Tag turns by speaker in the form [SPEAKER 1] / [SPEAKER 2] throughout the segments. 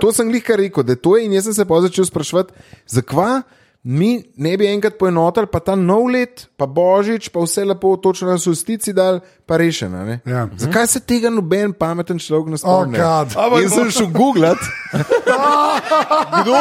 [SPEAKER 1] To sem jih kar rekel, da to je in jaz sem se pa začel sprašovati, zakaj mi ne bi enkrat poenotili, pa ta nov let, pa božič, pa vse lepo točno na solstici dal, pa rešeno. ne?
[SPEAKER 2] Ja. Mhm.
[SPEAKER 1] Zakaj se tega noben pameten človek ne
[SPEAKER 2] Oh,
[SPEAKER 1] spomni?
[SPEAKER 2] God.
[SPEAKER 3] Ampak
[SPEAKER 1] Jaz sem šel googlat,
[SPEAKER 3] Kdo?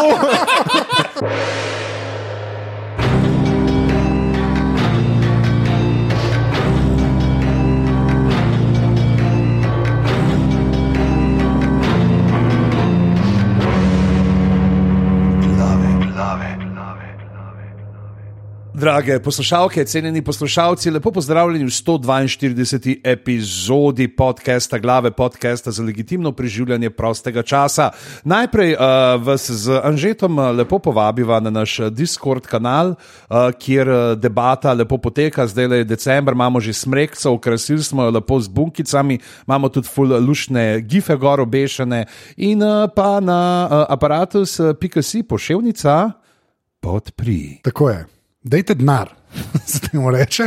[SPEAKER 3] Drage poslušalke, cenjeni poslušalci, lepo pozdravljeni v 142. epizodi podcasta Glave, podcasta za legitimno preživljanje prostega časa. Najprej uh, vas z Anžetom eh, lepo povabiva na naš eh, Discord kanal, uh, kjer eh, debata lepo poteka, zdaj le je decembr, imamo že smrekce, okrasili smo jo lepo z bunkicami, imamo tudi ful lušne gife gor obešene in uh, pa na uh, aparatus.pk.si poševnica podpri.
[SPEAKER 2] Tako je. Dajte denar, se temu reče.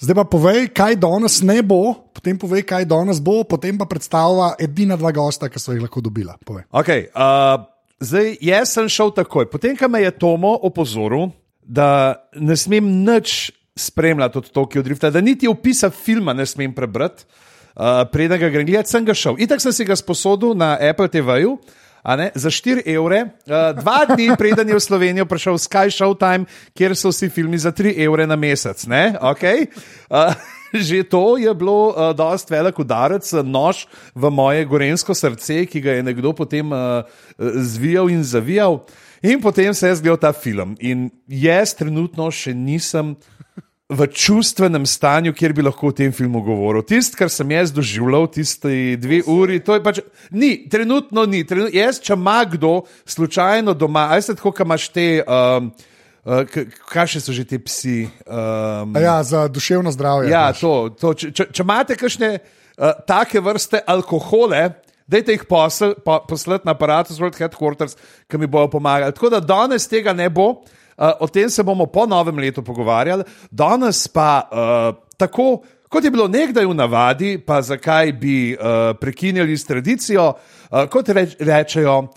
[SPEAKER 2] Zdaj pa povej, kaj danes ne bo, potem povej, kaj danes bo, potem pa predstavlja edina dva gosta, ki so jih lahko dobila. Povej.
[SPEAKER 3] Okay, uh, zdaj, jaz sem šel takoj. Potem, ko me je Tomo opozoril, da ne smem nič spremljati od Tokio Drifta, da niti opisa filma ne smem prebrati, uh, preden ga grem gledati, sem ga šel. Itak sem si ga sposodil na Apple TV-ju. a ne, Za 4 evre, uh, dva dni preden je v Slovenijo prišel Sky Showtime, kjer so vsi filmi za 3 evre na mesec. ne, Okay? Uh, Že to je bilo uh, dosti velik udarec, eh, nož v moje gorensko srce, ki ga je nekdo potem uh, zvijal in zavijal. In potem se je zgodil ta film. In jaz trenutno še nisem v čustvenem stanju, kjer bi lahko o tem filmu govoril. Tisto, kar sem jaz doživljal, tiste dve uri, to je pač. Ni, trenutno ni. Trenu, jaz, če ima kdo slučajno doma, aj se tako, kam imaš te. Um, uh, k- Kaj še so že ti psi? Um,
[SPEAKER 2] A Ja, za duševno zdravje.
[SPEAKER 3] Ja, to, to, če, če, če imate kakšne uh, take vrste alkohole, dajte jih posel, po, poslati na aparat World Headquarters, ki mi bojo pomagali. Tako da danes tega ne bo, uh, o tem se bomo po novem letu pogovarjali, danes pa uh, tako. Kot je bilo nekdaj v navadi, pa zakaj bi uh, prekinjali s tradicijo, uh, kot reč, rečejo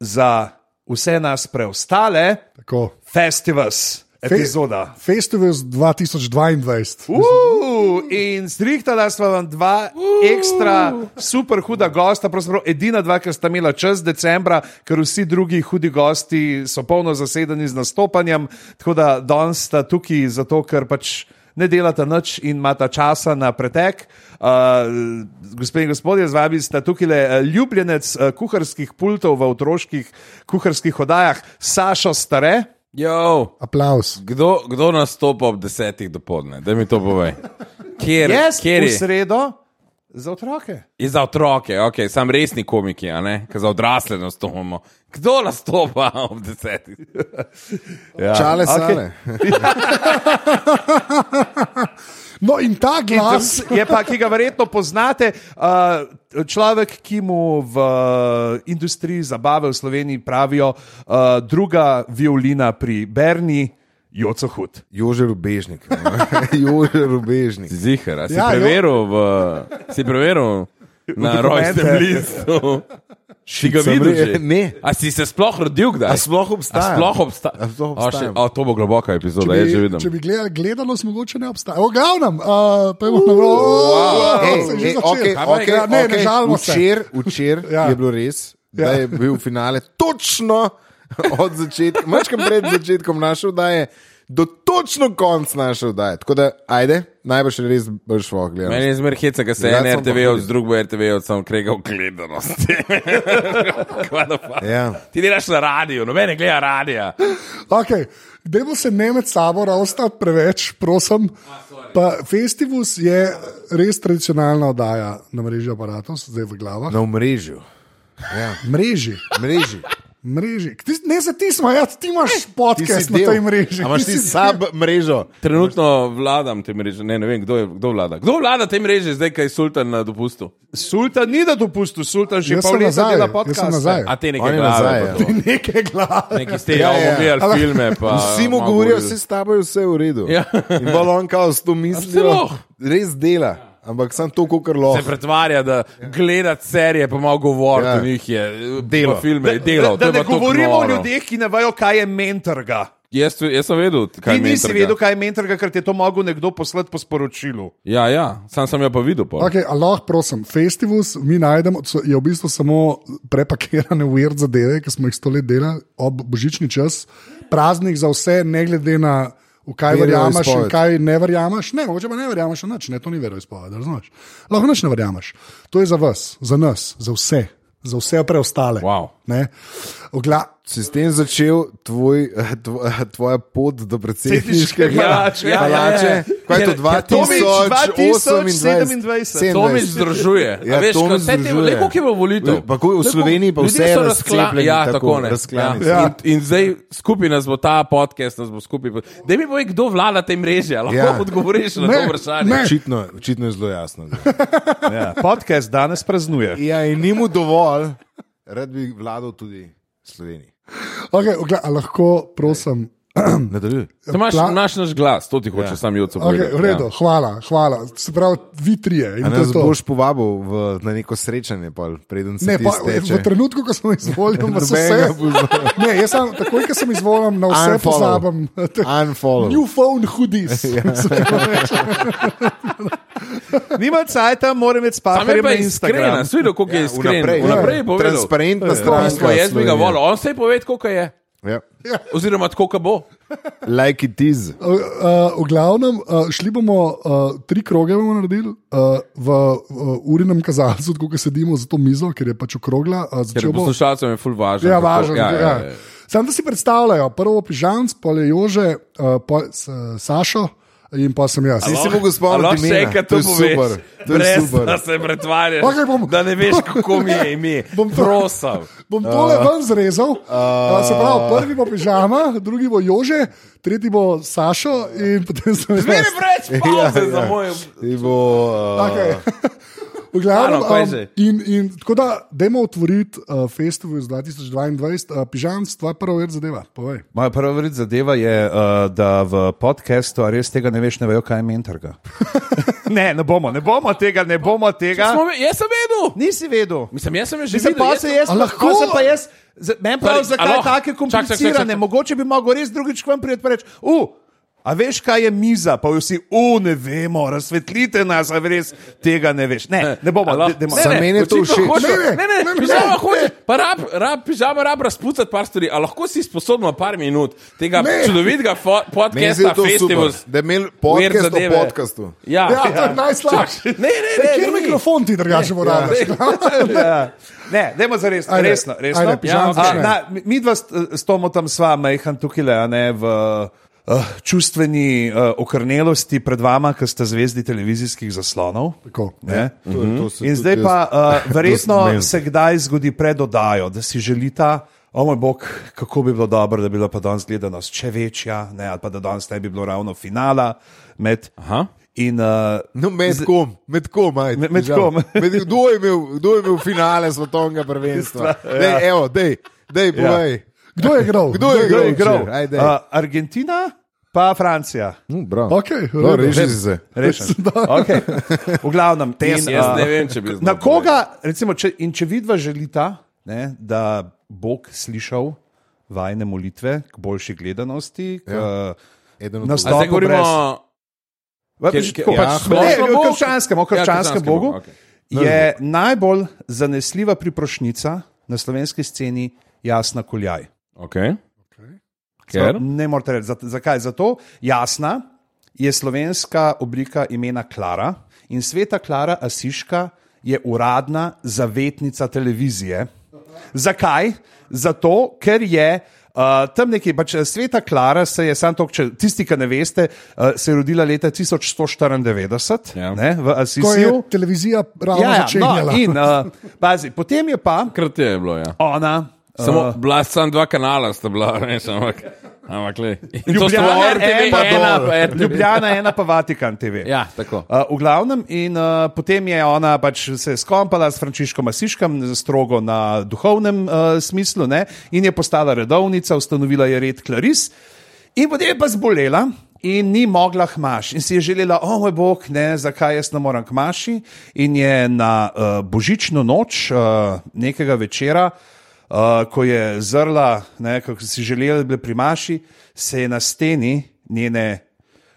[SPEAKER 3] za vse nas preostale,
[SPEAKER 2] Tako.
[SPEAKER 3] festivals, epizoda.
[SPEAKER 2] Festival 2022.
[SPEAKER 3] Uh, in zrihtala sva vam dva ekstra, super huda gosta, pravzaprav edina dva, ki sta imela čas decembra, ker vsi drugi hudi gosti so polno zasedeni z nastopanjem. Tako da danes sta tukaj zato, ker pač. Ne delata nič in imata časa na pretek. Uh, gospe in gospodje, z vami sta tukaj le ljubljenec uh, kuharskih pultov v otroških kuharskih oddajah, Sašo Stare.
[SPEAKER 4] Jo,
[SPEAKER 2] Aplaus.
[SPEAKER 4] kdo, kdo nastopa ob desetih dopoledne, da mi to povej? Kjer,
[SPEAKER 3] Jaz,
[SPEAKER 4] kjer
[SPEAKER 3] v
[SPEAKER 4] je?
[SPEAKER 3] sredo, za otroke.
[SPEAKER 4] Je za otroke, ok, sam resni komiki, a ne, ker za odrasle nastopamo. Kdo nastopa ob desetih?
[SPEAKER 3] Ja.
[SPEAKER 1] čale
[SPEAKER 3] Okej.
[SPEAKER 1] sale.
[SPEAKER 2] No in ta glas.
[SPEAKER 3] Je pa, ki ga verjetno poznate, uh, človek, ki mu v eh, industriji zabave v Sloveniji pravijo uh, druga violina pri Berni, Joco Hud.
[SPEAKER 1] Jože rubežnik. Jože rubežnik.
[SPEAKER 4] Si zihar, a si
[SPEAKER 2] Ja,
[SPEAKER 4] ja,
[SPEAKER 2] jo.
[SPEAKER 4] preveril, v, si preveril na
[SPEAKER 3] dokumente.
[SPEAKER 4] rojstnem listu. Si ga
[SPEAKER 1] Sem
[SPEAKER 4] videl?
[SPEAKER 1] re-
[SPEAKER 4] Že?
[SPEAKER 1] Ne.
[SPEAKER 4] A si se sploh rodil, kdaj?
[SPEAKER 1] A sploh obstaja?
[SPEAKER 4] A sploh obstaja.
[SPEAKER 1] A sploh
[SPEAKER 4] O, še-
[SPEAKER 1] obstaja?
[SPEAKER 4] o, to bo globoka epizoda, jaz že vidim.
[SPEAKER 2] če bi gledali, gledanost mogoče ne obstaja. O glavnem, uh, pa je bilo na
[SPEAKER 1] Hej, ne, okej, okej,
[SPEAKER 2] vrhu. Ne, ne
[SPEAKER 1] okej.
[SPEAKER 2] žalimo se.
[SPEAKER 1] Včer, včer ja.
[SPEAKER 2] Ja.
[SPEAKER 1] je bilo res, da je bil finale točno od začetka, mačkam pred začetkom naše vdaje, do točno konca naše vdaje. Tako da, ajde, najbrž res boš šlo
[SPEAKER 4] Meni
[SPEAKER 1] gledati.
[SPEAKER 4] je zmer heca, ker se
[SPEAKER 1] Zdaj
[SPEAKER 4] en
[SPEAKER 1] sem pa
[SPEAKER 4] RTV od
[SPEAKER 1] tudi.
[SPEAKER 4] drugega RTV od sam krega v gledanosti. Kva da pa?
[SPEAKER 1] Ja.
[SPEAKER 4] Ti delaš na radiju, noben ne gleda radija.
[SPEAKER 2] Okay. Dajmo se ne med sabo ravnati preveč, prosim. Pa Festivus je res tradicionalna oddaja na mreži aparatov, zdaj v glavah.
[SPEAKER 1] Na
[SPEAKER 2] No.
[SPEAKER 1] omrežju.
[SPEAKER 2] Mreži,
[SPEAKER 1] Mreži.
[SPEAKER 2] mreži. Ti, ne za ti smo, ja, ti imaš
[SPEAKER 1] Ti
[SPEAKER 2] podcast
[SPEAKER 1] si
[SPEAKER 2] na
[SPEAKER 1] del.
[SPEAKER 2] tej mreži.
[SPEAKER 1] A Imaš ti
[SPEAKER 2] si-
[SPEAKER 1] sab mrežo.
[SPEAKER 4] Trenutno vladam te mreže, ne, ne vem, kdo, je, kdo vlada. Kdo vlada te mreže, zdaj, kaj je sultan na dopustu?
[SPEAKER 3] Sultan ni da dopustil, sultan že
[SPEAKER 2] Jaz
[SPEAKER 3] pol
[SPEAKER 2] sem
[SPEAKER 3] leta
[SPEAKER 2] nazaj, jaz
[SPEAKER 3] dela
[SPEAKER 2] sem nazaj.
[SPEAKER 3] podcaste.
[SPEAKER 4] A te nekaj
[SPEAKER 1] On je
[SPEAKER 4] glave,
[SPEAKER 1] nazaj,
[SPEAKER 4] pa
[SPEAKER 1] ja.
[SPEAKER 4] to.
[SPEAKER 2] Neke glave.
[SPEAKER 4] Neki ste
[SPEAKER 1] Ja,
[SPEAKER 4] ja,
[SPEAKER 1] ja.
[SPEAKER 4] ja. gledali filme. Pa,
[SPEAKER 1] Vsi mu
[SPEAKER 4] malo
[SPEAKER 1] govorijo,
[SPEAKER 4] bolj-
[SPEAKER 1] vse s tabo je vse v redu.
[SPEAKER 4] Ja.
[SPEAKER 1] In bolj on kao s to mislijo,
[SPEAKER 4] Absolutno.
[SPEAKER 1] res dela. ampak sem to, kar lahko.
[SPEAKER 4] Se pretvarja, da gledati serije, pa malo govoriti
[SPEAKER 1] Ja.
[SPEAKER 4] o njih je delo. Filme je delo.
[SPEAKER 3] da ne govorimo o ljudeh, ki ne vejo, kaj je mentorga.
[SPEAKER 4] Jaz, jaz sem vedel, kaj
[SPEAKER 3] Ti
[SPEAKER 4] je
[SPEAKER 3] nisi
[SPEAKER 4] mentorka.
[SPEAKER 3] vedel, kaj je mentorga, ker ti je to mogel nekdo poslati po sporočilu.
[SPEAKER 4] Ja, ja, sam sem jo pa videl. Pa.
[SPEAKER 2] Okay, a lahko, prosim, festivus mi najdemo, so- je v bistvu samo prepakirane weird zadeve, ki smo jih sto let delali, ob božični čas, praznik za vse, ne glede na v kaj
[SPEAKER 1] Vero
[SPEAKER 2] verjameš in
[SPEAKER 1] izpoved.
[SPEAKER 2] kaj ne verjameš. Ne, mogoče pa ne verjameš, v nič, ne, to ni veroizpoved, razumeš. Lahko nič ne verjameš. To je za vas, za nas, za vse, za vse preostale.
[SPEAKER 4] Wow.
[SPEAKER 2] Ne. Ogla,
[SPEAKER 1] Si s tem začel tvoj, eh, tvo, eh, tvoja pot do predsedniške
[SPEAKER 3] Predsedniške palače, ja,
[SPEAKER 1] palače?
[SPEAKER 4] ja, ja.
[SPEAKER 1] Kaj je to
[SPEAKER 4] Ker- ker Tomič
[SPEAKER 1] 2028?
[SPEAKER 3] 2027.
[SPEAKER 4] Tomič združuje.
[SPEAKER 1] Ja,
[SPEAKER 4] Ja, veš,
[SPEAKER 1] Tomič
[SPEAKER 4] kot vse te
[SPEAKER 1] združuje.
[SPEAKER 4] le koliko je bilo volitev.
[SPEAKER 1] Pa ko v
[SPEAKER 4] Lej,
[SPEAKER 1] Sloveniji pa
[SPEAKER 4] ljudje
[SPEAKER 1] vse
[SPEAKER 4] so razkla-
[SPEAKER 1] razklepljeni
[SPEAKER 4] Ja,
[SPEAKER 1] tako,
[SPEAKER 4] tako ne.
[SPEAKER 1] razklani so.
[SPEAKER 4] Ja. In, in zdaj skupaj nas bo ta podcast, nas bo skupaj. po- Daj mi povej, kdo vlada te mreže, a lahko
[SPEAKER 1] Ja.
[SPEAKER 4] ja. odgovoriš na
[SPEAKER 2] Ne,
[SPEAKER 4] to vprašanje.
[SPEAKER 2] ne.
[SPEAKER 1] Očitno, očitno je zelo jasno.
[SPEAKER 3] Ja, podcast danes praznuje.
[SPEAKER 1] Ja, in ni mu dovolj, rad bi vladal tudi Sloveniji.
[SPEAKER 2] okay, ogla, a lahko, prosim.
[SPEAKER 1] Nadaljuj.
[SPEAKER 4] Ti imaš
[SPEAKER 2] Pla-
[SPEAKER 4] naš, naš glas, to ti hoče ja. sam Juco
[SPEAKER 2] Okay,
[SPEAKER 4] povedati.
[SPEAKER 2] v redu, ja. hvala, hvala. Se pravi, vi trije. in
[SPEAKER 1] A
[SPEAKER 2] to je
[SPEAKER 1] nas
[SPEAKER 2] to.
[SPEAKER 1] boš povabil v, na neko srečanje, pol, preden se
[SPEAKER 2] Ne,
[SPEAKER 1] ti
[SPEAKER 2] pa,
[SPEAKER 1] steče.
[SPEAKER 2] v trenutku, ko sem izvoljen, pa so
[SPEAKER 1] Nobenega
[SPEAKER 2] vse. Ne, jaz sem takoj, ko sem izvoljen, na vse
[SPEAKER 1] Unfollow.
[SPEAKER 2] pozabim.
[SPEAKER 1] Unfollow. Ja.
[SPEAKER 2] New phone hoodies. eh,
[SPEAKER 3] Nima cajta, moram imeti
[SPEAKER 4] Sam je
[SPEAKER 3] spacer
[SPEAKER 4] pa
[SPEAKER 3] na
[SPEAKER 4] iskren,
[SPEAKER 3] Instagram.
[SPEAKER 4] sem videl, koliko je iskren.
[SPEAKER 1] vnaprej,
[SPEAKER 4] Vnaprej,
[SPEAKER 1] ja.
[SPEAKER 4] vnaprej je povedal.
[SPEAKER 1] Transparentna
[SPEAKER 4] Stranka,
[SPEAKER 1] stranka.
[SPEAKER 4] jaz bi ga
[SPEAKER 1] Slovenija.
[SPEAKER 4] volil, on se je povedal, koliko je.
[SPEAKER 1] Ja.
[SPEAKER 4] Oziroma, koliko bo.
[SPEAKER 1] Like it is.
[SPEAKER 2] Uh, uh, v glavnem, uh, šli bomo, uh, tri kroge bomo naredili uh, v uh, urinem kazalcu, tako kot sedimo za to mizo, ker je pač okrogla. Uh,
[SPEAKER 4] Ker
[SPEAKER 2] začel bo-
[SPEAKER 4] poslušalcem je ful važno.
[SPEAKER 2] Ja,
[SPEAKER 4] kako-
[SPEAKER 2] važno. Ja, ja, ja. Sam da si predstavljajo, prvo pižam, pol je Jože, uh, pol, s, Sašo in pa sem jaz.
[SPEAKER 1] Ti
[SPEAKER 4] Lahko-
[SPEAKER 1] si mogel spomniti
[SPEAKER 4] No. a lahko
[SPEAKER 1] imena,
[SPEAKER 4] še enkrat
[SPEAKER 1] to
[SPEAKER 4] to
[SPEAKER 1] je
[SPEAKER 4] poveš,
[SPEAKER 1] super, to je
[SPEAKER 4] brez
[SPEAKER 1] super.
[SPEAKER 4] da se pretvarjaš,
[SPEAKER 2] Okej, bom.
[SPEAKER 4] da ne veš, kako mi je ime.
[SPEAKER 2] Bom to-
[SPEAKER 4] Prosim.
[SPEAKER 2] Bom tole
[SPEAKER 1] Ah.
[SPEAKER 2] ven zrezal. Uh, se pravi, prvi bo pižama, drugi bo Jože, tretji bo Sašo in potem sem jaz.
[SPEAKER 4] Zmeraj preveč pauze za moje.
[SPEAKER 1] Ti bo, uh,
[SPEAKER 2] Okay. V glavnem,
[SPEAKER 4] Ano, kaj
[SPEAKER 2] um,
[SPEAKER 4] že?
[SPEAKER 2] in, in, tako da, dajmo otvoriti uh, festival iz 2022, uh, pižam, tvoja prva ver zadeva. Povej.
[SPEAKER 3] Moja prva vrt zadeva je, uh, da v podkastu, a res tega ne veš, ne vejo, kaj je mentorga. ne, ne bomo, ne bomo tega, ne bomo tega.
[SPEAKER 4] Smo, ve- jaz sem vedel.
[SPEAKER 3] Nisi vedel.
[SPEAKER 4] Mislim, jaz sem jo že
[SPEAKER 3] Ja. Mislim,
[SPEAKER 4] videl.
[SPEAKER 3] pa
[SPEAKER 4] jaz
[SPEAKER 3] se
[SPEAKER 4] sem-
[SPEAKER 3] jaz
[SPEAKER 2] A lahko?
[SPEAKER 3] lahko. Pa jaz, za- meni prav,
[SPEAKER 4] Sorry, a
[SPEAKER 3] zakaj
[SPEAKER 4] lahko?
[SPEAKER 3] take
[SPEAKER 4] Čak, čak, čak,
[SPEAKER 3] komplicirane.
[SPEAKER 4] čak.
[SPEAKER 3] Mogoče bi mogel res drugič k vam priti in reči, u, a veš, kaj je miza, pa vsi, u, ne vemo, razsvetlite nas, a res tega ne veš. Ne, ne bomo,
[SPEAKER 4] Alo?
[SPEAKER 3] de- demo.
[SPEAKER 1] Za
[SPEAKER 4] Ne, ne,
[SPEAKER 1] mene je to
[SPEAKER 4] očitno
[SPEAKER 1] všeč.
[SPEAKER 4] hoče-
[SPEAKER 1] Ne,
[SPEAKER 2] ne,
[SPEAKER 4] Ne, ne,
[SPEAKER 2] ne,
[SPEAKER 4] pižama
[SPEAKER 2] ne.
[SPEAKER 4] hoče. Pa rab, rab, pižama rab razpucati par stvari. A lahko si sposobno par minut tega
[SPEAKER 2] Ne.
[SPEAKER 4] čudovitega fo-
[SPEAKER 1] meni se je
[SPEAKER 4] podcasta
[SPEAKER 1] to super,
[SPEAKER 4] Festivus.
[SPEAKER 1] da je imel
[SPEAKER 4] Weird
[SPEAKER 1] podcast o
[SPEAKER 4] zadeve.
[SPEAKER 1] podcastu.
[SPEAKER 4] Ja,
[SPEAKER 2] Ja, to je najslabše.
[SPEAKER 4] Ne, ne, ne.
[SPEAKER 2] Kjer
[SPEAKER 4] ni.
[SPEAKER 2] mikrofon ti drugače uporabljaš?
[SPEAKER 3] Ja. Ne, dajmo za resno,
[SPEAKER 2] Ajde,
[SPEAKER 3] resno. resno.
[SPEAKER 2] ajde, pižam,
[SPEAKER 3] A,
[SPEAKER 2] začne.
[SPEAKER 3] na, mi- mi dva st- s Tomom tam sva, majhen tukaj, le, a ne v uh, čustveni uh, okrnelosti pred vama, ki ste zvezdi televizijskih zaslonov.
[SPEAKER 2] Tako.
[SPEAKER 3] Ne?
[SPEAKER 1] To je- to se
[SPEAKER 3] In
[SPEAKER 1] Ja. tudi
[SPEAKER 3] zdaj
[SPEAKER 1] jaz-
[SPEAKER 3] pa, uh, verjetno
[SPEAKER 1] zmem.
[SPEAKER 3] se kdaj zgodi predodajo, da si želita, o moj bog, kako bi bilo dobro, da bi bila pa danes gledanost še večja, ne, ali pa da danes ne bi bilo ravno finala med.
[SPEAKER 4] Aha.
[SPEAKER 3] In uh,
[SPEAKER 1] No, med kom, med kom, ajde,
[SPEAKER 3] Med- med
[SPEAKER 1] žal.
[SPEAKER 3] kom.
[SPEAKER 1] med, kdo, je imel, kdo je imel finale svetovnega prvenstva?
[SPEAKER 3] ja.
[SPEAKER 1] Dej, evo, dej, dej, povej.
[SPEAKER 2] Kdo je igral?
[SPEAKER 1] Kdo je
[SPEAKER 3] kdo je igral?
[SPEAKER 1] včeraj? Ajde.
[SPEAKER 3] Uh, Argentina, pa Francija.
[SPEAKER 1] No, bravo.
[SPEAKER 2] Okej, v
[SPEAKER 1] Dobro,
[SPEAKER 2] redu.
[SPEAKER 1] reši si se.
[SPEAKER 3] Rešen. Okay. V glavnem, te
[SPEAKER 4] Jaz- jaz ne vem, če bi
[SPEAKER 3] Na
[SPEAKER 4] znal
[SPEAKER 3] koga, recimo, če, in če vidva želita, ne, da Bog slišal vajne molitve k boljši gledanosti, k, ja.
[SPEAKER 1] Eden od
[SPEAKER 4] A
[SPEAKER 3] Nastopa.
[SPEAKER 1] drugih.
[SPEAKER 4] zdaj govorimo
[SPEAKER 3] v,
[SPEAKER 4] Ja, Kjer-
[SPEAKER 3] že
[SPEAKER 4] kjer-
[SPEAKER 3] tako,
[SPEAKER 4] ja,
[SPEAKER 3] pač,
[SPEAKER 4] splošno
[SPEAKER 3] ne,
[SPEAKER 4] Bog?
[SPEAKER 3] o krščanskem, o
[SPEAKER 4] Ja,
[SPEAKER 3] krščanskem
[SPEAKER 4] krščanskem
[SPEAKER 3] Bogu,
[SPEAKER 4] Bogu, okej.
[SPEAKER 3] je najbolj zanesljiva priprošnica na slovenski sceni jasna koljaj.
[SPEAKER 4] Okay.
[SPEAKER 3] Prav,
[SPEAKER 4] Ker?
[SPEAKER 3] Ne morete reči, Zat- zakaj. Zato jasna je slovenska oblika imena Klara in sveta Klara Asiška je uradna zavetnica televizije. Zakaj? Zato, ker je. Uh, tam nekje, pač eh, sveta Klara se je, samo to, če tisti, ki ne veste, uh, se je rodila leta 1194
[SPEAKER 4] Ja.
[SPEAKER 3] ja. ne, v
[SPEAKER 2] Ko je
[SPEAKER 3] Asisiju.
[SPEAKER 2] televizija ravno
[SPEAKER 3] Ja, ja,
[SPEAKER 2] začenjala.
[SPEAKER 3] no, in, uh, pazi, potem je pa
[SPEAKER 4] Krat je bilo, ja.
[SPEAKER 3] ona.
[SPEAKER 4] Samo, uh, bila sta samo dva kanala, sta bila, veš, ampak, ampak le.
[SPEAKER 3] Ljubljana, ena, ena, pa
[SPEAKER 4] pa Ljubljana.
[SPEAKER 3] Ljubljana, ena pa Vatikan TV.
[SPEAKER 4] Ja, tako.
[SPEAKER 3] Uh, v glavnem, in uh, potem je ona pač se skompala s Frančiškom Asiškom, strogo na duhovnem uh, smislu, ne? in je postala redovnica, ustanovila je red Claris, in potem je pa zbolela In ni mogla hmaš, in si je želela, o moj bog, ne, zakaj jaz ne morem hmaši. In je na uh, božično noč, uh, nekega večera, uh, ko je zrla, ne, kako si želela, da bi bile pri maši, se je na steni njene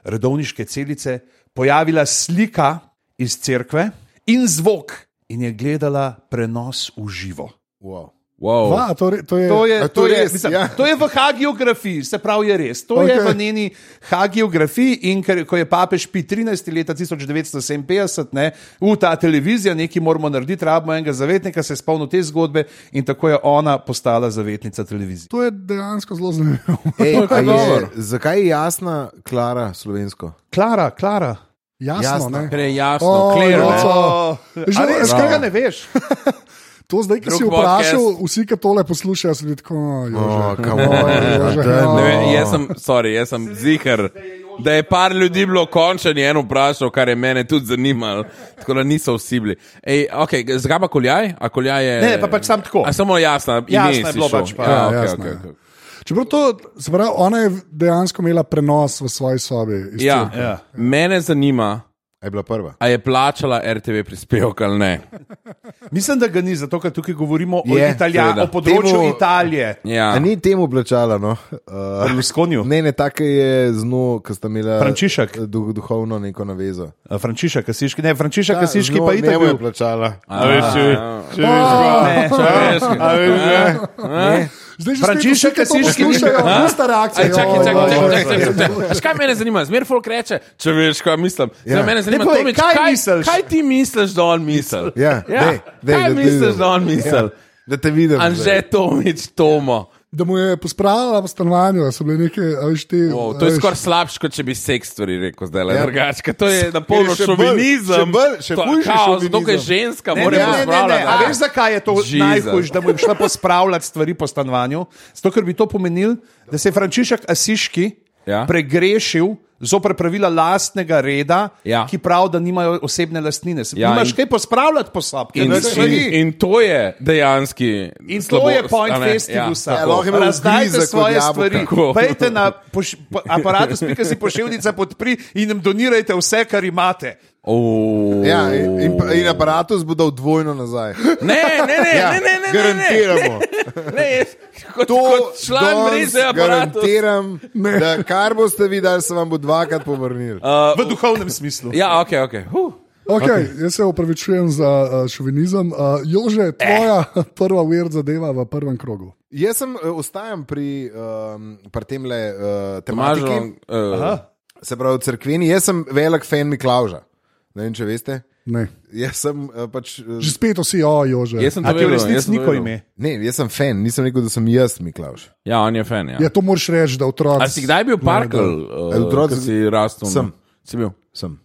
[SPEAKER 3] redovniške celice pojavila slika iz cerkve in zvok, in je gledala prenos v živo.
[SPEAKER 1] Wow.
[SPEAKER 4] Wow.
[SPEAKER 2] Va, to, re- to je,
[SPEAKER 3] To
[SPEAKER 1] A
[SPEAKER 3] je,
[SPEAKER 1] to
[SPEAKER 3] to, je,
[SPEAKER 1] res,
[SPEAKER 3] mislim,
[SPEAKER 1] ja.
[SPEAKER 3] ja. to je v hagiografiji, se pravi, je res. To okay. je
[SPEAKER 2] Okej.
[SPEAKER 3] v njeni hagiografiji in ker, ko je papež Pi 13 leta 1957, ne, v ta televizija, nekaj moramo narediti, rabimo enega zavetnika, se je spomnil te zgodbe in tako je ona postala zavetnica televizije.
[SPEAKER 2] to je dejansko zelo zanimivo.
[SPEAKER 1] Ej,
[SPEAKER 4] To je
[SPEAKER 1] a je,
[SPEAKER 4] govor.
[SPEAKER 1] zakaj je jasna Klara slovensko?
[SPEAKER 3] Klara, Klara.
[SPEAKER 2] Jasno,
[SPEAKER 1] Jasno.
[SPEAKER 2] ne.
[SPEAKER 4] Ker je jasno,
[SPEAKER 2] O,
[SPEAKER 4] clear,
[SPEAKER 2] no,
[SPEAKER 4] Ja, ne.
[SPEAKER 2] so- Že-
[SPEAKER 3] Že
[SPEAKER 2] Bravo.
[SPEAKER 3] tega ne veš.
[SPEAKER 2] To zdaj, ki si
[SPEAKER 4] Drug
[SPEAKER 2] vprašal, vsi, ki tole poslušajo, so ljudje tako,
[SPEAKER 1] Oh,
[SPEAKER 2] oh,
[SPEAKER 1] come on,
[SPEAKER 2] Jože.
[SPEAKER 1] daj, no.
[SPEAKER 4] Ne vem, jaz sem, sorry, jaz sem zihar, da je par ljudi bilo končan, je eno vprašal, kar je mene tudi zanimalo, tako da niso vsi bili. Ej, okay, zgaj pa koljaj, a koljaj je.
[SPEAKER 3] Ne, pa pač samo tako.
[SPEAKER 4] A samo jasna,
[SPEAKER 3] Jasno
[SPEAKER 4] ime
[SPEAKER 3] je
[SPEAKER 4] si
[SPEAKER 3] bilo
[SPEAKER 4] šel.
[SPEAKER 3] pač pa,
[SPEAKER 4] Ja,
[SPEAKER 2] ja,
[SPEAKER 4] okay,
[SPEAKER 2] jasno
[SPEAKER 4] okay,
[SPEAKER 2] je.
[SPEAKER 4] okay.
[SPEAKER 2] Čeprav to, se pravi, ona je dejansko imela prenos v svoji sobi. iz
[SPEAKER 4] Ja,
[SPEAKER 2] cerkve.
[SPEAKER 4] ja.
[SPEAKER 3] Ja.
[SPEAKER 4] Mene zanima,
[SPEAKER 1] A je bila prva.
[SPEAKER 4] a je plačala RTV prispevek ali ne.
[SPEAKER 3] Mislim, da ga ni, zato ker tukaj govorimo o,
[SPEAKER 1] Je,
[SPEAKER 3] Italija,
[SPEAKER 4] seveda.
[SPEAKER 3] o področju
[SPEAKER 1] Temu-
[SPEAKER 3] Temu... Italije.
[SPEAKER 4] Ja.
[SPEAKER 1] A ni temu plačala, no? Uh,
[SPEAKER 3] Berlusconiju.
[SPEAKER 1] ne, ne, tako je zno, ki sta imela
[SPEAKER 3] Frančišek.
[SPEAKER 1] Du, duhovno neko navezo.
[SPEAKER 3] Frančišek, Eh, kasiški, ne, Frančišek, kasiški
[SPEAKER 1] zno
[SPEAKER 3] pa Oh.
[SPEAKER 1] njemu
[SPEAKER 3] Italija.
[SPEAKER 1] je plačala.
[SPEAKER 4] A veš,
[SPEAKER 1] Ja.
[SPEAKER 4] če veš, kaj je.
[SPEAKER 2] Zdaj že
[SPEAKER 3] Frančišek Kasiški ni-
[SPEAKER 2] poslušajo, ista reakcija.
[SPEAKER 4] Aj, čakaj,
[SPEAKER 2] joj,
[SPEAKER 4] čakaj,
[SPEAKER 2] joj,
[SPEAKER 4] čakaj,
[SPEAKER 2] joj.
[SPEAKER 4] čakaj, čakaj, čakaj. Škaj mene zanima, zmer folk reče, če veš, kaj mislim. Ja.
[SPEAKER 1] Ja.
[SPEAKER 4] Mene zanima,
[SPEAKER 3] Ne povej,
[SPEAKER 4] Tomič,
[SPEAKER 3] kaj misliš?
[SPEAKER 4] Kaj ti misliš, da on misli?
[SPEAKER 1] Ja, dej, dej,
[SPEAKER 4] kaj
[SPEAKER 1] da te
[SPEAKER 4] misliš,
[SPEAKER 1] vidim.
[SPEAKER 4] da on misli? Ja.
[SPEAKER 1] Ja, da te vidim. zdaj.
[SPEAKER 4] Anže Tomič, Tomo.
[SPEAKER 2] Da mu je pospravila v stanovanju, da so bile neke, a veš ti.
[SPEAKER 4] Wow, to
[SPEAKER 2] a
[SPEAKER 4] je
[SPEAKER 2] veš,
[SPEAKER 4] skoraj slabše, kot če bi seks stvari rekel zdaj. Ja.
[SPEAKER 1] Ja.
[SPEAKER 4] Drugačka, to je
[SPEAKER 3] e,
[SPEAKER 4] na polno
[SPEAKER 1] še bolj- še
[SPEAKER 4] šovinizem.
[SPEAKER 1] bolj- še
[SPEAKER 4] To-
[SPEAKER 1] hujši
[SPEAKER 4] kao, Zato, ker je
[SPEAKER 1] šovinizem.
[SPEAKER 4] ženska,
[SPEAKER 3] Ne, ne,
[SPEAKER 4] mora
[SPEAKER 3] ne, ne, ne. A veš,
[SPEAKER 4] razpravljati.
[SPEAKER 3] zakaj je to
[SPEAKER 4] Jesus.
[SPEAKER 3] najhujš, da mu je šla pospravljati stvari po stanovanju? Zato, ker bi to pomenil, da se je Frančišek Asiški ja.
[SPEAKER 4] Ja.
[SPEAKER 3] pregrešil zoper pravila lastnega reda, ja.
[SPEAKER 4] Ja.
[SPEAKER 3] ki pravi, da nimajo osebne lastnine. Se,
[SPEAKER 4] Ja,
[SPEAKER 3] ja, nimaš in,
[SPEAKER 4] in-
[SPEAKER 3] kaj pospravljati po sapi.
[SPEAKER 4] In, in, in to je dejanski.
[SPEAKER 3] In
[SPEAKER 4] slabo,
[SPEAKER 3] to je point
[SPEAKER 4] a ne,
[SPEAKER 3] festivusa.
[SPEAKER 4] ja,
[SPEAKER 3] Ja,
[SPEAKER 4] tako.
[SPEAKER 1] lahko je imel
[SPEAKER 3] Razdajte
[SPEAKER 1] ugrize kot
[SPEAKER 3] svoje
[SPEAKER 1] jabolka.
[SPEAKER 3] stvari.
[SPEAKER 4] Tako.
[SPEAKER 3] Pojdite na poš, po, aparatu, spika si pošiljnica podpri in jim donirajte vse, kar imate.
[SPEAKER 4] Oh.
[SPEAKER 1] Ja, in, in, in aparatus bo dal dvojno nazaj.
[SPEAKER 4] Ne, ne, ne,
[SPEAKER 1] Ja,
[SPEAKER 4] ne, ne, ne, ne, ne,
[SPEAKER 1] garantiramo.
[SPEAKER 4] Ne, jaz kot,
[SPEAKER 1] To
[SPEAKER 4] kot član
[SPEAKER 1] danes
[SPEAKER 4] mreže aparatov.
[SPEAKER 1] Garantiram, da kar boste vi dali, se vam bo dvakrat povrnil.
[SPEAKER 3] V duhovnem smislu.
[SPEAKER 4] Ja, ok, ok. Huh.
[SPEAKER 2] Okay, jaz se upravičujem za uh, šovinizem. Uh, Jože, tvoja eh. prva weird zadeva v prvem krogu.
[SPEAKER 1] Jaz sem, eh, ostajam pri, um, pri tem le uh,
[SPEAKER 4] Tomažo,
[SPEAKER 1] tematiki,
[SPEAKER 4] uh,
[SPEAKER 1] se pravi crkveni. Jaz sem velik fan Miklauža. Ne vem, če veste.
[SPEAKER 2] Ne.
[SPEAKER 1] Jaz sem uh, pač. Uh,
[SPEAKER 2] Že spet vsi, o, Jože.
[SPEAKER 4] jaz sem
[SPEAKER 3] A
[SPEAKER 4] to
[SPEAKER 3] ti v
[SPEAKER 4] videl.
[SPEAKER 3] resnici niko ime?
[SPEAKER 1] ne, jaz sem fan, nisem rekel, da sem jaz Miklauž.
[SPEAKER 4] Ja, on je fan. Ja.
[SPEAKER 2] Ja, to moraš reči, da otrok.
[SPEAKER 4] A si kdaj bil parkal?
[SPEAKER 1] Ja, otrok
[SPEAKER 4] Uh, si rastel?
[SPEAKER 1] sem.
[SPEAKER 4] Si bil.
[SPEAKER 1] Sem.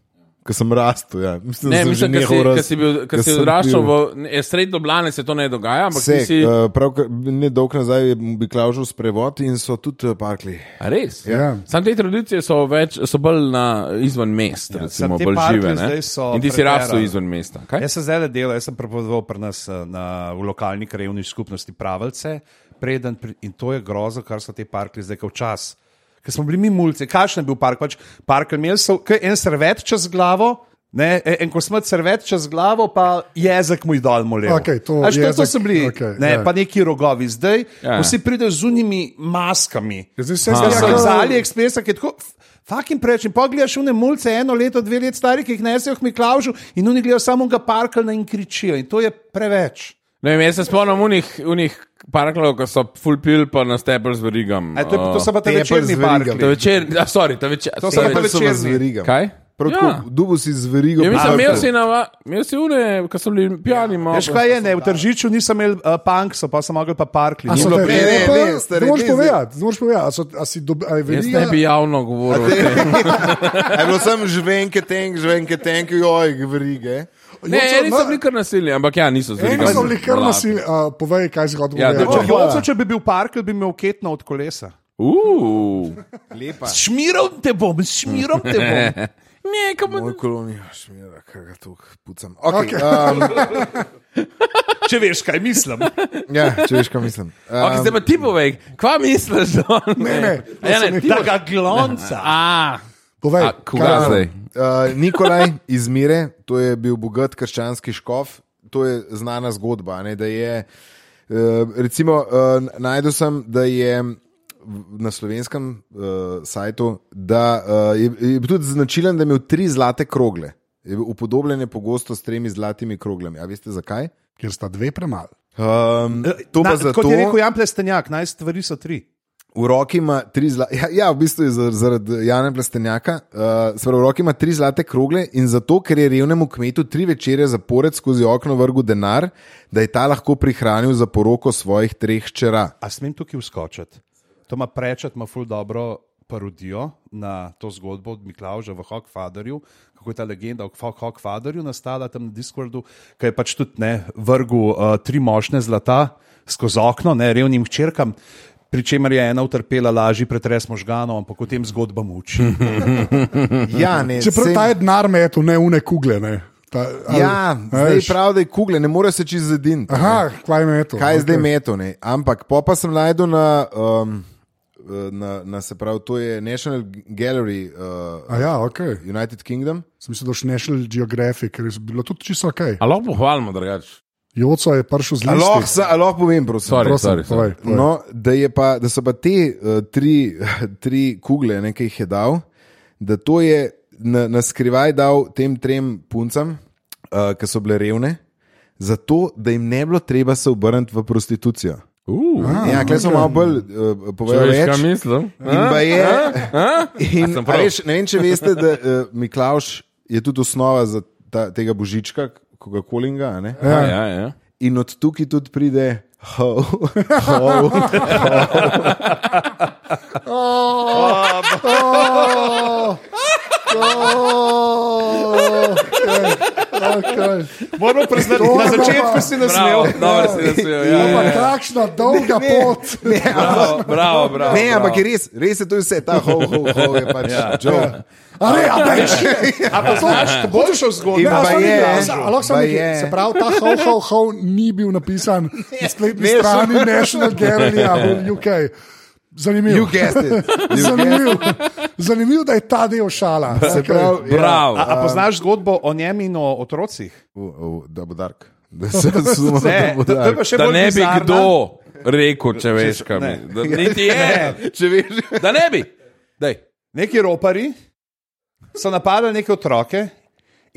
[SPEAKER 1] Ker sem rastel, ja. mislim, da
[SPEAKER 4] Ne,
[SPEAKER 1] sem
[SPEAKER 4] mislim,
[SPEAKER 1] že
[SPEAKER 4] da si,
[SPEAKER 1] njihov
[SPEAKER 4] ka
[SPEAKER 1] rast.
[SPEAKER 4] si, bil- ka
[SPEAKER 1] Ka
[SPEAKER 4] si
[SPEAKER 1] sem
[SPEAKER 4] odraščal
[SPEAKER 1] bil.
[SPEAKER 4] v e, sredi Ljubljane, se to ne dogaja, ampak ti
[SPEAKER 1] Vse,
[SPEAKER 4] si.
[SPEAKER 1] uh, prav, ne dolgo nazaj je Miklaužov sprevod in so tudi eh, parkli.
[SPEAKER 4] A Res.
[SPEAKER 2] Ja.
[SPEAKER 4] Sam te tradicije so, več, so bolj na, izven mest, ja,
[SPEAKER 3] samo
[SPEAKER 4] recimo,
[SPEAKER 3] te
[SPEAKER 4] bolj
[SPEAKER 3] parke
[SPEAKER 4] žive. ne?
[SPEAKER 3] zdaj so
[SPEAKER 4] In ti si
[SPEAKER 3] prepera.
[SPEAKER 4] rastel izven mesta. Kaj?
[SPEAKER 3] Jaz sem zdaj delal, jaz sem prepovedoval pri nas eh, na, v lokalni krajovni skupnosti pravice, preden pri, in to je grozo, kar so ti parki zdaj kot čas. Ker smo bili mi mulci, kakšen je bil park, pač park imeli so ke en servet čez glavo. Ne, e- en kosmet servet čez glavo, pa jezik mu je dal mole.
[SPEAKER 2] Okej, to
[SPEAKER 3] to, to
[SPEAKER 2] jezik,
[SPEAKER 3] so bili,
[SPEAKER 2] okej,
[SPEAKER 3] okay, ne,
[SPEAKER 2] ja.
[SPEAKER 3] yeah. pa neki rogovi zdaj,
[SPEAKER 4] Ja.
[SPEAKER 3] yeah. vsi pridejo z unimi maskami.
[SPEAKER 2] Ja, zdaj vse
[SPEAKER 3] Ker
[SPEAKER 2] zgleda
[SPEAKER 3] so
[SPEAKER 2] kot-
[SPEAKER 3] iz AliExpressa, ki je tako. Fakim preveč in pogledaš vne mulce, eno leto, dve leti stari, ki jih nesejo k Miklaužu in oni gledajo samo ga parkalna in kričijo. In to je preveč.
[SPEAKER 4] Ne vem, jaz se spomnim unih, unih parklov, ko so full pil pa na stebel z verigam.
[SPEAKER 3] A, to, to so pa te
[SPEAKER 1] Tepel z
[SPEAKER 3] večerni
[SPEAKER 1] verigami.
[SPEAKER 3] parki.
[SPEAKER 4] Ta večer, a, sorry, ta večer.
[SPEAKER 3] To
[SPEAKER 4] ta
[SPEAKER 3] so
[SPEAKER 4] večer-
[SPEAKER 3] pa
[SPEAKER 1] Tepel so vas
[SPEAKER 3] večerni.
[SPEAKER 1] z verigam.
[SPEAKER 4] Kaj?
[SPEAKER 1] Prav
[SPEAKER 4] Ja.
[SPEAKER 1] tako, ja. dubu si z verigo.
[SPEAKER 4] Ja, mislim,
[SPEAKER 1] parkal.
[SPEAKER 4] imel si, nava, imel si une, ki so bili pijani. malo.
[SPEAKER 3] Veš kaj je, ne, v Tržiču nisem imel uh, punk, so pa sem mogel pa parkli.
[SPEAKER 2] A so
[SPEAKER 1] Ne,
[SPEAKER 2] te
[SPEAKER 1] ne,
[SPEAKER 2] repe?
[SPEAKER 1] ne,
[SPEAKER 2] Ne,
[SPEAKER 1] stari,
[SPEAKER 2] ne moreš
[SPEAKER 1] ne, zdaj-
[SPEAKER 2] povedati, ne moreš povedati. A, so, a si dobil, a je
[SPEAKER 4] Jaz
[SPEAKER 2] verjetno.
[SPEAKER 4] ne bi javno govoril. o tem.
[SPEAKER 1] A Je bilo sem žvenke tenk, žvenke tenk, joj, verige.
[SPEAKER 4] Ne, eni so bili kar nasilni, ampak ja, niso zelo.
[SPEAKER 2] Eni so bili kar nasilni, uh, povej, kaj se je zgodilo.
[SPEAKER 4] Ja,
[SPEAKER 2] Povej.
[SPEAKER 4] da če-
[SPEAKER 2] O, Oh, hvala.
[SPEAKER 3] Joco, če bi bil parkal, bi imel ketno od kolesa.
[SPEAKER 1] Lepa.
[SPEAKER 3] Šmiral te bom, šmiral te bom.
[SPEAKER 4] Ne, kam
[SPEAKER 1] Moj kolonij, šmira, kaj ga tu pucam. Okay, okay. Um,
[SPEAKER 3] Če veš, kaj mislim.
[SPEAKER 1] ja, če veš, kaj mislim. Um,
[SPEAKER 4] Okay, zdaj pa ti povej, kva misliš, da on
[SPEAKER 2] Ne, ne, to
[SPEAKER 4] Ja,
[SPEAKER 2] so
[SPEAKER 4] ne,
[SPEAKER 2] neki-
[SPEAKER 3] Da ga glonca.
[SPEAKER 4] A,
[SPEAKER 2] Povej,
[SPEAKER 4] A, koga
[SPEAKER 2] kaj-
[SPEAKER 1] Zdaj. Uh, Nikolaj iz Mire, to je bil bogat krščanski škof, to je znana zgodba. a Ne, da je, uh, recimo, uh, najdel sem, da je v- na slovenskem uh, sajtu, da uh, je, je bil tudi značilen, da je imel tri zlate krogle. Je bil upodobljen je pogosto s tremi zlatimi kroglami. A veste zakaj?
[SPEAKER 2] Ker sta dve premalo.
[SPEAKER 1] Um, to pa
[SPEAKER 3] E, Na,
[SPEAKER 1] zato,
[SPEAKER 3] Kot je rekel Jan Plestenjak, naj stvari so tri.
[SPEAKER 1] V roki ima tri zlate, ja, ja, v bistvu je zar- zaradi Jana Plastenjaka, uh, v roki ima tri zlate krogle in zato, ker je revnemu kmetu tri večere zapored skozi okno vrgu denar, da je ta lahko prihranil za poroko svojih treh hčera.
[SPEAKER 3] A smem tukaj uskočiti? To ima prečet, ima ful dobro parodijo na to zgodbo od Miklauža v Hogfatherju, kako je ta legenda o Hog- Hogfatherju nastala tam na Discordu, ki je pač tudi ne vrgu uh, tri mošne zlata skozi okno, ne revnim hčerkam. Pričemer je ena utrpela lažji pretres možganov, ampak o tem zgodbam uči.
[SPEAKER 1] Ja, ne,
[SPEAKER 2] Mhm. Čeprav
[SPEAKER 1] sej-
[SPEAKER 2] ta je denar metu, ne une kugle. Ne. Ta, ali-
[SPEAKER 1] ja, zdaj
[SPEAKER 2] veš.
[SPEAKER 1] prav, da je kugle, ne more se čez zedin.
[SPEAKER 2] Aha, kva je metu.
[SPEAKER 1] Kaj je zdaj meto? Ne? Ampak po pa sem najdel na, um, na, na se pravi, to je National Gallery uh,
[SPEAKER 2] A ja, ok.
[SPEAKER 1] United Kingdom.
[SPEAKER 2] Sem mislil, da boš nešel geografijo, ker je bilo tudi čisto ok.
[SPEAKER 4] A lahko pohvalimo, drugače.
[SPEAKER 2] Joco je prišel z
[SPEAKER 1] A Lahko
[SPEAKER 2] listi.
[SPEAKER 1] se- a lahko povem, prosim.
[SPEAKER 4] Sorry,
[SPEAKER 2] Prosim,
[SPEAKER 4] sorry, sorry.
[SPEAKER 2] povej, povej.
[SPEAKER 1] No, da, je pa, da so pa te uh, tri, tri kugle, nekaj jih je dal, da to je na, na skrivaj dal tem trem puncam, uh, ki so bile revne, zato da jim ne bilo treba se obrniti v prostitucijo.
[SPEAKER 4] Uh,
[SPEAKER 1] Ah, ja, klej so malo bolj uh,
[SPEAKER 4] Če veš, kaj
[SPEAKER 1] povedali.
[SPEAKER 4] mislim.
[SPEAKER 1] In pa je, in,
[SPEAKER 4] sem prav?
[SPEAKER 1] a veš, ne vem, če veste, da uh, Miklaš je tudi osnova za ta, tega božička, koga kolinga. a ne?
[SPEAKER 4] Ja, ja, ja.
[SPEAKER 1] In od tukaj tudi pride. Ho.
[SPEAKER 2] Okay.
[SPEAKER 3] Moram priznati, na začetku si ne smel.
[SPEAKER 4] Bravo, dobro si nasmejal. Ja, ja,
[SPEAKER 2] Ampak
[SPEAKER 4] ja.
[SPEAKER 2] kakšna dolga pot.
[SPEAKER 4] Bravo, bravo, bravo.
[SPEAKER 1] Ne,
[SPEAKER 4] bravo.
[SPEAKER 1] ampak je res, res je to vse, ta ho, ho, ho je pač ja. joke.
[SPEAKER 2] Ali ja, več.
[SPEAKER 3] Ampak znaš, ko boš šel zgodbo.
[SPEAKER 1] In
[SPEAKER 2] Ja,
[SPEAKER 1] pa
[SPEAKER 2] sorry,
[SPEAKER 1] je,
[SPEAKER 2] a so- a lahko samo
[SPEAKER 1] pa
[SPEAKER 2] nekaj-
[SPEAKER 1] je. Ja.
[SPEAKER 2] Se pravi, ta hov, hov, hov ni bil napisan na spletni
[SPEAKER 1] ne,
[SPEAKER 2] strani National Gallery v UK. Zanimivo.
[SPEAKER 1] You guessed it. You guessed it.
[SPEAKER 2] Zanimivo, Zanimiv, da je ta del šala.
[SPEAKER 1] Se pravi, ja.
[SPEAKER 3] A,
[SPEAKER 4] Bravo.
[SPEAKER 3] a poznaš zgodbo o njem in o otrocih?
[SPEAKER 1] U, u, Da bo oh, dark. Da se razumemo, da
[SPEAKER 3] Ne,
[SPEAKER 1] bo
[SPEAKER 3] to, to je pa
[SPEAKER 1] dark.
[SPEAKER 3] še
[SPEAKER 4] Da
[SPEAKER 3] bolj
[SPEAKER 4] ne bi
[SPEAKER 3] bizarna.
[SPEAKER 4] kdo rekel, če veš, kaj
[SPEAKER 3] ne.
[SPEAKER 4] mi. Da Niti je.
[SPEAKER 3] Ne.
[SPEAKER 1] Če veš,
[SPEAKER 4] Da ne bi. Daj.
[SPEAKER 3] Neki ropari so napadli neke otroke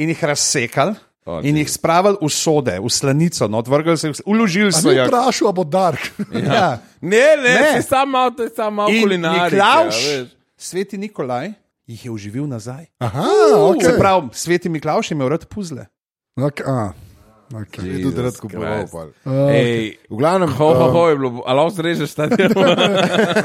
[SPEAKER 3] in jih razsekali.
[SPEAKER 4] O,
[SPEAKER 3] In jih spravili v sode, v slanico, no, odvrgli so jih, uložili so
[SPEAKER 2] Sem
[SPEAKER 3] jih.
[SPEAKER 2] vprašal, a bo dark.
[SPEAKER 3] Ja.
[SPEAKER 4] Ne, ne,
[SPEAKER 3] Ne.
[SPEAKER 4] ne. sam malo, to je sam malo
[SPEAKER 3] In
[SPEAKER 4] kulinarika.
[SPEAKER 3] Miklauš,
[SPEAKER 4] ja, veš.
[SPEAKER 3] sveti Nikolaj, jih je oživil nazaj.
[SPEAKER 2] Aha,
[SPEAKER 1] Uh,
[SPEAKER 3] Se
[SPEAKER 2] ok.
[SPEAKER 3] pravi, sveti Miklauš je imel rad puzle.
[SPEAKER 2] Ok, a, ok.
[SPEAKER 1] je tudi rad
[SPEAKER 4] Jesus
[SPEAKER 1] kupoval.
[SPEAKER 4] Christ.
[SPEAKER 1] pol.
[SPEAKER 3] Oh,
[SPEAKER 4] Ej,
[SPEAKER 1] V glavnem, um,
[SPEAKER 4] ho, ho, ho je bilo, ali lahko zrežeš ta del?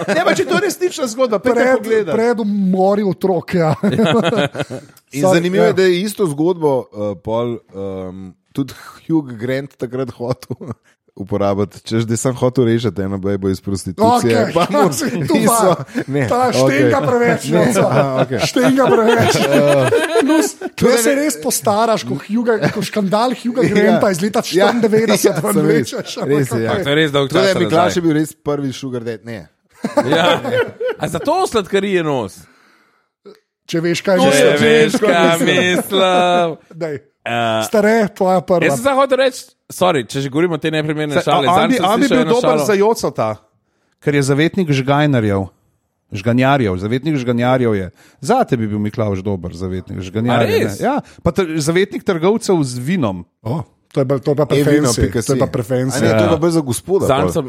[SPEAKER 3] Ne, pa če to je resnična zgodba, prej
[SPEAKER 2] Pred,
[SPEAKER 3] pogledaj.
[SPEAKER 2] pred umori otrok. Ja.
[SPEAKER 1] In
[SPEAKER 2] Sorry,
[SPEAKER 1] zanimivo
[SPEAKER 2] ja.
[SPEAKER 1] je, da je isto zgodbo uh, pol, um, tudi Hugh Grant takrat hotel uporabiti. Češ, da sem hotel rešiti eno bejbo iz prostitucije.
[SPEAKER 2] Okay.
[SPEAKER 1] Pa mu
[SPEAKER 2] no, tu
[SPEAKER 1] niso-
[SPEAKER 2] pa.
[SPEAKER 1] ne,
[SPEAKER 2] Ta štenga
[SPEAKER 1] okej.
[SPEAKER 2] preveč,
[SPEAKER 1] Ne,
[SPEAKER 2] ne
[SPEAKER 1] aha,
[SPEAKER 2] znaš.
[SPEAKER 1] okej. Ja. Torej
[SPEAKER 2] Štenga preveč. Tu se res postaraš, ko, Hugha, ko škandal Hugha Granta iz leta
[SPEAKER 1] Ja,
[SPEAKER 2] 94
[SPEAKER 1] ja,
[SPEAKER 2] ven
[SPEAKER 1] sem res,
[SPEAKER 2] vlečeš, ampak
[SPEAKER 1] Res je. Ja.
[SPEAKER 2] okej.
[SPEAKER 4] To je res dolg
[SPEAKER 1] Tako da
[SPEAKER 3] torej
[SPEAKER 4] čas.
[SPEAKER 1] je Miklaš je bil res prvi sugar dad. Ne.
[SPEAKER 4] Ja. A zato sladkarije nos?
[SPEAKER 2] Če veš, kaj
[SPEAKER 4] Če
[SPEAKER 3] torej
[SPEAKER 2] že
[SPEAKER 4] veš, kaj mislim.
[SPEAKER 2] Daj.
[SPEAKER 4] Eh,
[SPEAKER 2] Stare, tvoja prva.
[SPEAKER 4] Jaz sem samo hotel reči, sorry, če že govorimo o tej neprimerni šali.
[SPEAKER 3] on bi,
[SPEAKER 4] zanj sem
[SPEAKER 3] on bi
[SPEAKER 4] slišal
[SPEAKER 3] bil
[SPEAKER 4] eno
[SPEAKER 3] dober
[SPEAKER 4] šalo.
[SPEAKER 3] za Jocota, ker je zavetnik žganjarjev. Žganjarjev, zavetnik žganjarjev je. Zate bi bil Miklaš dober, zavetnik
[SPEAKER 4] A
[SPEAKER 3] žganjarjev.
[SPEAKER 4] res?
[SPEAKER 3] ne. Ja, pa tr zavetnik trgovcev z vinom.
[SPEAKER 2] Oh, to je pa- to je pa
[SPEAKER 1] Evino,
[SPEAKER 2] preferenci.
[SPEAKER 1] pika
[SPEAKER 2] To je
[SPEAKER 1] si. A
[SPEAKER 2] pa preferenci.
[SPEAKER 1] Ne, to je pa bolj za gospoda.
[SPEAKER 4] Zanj
[SPEAKER 1] pol.
[SPEAKER 4] sem.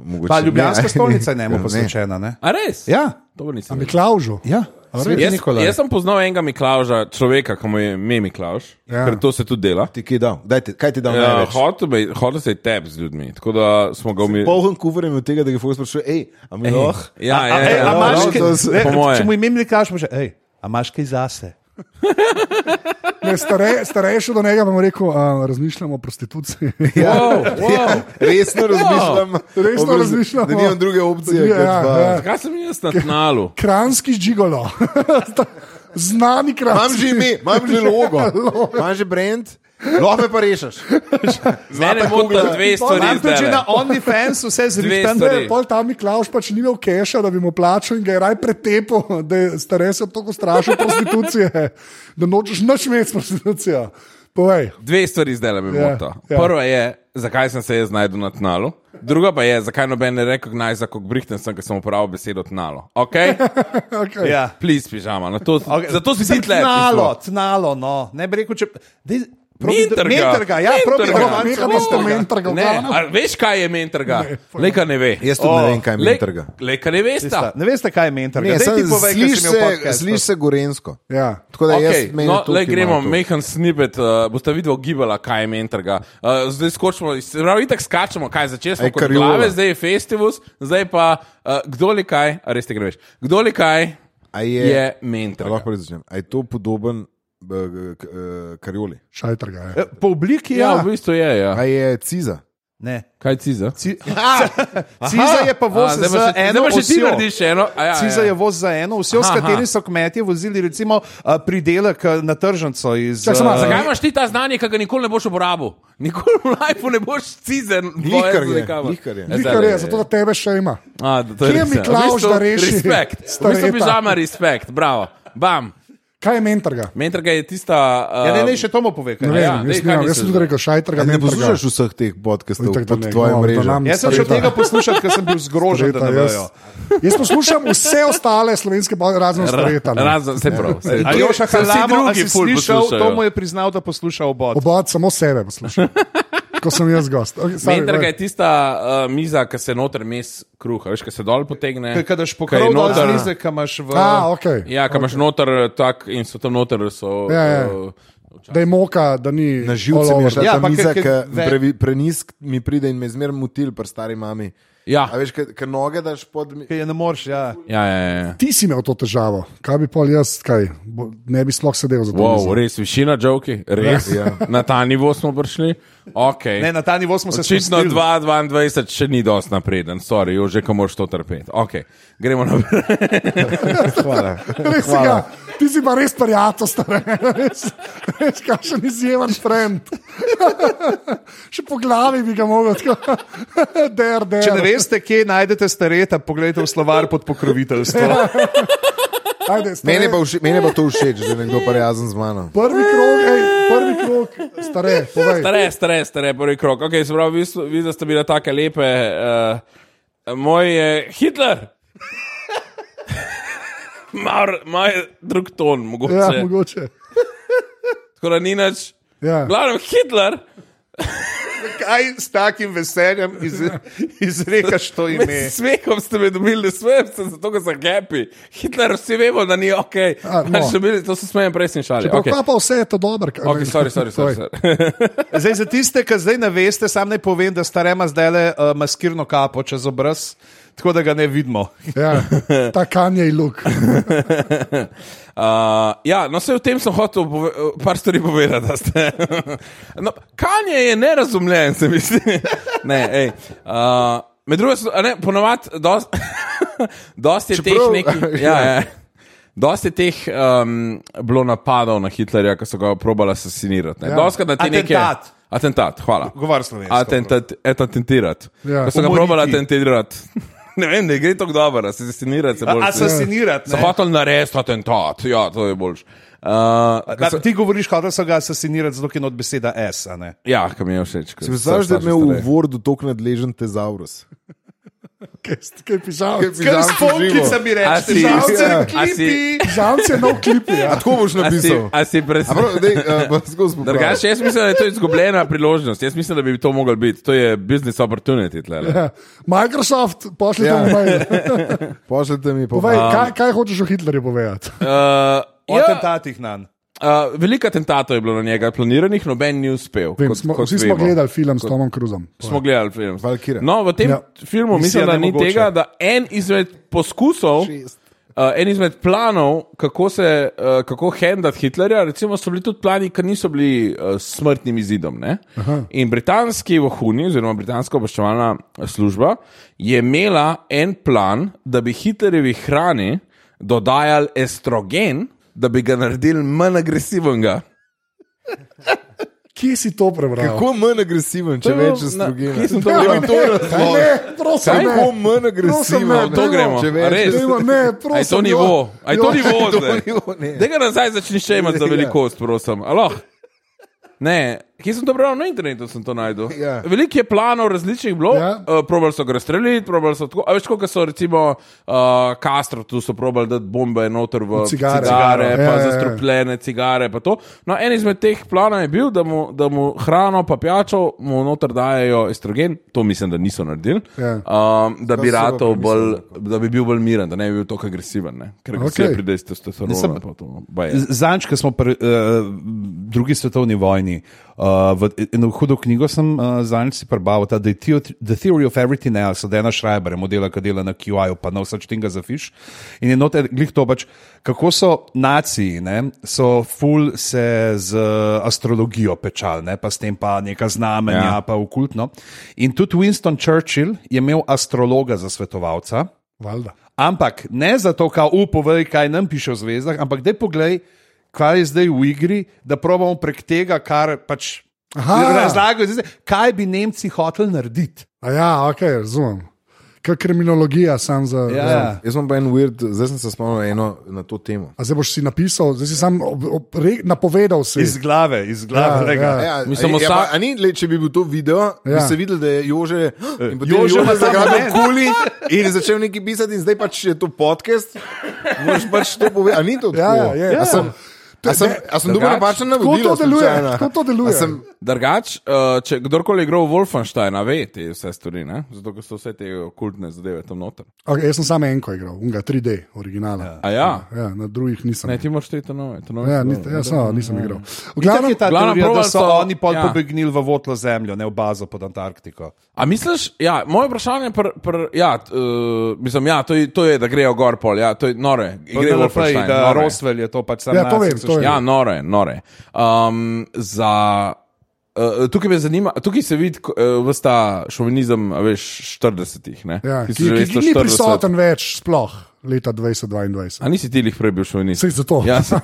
[SPEAKER 1] Mogoče
[SPEAKER 3] Pa
[SPEAKER 1] ne. Ja,
[SPEAKER 3] ljubljanska stolnica je njemu posvečena. Ne?
[SPEAKER 4] A res?
[SPEAKER 3] Ja,
[SPEAKER 4] To nisem.
[SPEAKER 2] Miklaužu.
[SPEAKER 3] ja. Sveti
[SPEAKER 4] Jaz,
[SPEAKER 3] Nikolaj.
[SPEAKER 4] jaz sem poznal enega Miklauža, človeka, ki mu je ime Miklauž,
[SPEAKER 2] Ja.
[SPEAKER 4] ja. ker to se tudi dela.
[SPEAKER 1] Ti kaj dal? Daj, ti, kaj ti dal? Ja,
[SPEAKER 4] Ja, hotel bi- hotel se je tep z ljudmi, tako da smo ga umili.
[SPEAKER 1] Polhen kufr je od tega, da ga fokus sprašuje, hej, a mi lahko?
[SPEAKER 3] Oh.
[SPEAKER 4] Ja, ja,
[SPEAKER 3] A, ej, a
[SPEAKER 4] ja, ja,
[SPEAKER 3] imaš
[SPEAKER 1] no,
[SPEAKER 3] kaj- e,
[SPEAKER 1] to se-
[SPEAKER 3] ne,
[SPEAKER 4] po moje.
[SPEAKER 3] Če mu ime Miklaš, boš rekel, a imaš kaj zase?
[SPEAKER 2] Ne, stare, starejši do njega bom rekel, a, razmišljamo o prostituciji.
[SPEAKER 1] Ja.
[SPEAKER 3] Ja.
[SPEAKER 4] Wow, wow.
[SPEAKER 1] Resno razmišljam.
[SPEAKER 2] Resno
[SPEAKER 1] o brez-
[SPEAKER 2] razmišljam,
[SPEAKER 1] Da
[SPEAKER 2] o-
[SPEAKER 1] nimam druge opcije.
[SPEAKER 2] Ja,
[SPEAKER 1] Ja, kot pa,
[SPEAKER 2] ja.
[SPEAKER 1] ja.
[SPEAKER 4] Kaj sem jaz na tnalu?
[SPEAKER 2] Kranski žigolo. Znani kranski.
[SPEAKER 1] Imam že ime, imam že logo, imam že brand. Lahko me pa rešiš.
[SPEAKER 4] Mene motita dve stvari.
[SPEAKER 3] Imam tudi
[SPEAKER 4] zdajle.
[SPEAKER 3] na OnlyFans vse
[SPEAKER 4] Dve
[SPEAKER 3] zrihtane.
[SPEAKER 4] stvari.
[SPEAKER 2] Pol tam Miklaš pač ni imel keša, da bi mu plačal in ga je raj pretepel, da je starejši tako strašil prostitucije, da nočeš nič imeti s prostitucijo. Povej,
[SPEAKER 4] Dve stvari zdaj me
[SPEAKER 2] Ja,
[SPEAKER 4] mota.
[SPEAKER 2] ja.
[SPEAKER 4] Prva je, zakaj sem se jaz znašel na tnalu, druga pa je, zakaj noben ne recognizira, kako brihten sem, ker sem uporabil besedo tnalo. Okay?
[SPEAKER 2] okay.
[SPEAKER 3] Ja.
[SPEAKER 4] Plis pižama, na to, okay.
[SPEAKER 3] Okay.
[SPEAKER 4] zato si ti tle.
[SPEAKER 3] Tnalo, tnalo, no. Ne bi rekel, če. Dej, probi,
[SPEAKER 4] Mentor ga.
[SPEAKER 3] Mentorga, ja, probi,
[SPEAKER 4] Mentor ga.
[SPEAKER 2] Mentor ga.
[SPEAKER 3] romanco, mentor
[SPEAKER 2] Mentor
[SPEAKER 3] ga.
[SPEAKER 2] ga. Mentorga, v
[SPEAKER 4] Ne,
[SPEAKER 2] glavnem.
[SPEAKER 4] a veš, kaj je mentorga? Leka ne ve.
[SPEAKER 1] Jaz tudi oh, ne vem, kaj mi
[SPEAKER 4] Lej-
[SPEAKER 1] trga.
[SPEAKER 4] Lejka ne veste.
[SPEAKER 3] Tista, Ne veste, kaj je mentor?
[SPEAKER 1] Ne,
[SPEAKER 3] Slišiš
[SPEAKER 1] saj
[SPEAKER 3] povej,
[SPEAKER 1] sliš
[SPEAKER 3] sliš
[SPEAKER 1] se, sliš se gorensko.
[SPEAKER 2] Ja.
[SPEAKER 1] Tako da jaz
[SPEAKER 4] Okay,
[SPEAKER 1] menim,
[SPEAKER 4] no,
[SPEAKER 1] da
[SPEAKER 4] le gremo, mehen snipet, uh, boste videli gibala, kaj je mentorga. Uh, zdaj skočimo, iz- se pravi, tako skačemo, kaj začeli smo
[SPEAKER 1] Ej,
[SPEAKER 4] kot
[SPEAKER 1] kariola.
[SPEAKER 4] glave, zdaj je festivus, zdaj pa uh, kdo li kaj, a res te greš, kdo li kaj
[SPEAKER 1] A je,
[SPEAKER 4] je
[SPEAKER 1] a
[SPEAKER 4] mentor.
[SPEAKER 1] lahko prvi začnem. A je to podoben b- g- k- eh, karjoli?
[SPEAKER 2] Šajtrga je.
[SPEAKER 3] E, Po obliki,
[SPEAKER 4] Ja,
[SPEAKER 3] ja.
[SPEAKER 4] v bistvu je, ja.
[SPEAKER 1] A je ciza?
[SPEAKER 3] Ne.
[SPEAKER 4] Kaj ti za?
[SPEAKER 3] Ci- Ciza je pa voz
[SPEAKER 4] zdaj pa
[SPEAKER 3] za
[SPEAKER 4] še- zdaj
[SPEAKER 3] eno
[SPEAKER 4] pa še ti
[SPEAKER 3] osjo.
[SPEAKER 4] narediš eno. a Ja,
[SPEAKER 3] Ciza
[SPEAKER 4] ja.
[SPEAKER 3] je voz za eno, vse, s
[SPEAKER 4] Aha.
[SPEAKER 3] kateri so kmetje vozili, recimo, a, pridelek a, na tržnico iz.
[SPEAKER 2] Čakaj, samo,
[SPEAKER 3] a,
[SPEAKER 2] zakaj
[SPEAKER 4] Kaj imaš ti ta znanje, ki ga nikoli ne boš uporabil? Nikoli v lifeu ne boš cizen.
[SPEAKER 1] Lihkar je, lihkar
[SPEAKER 4] E, Ja,
[SPEAKER 1] je.
[SPEAKER 2] Vikar je, zato da tebe še ima.
[SPEAKER 4] A, da, to
[SPEAKER 2] Kje je
[SPEAKER 4] res, ja.
[SPEAKER 2] Miklavž,
[SPEAKER 4] V bistvu
[SPEAKER 2] da reši
[SPEAKER 4] Respekt. V
[SPEAKER 2] stareta?
[SPEAKER 4] bistvu pižama respekt, bravo. Bam.
[SPEAKER 2] Kaj je mentorga?
[SPEAKER 4] Mentorka je tista. Uh,
[SPEAKER 3] Ja, ne, ne, še tomu povej. kaj
[SPEAKER 2] Ne vem,
[SPEAKER 3] je.
[SPEAKER 4] ja,
[SPEAKER 2] jaz,
[SPEAKER 4] dej,
[SPEAKER 2] sem
[SPEAKER 4] kaj
[SPEAKER 2] imel,
[SPEAKER 4] misliš,
[SPEAKER 2] jaz sem
[SPEAKER 4] da-
[SPEAKER 2] tudi rekel šajtrga.
[SPEAKER 1] A ne
[SPEAKER 2] mentorga.
[SPEAKER 1] poslušaš vseh teh podcastov
[SPEAKER 2] Itak, da
[SPEAKER 1] pod
[SPEAKER 2] ne,
[SPEAKER 1] tvojo
[SPEAKER 2] no, da
[SPEAKER 1] mrežo?
[SPEAKER 4] Ja.
[SPEAKER 2] nam-
[SPEAKER 3] Jaz sem šel
[SPEAKER 2] Streta.
[SPEAKER 3] tega poslušati, ker sem bil zgrožen, da
[SPEAKER 2] Streta,
[SPEAKER 3] ne
[SPEAKER 2] jaz,
[SPEAKER 3] vejo.
[SPEAKER 2] jaz poslušam vse ostale slovenske bode, razen stareta. ne.
[SPEAKER 4] Razen, se pravi. saj prav.
[SPEAKER 3] Aljoša
[SPEAKER 4] Saj vsi
[SPEAKER 3] Halamo, a
[SPEAKER 4] drugi
[SPEAKER 3] si
[SPEAKER 4] ful
[SPEAKER 3] slišal,
[SPEAKER 4] poslušajo.
[SPEAKER 3] to mu je priznal, da posluša obod.
[SPEAKER 2] Obod samo sebe poslušam. Ko sem jaz gost. Okay, sorry,
[SPEAKER 4] Mentorka
[SPEAKER 2] povej.
[SPEAKER 4] je tista uh, miza, ki se noter mes kruha, veš, ki se dol potegne.
[SPEAKER 3] Kaj daš
[SPEAKER 4] ki je
[SPEAKER 3] pokrov dol z
[SPEAKER 4] noter-
[SPEAKER 3] mize, ki imaš v...
[SPEAKER 2] A, okay.
[SPEAKER 4] Ja, ki imaš noter tak in so tam noter. So,
[SPEAKER 2] Ja, ja.
[SPEAKER 4] uh,
[SPEAKER 2] Da je moka, da ni
[SPEAKER 1] Na živce mi je šla
[SPEAKER 3] Ja,
[SPEAKER 1] ja, ta
[SPEAKER 3] ampak
[SPEAKER 1] miza,
[SPEAKER 3] ker-
[SPEAKER 1] ki
[SPEAKER 3] ker ve-
[SPEAKER 1] prenisk mi pride in me zmeraj mutil pri stari mami.
[SPEAKER 4] Ja.
[SPEAKER 1] A veš, ker noge daš pod... mi-
[SPEAKER 3] Ki je ne moreš, ja.
[SPEAKER 4] ja, ja, ja.
[SPEAKER 2] Ti si imel to težavo, kaj bi pol jaz, kaj Bo- ne bi sploh sedel za to.
[SPEAKER 4] Wow,
[SPEAKER 2] mizo.
[SPEAKER 4] res višina, žoki, res. Ja. Na ta nivo smo prišli. Okay.
[SPEAKER 3] Ne, na ta nivo smo se
[SPEAKER 4] Očitno
[SPEAKER 3] spustili.
[SPEAKER 4] 2022 še ni dosti napreden, sorry, že ko moraš to trpeti. Okay. Gremo naprej.
[SPEAKER 1] Hvala.
[SPEAKER 2] Res si ga, ti si pa res prijato, stare. Res, res kakšen izjemen trend. Še po glavi bi ga mogel tako. Der, der.
[SPEAKER 3] Če ne veste, kje najdete stareta, poglejte v slovar pod pokroviteljstvo.
[SPEAKER 2] Ajde, stare,
[SPEAKER 1] Mene pa, všeč, mene pa to všeč, da je nekdo pa jazen z mano.
[SPEAKER 2] Prvi krog, ej, prvi krog, stare, povej.
[SPEAKER 4] Stare, stare, stare, prvi krok. Okay, se pravi, vi, so- vi da ste bili tako lepe. Uh, moj je Hitler. Mar, moj je drug ton, mogoče.
[SPEAKER 2] Ja,
[SPEAKER 4] Ja, mogo...
[SPEAKER 2] mogoče.
[SPEAKER 4] Tako da ni nič.
[SPEAKER 2] Ja.
[SPEAKER 4] Glavno Hitler.
[SPEAKER 3] Kaj s takim veseljem iz, izrekaš to
[SPEAKER 4] Med
[SPEAKER 3] ime?
[SPEAKER 4] smehom ste me dobili, ne smem se, zato ker sem happy. Hitler, vsi vemo, da ni ok.
[SPEAKER 2] A,
[SPEAKER 4] A,
[SPEAKER 2] no.
[SPEAKER 4] no. bili, to se smejem, prej sem šali.
[SPEAKER 2] Okay.
[SPEAKER 4] Okay.
[SPEAKER 2] Pa, pa vse je to dobro. kaj-
[SPEAKER 4] Okay, sorry, sorry,
[SPEAKER 2] Povej.
[SPEAKER 4] sorry, sorry.
[SPEAKER 3] Zdaj, za tiste, ki zdaj ne veste, sam naj povem, da starema zdaj le uh, maskirno kapo čez obraz, tako da ga ne vidimo.
[SPEAKER 2] Ja, ta kanje je luk.
[SPEAKER 4] Uh, ja, no, vse o tem sem hotel pove- par stvari povedati. da ste- no, Kanje je nerazumljen, se mi zdi. ne, ej, uh, med drugim, so- a ne, ponovadi, dosti dost je
[SPEAKER 1] Čeprav-
[SPEAKER 4] teh nekih. Ja, ja. Dosti je teh um, bilo napadov na Hitlerja, ki so ga probali asesinirati. Ja. Doskrat na te neke.
[SPEAKER 3] Atentat.
[SPEAKER 4] Atentat, hvala.
[SPEAKER 3] Govor slovensko.
[SPEAKER 4] Atentat, atentirati.
[SPEAKER 2] Ja.
[SPEAKER 4] Ja. Ko so ga
[SPEAKER 3] Umoriti.
[SPEAKER 4] probali atentirati. ne vem, ne gre tako dobro, asesinirati se bolj.
[SPEAKER 3] Asasinirati.
[SPEAKER 4] So
[SPEAKER 3] ne.
[SPEAKER 4] hotel narediti atentat, ja, to je boljš. Uh,
[SPEAKER 3] Da,
[SPEAKER 4] so,
[SPEAKER 3] ti govoriš, hotel so ga asasinirati, zato je not beseda S. a ne?
[SPEAKER 4] ja, kam je všeč.
[SPEAKER 1] Si predstavljaš, da je imel v Wordu tako nadležen tezaurus?
[SPEAKER 2] Kaj s- Kaj pižam?
[SPEAKER 1] pižam-
[SPEAKER 3] Sponkica bi
[SPEAKER 4] A si-
[SPEAKER 3] rekli, žalce,
[SPEAKER 4] a si-
[SPEAKER 3] klipi.
[SPEAKER 2] Žal se je nov klip. Ja.
[SPEAKER 1] Tako boš
[SPEAKER 4] A si,
[SPEAKER 1] napisal.
[SPEAKER 4] a si predstavljaš?
[SPEAKER 1] eh,
[SPEAKER 4] Drugače,
[SPEAKER 1] Drugače.
[SPEAKER 4] jaz mislim, da je to izgubljena priložnost. Jaz mislim, da bi to mogel biti. To je business opportunity.
[SPEAKER 2] Ja.
[SPEAKER 4] Tlele.
[SPEAKER 2] Microsoft, pošlji
[SPEAKER 1] Ja.
[SPEAKER 2] tam mail.
[SPEAKER 1] Pošljite mi
[SPEAKER 2] Povej,
[SPEAKER 1] povej.
[SPEAKER 2] kaj, kaj hočeš o Hitlerju povedati?
[SPEAKER 4] Uh,
[SPEAKER 3] O
[SPEAKER 4] ja,
[SPEAKER 3] atentatih na njega.
[SPEAKER 4] uh, veliko atentatov je bilo na njega planiranih, noben ni uspel.
[SPEAKER 2] Vem,
[SPEAKER 4] kot-
[SPEAKER 2] smo,
[SPEAKER 4] kot
[SPEAKER 2] vsi smo
[SPEAKER 4] vemo.
[SPEAKER 2] gledali film s Tomom Cruzom.
[SPEAKER 4] Smo gledali film.
[SPEAKER 1] Valkyrie.
[SPEAKER 4] No, v tem
[SPEAKER 2] Ja.
[SPEAKER 4] ja. filmu
[SPEAKER 3] Misija
[SPEAKER 4] mislim, da ni
[SPEAKER 3] nemogoče.
[SPEAKER 4] tega, da en izmed poskusov, uh, en izmed planov, kako se, uh, kako hendati Hitlerja, recimo so bili tudi plani, ki niso bili uh, s smrtnim izidom. ne. In britanski vohuni, oziroma britanska obveščevalna služba, je imela en plan, da bi Hitlerjevi hrani dodajali estrogen, da bi ga naredili manj agresivnega.
[SPEAKER 2] Kje si to prebral?
[SPEAKER 1] Kako manj agresiven, če
[SPEAKER 4] To je bilo
[SPEAKER 1] večer s
[SPEAKER 4] na-
[SPEAKER 1] drugim?
[SPEAKER 4] kje sem to videl?
[SPEAKER 2] Ne, prosim,
[SPEAKER 1] Kako
[SPEAKER 2] ne.
[SPEAKER 1] manj
[SPEAKER 2] Prosim,
[SPEAKER 1] agresiven,
[SPEAKER 2] ne,
[SPEAKER 4] v to
[SPEAKER 2] dajmo,
[SPEAKER 4] gremo.
[SPEAKER 1] če
[SPEAKER 4] A
[SPEAKER 1] veš,
[SPEAKER 4] res?
[SPEAKER 2] dajmo, Ne, prosim.
[SPEAKER 4] Aj to
[SPEAKER 1] ja.
[SPEAKER 2] jo.
[SPEAKER 4] nivo, aj to
[SPEAKER 2] Jo.
[SPEAKER 4] nivo zdaj.
[SPEAKER 1] ne.
[SPEAKER 4] Da ga nazaj začneš še imati za
[SPEAKER 1] Ja.
[SPEAKER 4] velikost, prosim. Aloh. Ne, kje sem to bral na internetu, sem to najdel.
[SPEAKER 1] Ja.
[SPEAKER 4] Veliko je planov različnih bilo,
[SPEAKER 2] Ja.
[SPEAKER 4] ja. uh, probali so ga razstreliti, probali so tako. A veš, kot so recimo uh, Castro, tu so probali dati bombe noter v
[SPEAKER 2] cigare.
[SPEAKER 4] cigare
[SPEAKER 2] Ja,
[SPEAKER 4] pa
[SPEAKER 2] ja, ja.
[SPEAKER 4] zastrupljene cigare. Pa to. no, en izmed teh planov je bil, da mu, da mu hrano pa pijačo mu noter dajejo estrogen, to mislim, da niso naredili,
[SPEAKER 2] Ja.
[SPEAKER 4] um, da, bi
[SPEAKER 1] so pa
[SPEAKER 4] ratov
[SPEAKER 1] mislili
[SPEAKER 4] bolj, da bi bil bolj miren, da ne bi bil tako agresiven, ne? ker agresija
[SPEAKER 2] Okej.
[SPEAKER 4] okay. pride iz testosterona.
[SPEAKER 3] Nisem-
[SPEAKER 4] pa to, no. baje.
[SPEAKER 3] Zanč, ko smo pri uh, drugi svetovni vojni, uh, v, eno hudo knjigo sem uh, zanč si prebral, ta The, Theo The Theory of Everything Else, od Dana Schreibera, modela, ki dela na QI-ju, pa na vsač tinga za fiš. In je noter glih to pač, kako so naciji, ne, so ful se z eh, astrologijo pečali, ne, pa s tem pa neka znamenja, ja. pa okultno. In tudi Winston Churchill je imel astrologa za svetovalca.
[SPEAKER 2] Valjda.
[SPEAKER 3] Ampak ne zato, da upovej, kaj nam piše v zvezdah, ampak da poglej, kaj je zdaj v igri, da probamo prek tega, kar pač
[SPEAKER 2] Aha.
[SPEAKER 3] razlagajo, zvezde, kaj bi Nemci hoteli narediti.
[SPEAKER 2] A ja, ok, razumem. Kaj kriminologija, sam za.
[SPEAKER 4] Ja.
[SPEAKER 2] razumem.
[SPEAKER 1] ja. Jaz imam pa en weird, zdaj sem se spomnil eno na to temo.
[SPEAKER 2] A zdaj boš si napisal, zdaj si sam ob, ob, re, napovedal si.
[SPEAKER 3] Iz glave, iz
[SPEAKER 2] Ja,
[SPEAKER 3] glave. Ja,
[SPEAKER 2] ja.
[SPEAKER 3] ja.
[SPEAKER 1] Ja,
[SPEAKER 4] Mislim,
[SPEAKER 1] ja,
[SPEAKER 4] vsak-
[SPEAKER 1] pa, a ni, le, če bi bil to video, ja. bi
[SPEAKER 2] Ja.
[SPEAKER 1] se videl, da je Jože,
[SPEAKER 4] Eh,
[SPEAKER 1] in potem
[SPEAKER 3] Jože
[SPEAKER 1] Jože
[SPEAKER 3] ima
[SPEAKER 1] ima zagrabil
[SPEAKER 3] zagrabljen.
[SPEAKER 1] kuli in je začel nekaj pisati in zdaj pač je to podcast. Moraš pač to povedati. A ni to tako?
[SPEAKER 2] Ja, ja, je,
[SPEAKER 1] A
[SPEAKER 2] ja.
[SPEAKER 1] sem, a sem, a sem dobil
[SPEAKER 4] Drugače,
[SPEAKER 1] napačen
[SPEAKER 2] tako
[SPEAKER 1] navodil?
[SPEAKER 2] to deluje, tako to deluje.
[SPEAKER 1] Sem,
[SPEAKER 4] Drugač, uh, če kdorkoli je igral Wolfensteina, ve te vse stvari, ne? zato ker so vse te okultne zadeve tam noter.
[SPEAKER 2] Okay, jaz sem samo enko igral, unga 3D, originala. Ja.
[SPEAKER 4] A ja,
[SPEAKER 2] Ja, na drugih nisem.
[SPEAKER 4] ne, ti moraš tri to nove. To nove
[SPEAKER 2] Ja,
[SPEAKER 4] zadeve.
[SPEAKER 2] ni, ja, so, nisem igral. V
[SPEAKER 3] Glavno,
[SPEAKER 2] glavnem,
[SPEAKER 3] je ta
[SPEAKER 4] glavno
[SPEAKER 3] glavno teorija, da
[SPEAKER 4] probali
[SPEAKER 3] so
[SPEAKER 4] so-
[SPEAKER 3] oni pol
[SPEAKER 4] ja.
[SPEAKER 3] ja. pobegnili v votlo zemljo, ne v bazo pod Antarktiko.
[SPEAKER 4] A misliš, ja, moje vprašanje, pr, pr, ja, t, uh, mislim, ja, to, je, to je, da grejo gor pol, ja, to je nore, gre
[SPEAKER 3] Gre naprej,
[SPEAKER 4] Wolfenstein,
[SPEAKER 3] da
[SPEAKER 4] nore.
[SPEAKER 3] Roswell je to pač sam.
[SPEAKER 2] Ja, to
[SPEAKER 3] naci,
[SPEAKER 2] vem,
[SPEAKER 3] so
[SPEAKER 2] to
[SPEAKER 3] šli-
[SPEAKER 2] vem.
[SPEAKER 4] Ja, nore, nore. Um, za, uh, tukaj me zanima, tukaj se vidi uh, vsta šovinizem, a veš, 40-ih, ne?
[SPEAKER 2] ja, ki,
[SPEAKER 4] so že
[SPEAKER 2] ki, ki ni
[SPEAKER 4] 140.
[SPEAKER 2] prisoten več, sploh leta 2022.
[SPEAKER 4] A nisi ti jih prej bil šovinist?
[SPEAKER 2] Vse zato.
[SPEAKER 4] Ja, se-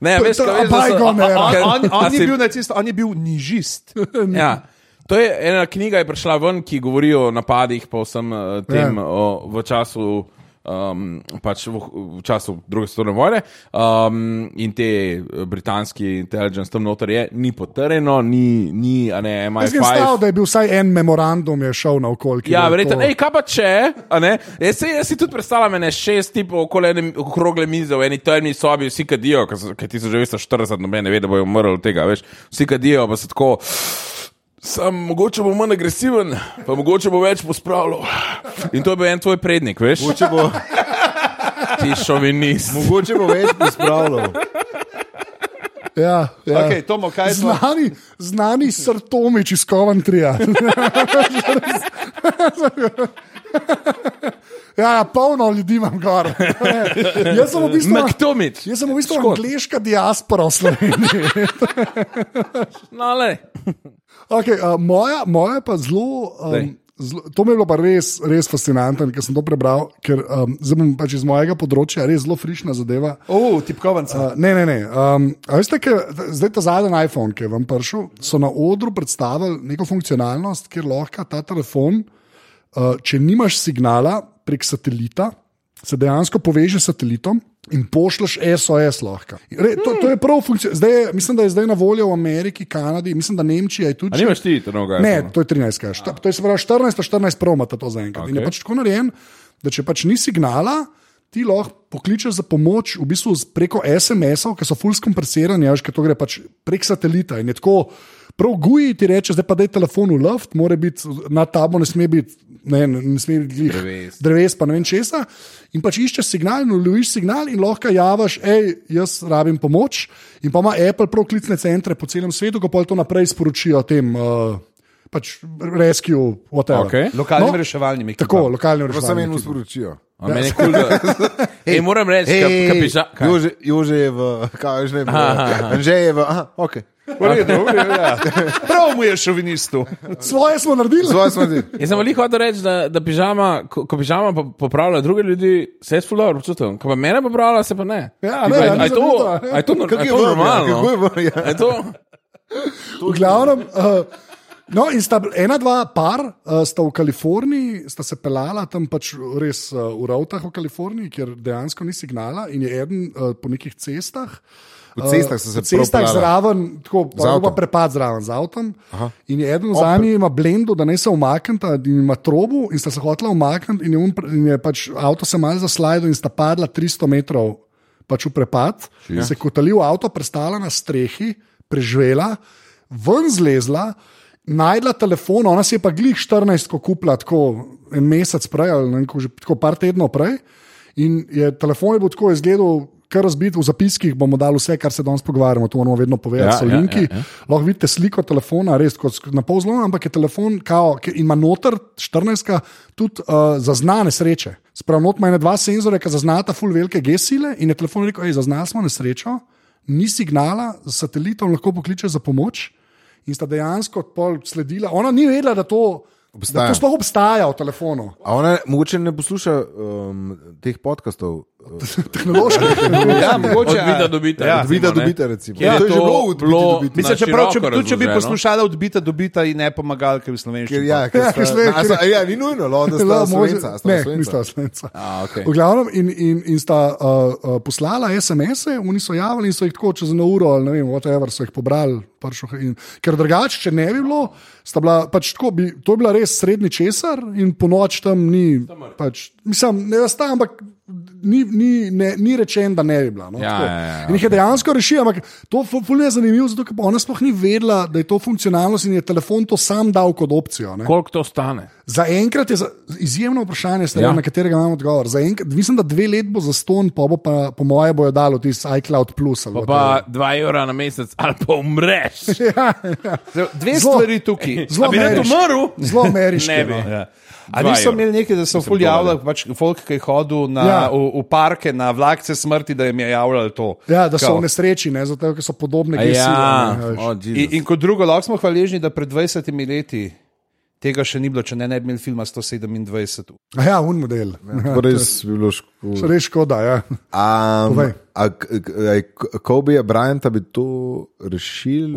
[SPEAKER 4] ne, veš,
[SPEAKER 2] to-
[SPEAKER 4] kaj veš,
[SPEAKER 2] a bygone
[SPEAKER 4] a- a-
[SPEAKER 2] era.
[SPEAKER 4] ker-
[SPEAKER 3] On,
[SPEAKER 4] a
[SPEAKER 3] on,
[SPEAKER 4] si-
[SPEAKER 3] ni bil nacist, on je bil nižist.
[SPEAKER 4] Ja. To je ena knjiga, ki je prišla ven, ki govori o napadih po vsem eh, tem
[SPEAKER 2] Ja.
[SPEAKER 4] o, v času. Um, pač v, v času druge svetovne vojne um, in te eh, britanski intelligence tam noter je, ni potrjeno, ni, ni a ne,
[SPEAKER 2] Jaz sem stal,
[SPEAKER 4] MI5.
[SPEAKER 2] da je bil vsaj en memorandum, je šel na okolje.
[SPEAKER 4] Ja, verjetno, hej, kaj pa če, a ne? Jaz si, jaz si tudi predstavljam, da je šest tipov okoli ene okrogle mize, v eni temni sobi, vsi kadijo, ker so- ker 1940, noben ne ve, da bojo umrli od tega, veš, vsi kadijo, pa so tako. Sam mogoče bo manj agresiven, pa mogoče bo več pospravljal. In to je bil en tvoj prednik, veš,
[SPEAKER 1] mogoče, bo,
[SPEAKER 4] ti šovinist.
[SPEAKER 1] mogoče bo več pospravljal.
[SPEAKER 2] Ja, ja.
[SPEAKER 3] Okej, Tomo, kaj smo-
[SPEAKER 2] znani, znani srtomič iz Coventrya. ja, ja, polno ljudi imam gor. Jaz sem v bistvu.
[SPEAKER 4] Maktomič.
[SPEAKER 2] Jaz sem v bistvu
[SPEAKER 4] Škot.
[SPEAKER 2] angliška diaspora v Sloveniji.
[SPEAKER 4] No, le.
[SPEAKER 2] Okay, uh, moja, moja pa zelo.
[SPEAKER 4] Daj.
[SPEAKER 2] Um, zelo to mi je bilo pa res, res fascinantno, ker sem to prebral, ker um, zdaj bom pač iz mojega področja res zelo frišna zadeva.
[SPEAKER 3] Uf, tipkovanca.
[SPEAKER 2] Uh, ne, ne, ne. Um, a veste, kaj, zdaj ta zadnji iPhone, ki je vam prišel, so na odru predstavili neko funkcionalnost, kjer lahko ta telefon, uh, če nimaš signala prek satelita, se dejansko poveže s satelitom. In pošlješ SOS lahko. Re, to, to je prav funkcija. Zdaj, je- mislim, da je zdaj na voljo v Ameriki, Kanadi, mislim, da Nemčija je
[SPEAKER 4] A
[SPEAKER 2] tudi.
[SPEAKER 4] nimaš ti tega?
[SPEAKER 2] Ne, to je 13, kaj. Šta- to je se pravi 14, 14 promata to zaenkrat. Okay. In je
[SPEAKER 4] Okej.
[SPEAKER 2] pač tako narejen, da če pač ni signala, ti lahko pokličeš za pomoč v bistvu z- preko SMS-ov, ki so full skompresirani, až to gre pač prek satelita in je tako. Prav guji ti reče, zdaj pa da je telefon v luft, mora biti na tabo, ne sme biti, ne, ne sme biti glih
[SPEAKER 4] Dreves.
[SPEAKER 2] dreves, pa ne vem česa. In pač iščeš signal, in uloviš signal, in lahko javiš, hej, jaz rabim pomoč. In pa ima Apple prav klicne centre po celem svetu, ko pa to naprej sporočijo tem. Uh, Pač rescue, whatever.
[SPEAKER 4] Okej.
[SPEAKER 3] Lokalnim reševalnim ekipam.
[SPEAKER 2] No, Tako, lokalnim
[SPEAKER 1] Pa sem
[SPEAKER 2] reševalnim.
[SPEAKER 1] eno
[SPEAKER 2] ekipam.
[SPEAKER 1] sporočijo.
[SPEAKER 4] A Meni je kul, da Ej, moram reči,
[SPEAKER 1] Hej,
[SPEAKER 4] kaj piše.
[SPEAKER 1] Jože, Jože je v, kaj že ne, v- Anže je v, aha, ok.
[SPEAKER 3] V redu, v redu, ja. Prav mu je šovinistu.
[SPEAKER 2] Svoje smo naredili.
[SPEAKER 1] Svoje smo ti.
[SPEAKER 4] Jaz sem veliko hotel reči, da, da pižama, ko, ko pižama po- popravlja druge ljudi, se jaz fulano počutim. Ko pa mene popravlja, se pa ne.
[SPEAKER 2] Ja, ne,
[SPEAKER 4] Aj-
[SPEAKER 2] ja,
[SPEAKER 4] aj
[SPEAKER 2] nisem
[SPEAKER 4] to-
[SPEAKER 2] videl, ja.
[SPEAKER 4] aj to nor-
[SPEAKER 1] Kako
[SPEAKER 4] aj
[SPEAKER 1] je
[SPEAKER 4] to
[SPEAKER 1] bilo,
[SPEAKER 4] normalno?
[SPEAKER 1] kako je bilo, ja.
[SPEAKER 4] A je to?
[SPEAKER 2] V glavnem. Uh, No, in sta bil- ena, dva, par uh, sta v Kaliforniji, sta se pelala tam pač res uh, v avtah v Kaliforniji, kjer dejansko ni signala in je eden uh, po nekih cestah.
[SPEAKER 1] V
[SPEAKER 2] eh,
[SPEAKER 1] cestah so se
[SPEAKER 2] v
[SPEAKER 1] prav
[SPEAKER 2] cestah
[SPEAKER 1] pelala.
[SPEAKER 2] zraven, tako
[SPEAKER 1] Z avtom.
[SPEAKER 2] pa prepad zraven z avtom. Aha. In je eden za njim ima blendo, da ne se umakneta, in ima trobu, in sta se hotela umakniti, in, je on pre- in je pač avto se malce zaslidil in sta padla 300 metrov pač v prepad. Ja. Se kotalil avto, prestala na strehi, preživela, ven zlezla. Najdla telefon, ona si je pa glih 14, ko kupila, tako en mesec prej, ali ne vem, ko že, tako par tednov prej. In je telefon je bil tako izgledal, kar razbit, v zapiskih bomo dali vse, kar se danes pogovarjamo, to moramo vedno povedati, ja,
[SPEAKER 4] Ja,
[SPEAKER 2] so
[SPEAKER 4] ja,
[SPEAKER 2] linki.
[SPEAKER 4] ja,
[SPEAKER 2] Ja, ja, ja. Lahko vidite sliko telefona, res kot sk- na pol zlom, ampak je telefon, kao, ki ima noter 14, tudi uh, zaznane sreče. Spravno, ima ena dva senzorja, ki zaznata full velike gesile in je telefon rekel: hej, zaznali smo nesrečo, ni signala, s satelitom lahko pokliče za pomoč. In sta dejansko pol sledila. Ona ni vedela, da to, da
[SPEAKER 1] Obstaja.
[SPEAKER 2] to sploh obstaja v telefonu.
[SPEAKER 1] A ona mogoče ne posluša um, teh podkastov.
[SPEAKER 2] Tehnološko.
[SPEAKER 3] Ja, mogoče.
[SPEAKER 4] Od Vida dobita.
[SPEAKER 3] Ja.
[SPEAKER 4] Od
[SPEAKER 1] Vi da
[SPEAKER 4] Recimo, ne.
[SPEAKER 1] dobite, recimo.
[SPEAKER 4] Kjer je
[SPEAKER 1] to je že
[SPEAKER 4] to
[SPEAKER 1] bilo od Vida
[SPEAKER 4] bilo-
[SPEAKER 1] dobite.
[SPEAKER 3] Mislim,
[SPEAKER 4] Mislim, Na
[SPEAKER 3] čeprav, če,
[SPEAKER 4] široko
[SPEAKER 3] tudi če bi
[SPEAKER 4] razloženo.
[SPEAKER 3] poslušala odbita, dobita in ne pomagalke v
[SPEAKER 1] Ker,
[SPEAKER 3] slovenščini.
[SPEAKER 1] ja, ker
[SPEAKER 2] Ja, ker
[SPEAKER 1] sta,
[SPEAKER 2] sta-
[SPEAKER 1] a so- a ja, ni nujno, lo, da ste
[SPEAKER 2] Lahko
[SPEAKER 1] slovenca. a sta
[SPEAKER 2] Ne,
[SPEAKER 1] slovenca?
[SPEAKER 2] nista slovenca.
[SPEAKER 4] A, okej.
[SPEAKER 2] V glavnem, in, in, in sta uh, uh, poslala SMS-e, oni so javili in so jih tako čez eno uro, ali ne vem, whatever, so jih pobrali. prišel In, ker drugače, če ne bi bilo, sta bila, pač tako, bi, to je bila res srednji česar in po noč tam ni. Pač, mislim, ne sta, ampak ni, ni, ne, ni rečen, da ne bi bila. No,
[SPEAKER 4] Ja,
[SPEAKER 2] tako.
[SPEAKER 4] ja, ja,
[SPEAKER 2] In jih je dejansko rešila, ampak to fu- ful je zanimivo, zato ker pa ona sploh ni vedela, da je to funkcionalnost in je telefon to sam dal kot opcijo. Ne.
[SPEAKER 4] Koliko to stane?
[SPEAKER 2] Za enkrat je za, izjemno vprašanje, stari,
[SPEAKER 4] Ja.
[SPEAKER 2] ja. na katerega imamo odgovor. Za Enkrat, mislim, da dve leti bo za ston, pa bo pa, po moje, bojo dalo tisti iCloud Plus. ali whatever.
[SPEAKER 4] Pa 2 evra na mesec, ali pa umreš.
[SPEAKER 3] Zdaj, Dve
[SPEAKER 2] Zelo-
[SPEAKER 3] stvari tukaj.
[SPEAKER 2] zelo
[SPEAKER 3] A bi rad
[SPEAKER 2] ameriški.
[SPEAKER 3] umrl?
[SPEAKER 2] Zelo ameriški.
[SPEAKER 4] Ne bi.
[SPEAKER 2] no.
[SPEAKER 3] Ja. A
[SPEAKER 4] Dva
[SPEAKER 3] niso
[SPEAKER 4] evra.
[SPEAKER 3] imeli nekaj, da so ful javljali, pač folk, ki je hodil na, ja.
[SPEAKER 2] Ja.
[SPEAKER 3] v, v parke, na vlakce smrti, da jim je javljal to.
[SPEAKER 2] Ja, da so
[SPEAKER 3] Kao.
[SPEAKER 2] v nesreči, ne, zato ker so podobne gesile.
[SPEAKER 4] Ja,
[SPEAKER 2] ne, veš.
[SPEAKER 4] o,
[SPEAKER 3] In,
[SPEAKER 4] Jezus.
[SPEAKER 3] in kot drugo, lahko smo hvaležni, da pred 20 leti tega še ni bilo, če ne, ne bi imeli filma 127.
[SPEAKER 2] A ja, un model. Ja.
[SPEAKER 1] Torej, res bi bilo škoda.
[SPEAKER 2] Res škoda. Ja. Povej.
[SPEAKER 1] Um, a, k- k- a, k- Kobeja Bryanta bi to rešil.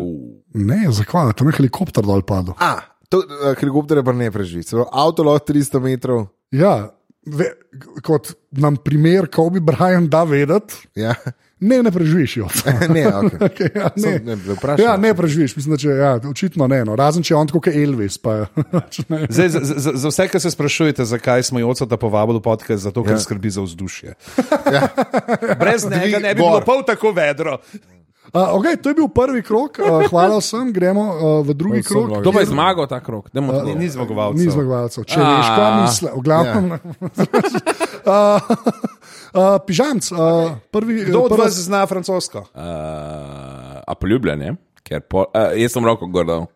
[SPEAKER 2] Ne, zakaj? Tam je helikopter dol padel.
[SPEAKER 1] A, to, a, helikopter je pa ne preživel. Se pravi, Avto lahko 300 metrov.
[SPEAKER 2] Ja, ve, kot nam primer, ko bi Brian da vedeti,
[SPEAKER 1] Ja.
[SPEAKER 2] ne, ne preživiš jo.
[SPEAKER 1] ne, okay.
[SPEAKER 2] Okay, ja, ne.
[SPEAKER 1] Samo ne bi vprašal.
[SPEAKER 2] ja, ne preživiš, mislim, da če, ja, očitno ne. No. Razen če je on tako kot Elvis. Pa, če ne.
[SPEAKER 3] Zdaj, za, za, za vse, ki se sprašujete, zakaj smo Jocota povabili v podcast, zato ker
[SPEAKER 1] Ja.
[SPEAKER 3] ja. skrbi za vzdušje. Ja. Brez njega ne bi bilo
[SPEAKER 1] gor.
[SPEAKER 3] pol tako vedro.
[SPEAKER 2] A, okay, to je bil prvi krok, a, hvala vsem, gremo a, v drugi
[SPEAKER 1] Vsem
[SPEAKER 2] krok.
[SPEAKER 1] blagi.
[SPEAKER 4] Kdo pa je zmagal ta krok? Dajmo tako.
[SPEAKER 3] Ni zmagoval.
[SPEAKER 2] Ni zmagovalcev, če
[SPEAKER 4] A.
[SPEAKER 2] veš, kaj misliš, v glavnem. Ja. Pižamc, a, prvi,
[SPEAKER 3] Kdo od
[SPEAKER 2] prva-
[SPEAKER 3] vas zna francosko?
[SPEAKER 4] Uh, a poljubljen je? Ker Po, uh, jaz sem roko gordal.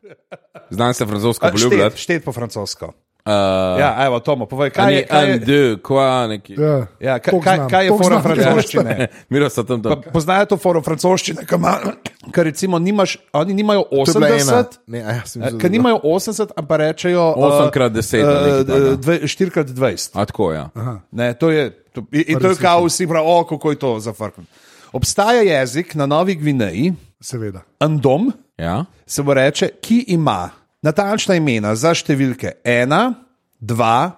[SPEAKER 4] Znam se francosko
[SPEAKER 3] A, Štet,
[SPEAKER 4] poljubljati.
[SPEAKER 3] štet po francosko.
[SPEAKER 4] Uh,
[SPEAKER 3] Ja, evo, Tomo, povej, kaj je,
[SPEAKER 4] Ani
[SPEAKER 3] kaj
[SPEAKER 4] en,
[SPEAKER 3] je,
[SPEAKER 4] deux, kva, neki.
[SPEAKER 2] Ja,
[SPEAKER 3] ja, kaj,
[SPEAKER 2] toliko
[SPEAKER 3] kaj,
[SPEAKER 2] znam,
[SPEAKER 3] kaj je
[SPEAKER 2] toliko
[SPEAKER 3] fora
[SPEAKER 2] znam
[SPEAKER 3] francoščine?
[SPEAKER 4] Miro so tam tam.
[SPEAKER 3] Pa Poznajo to foro francoščine, ki ima, ker recimo nimaš, oni nimajo
[SPEAKER 1] To je bila ena.
[SPEAKER 3] 80.
[SPEAKER 1] Ne, a ja, sem mislil, da
[SPEAKER 3] Ker
[SPEAKER 1] je bila.
[SPEAKER 3] nimajo 80, ampak rečejo eh,
[SPEAKER 4] Osem krat deset ali nekaj takega.
[SPEAKER 3] 4x20.
[SPEAKER 4] A tako, ja.
[SPEAKER 3] Ne, to je, to, in, in to je kao vsi prav, o, kako je to zafrknjen. Obstaja jezik na Novi Gvineji,
[SPEAKER 2] Seveda.
[SPEAKER 3] andom,
[SPEAKER 4] ja.
[SPEAKER 3] se mu reče, ki ima natančna imena za številke 1, 2,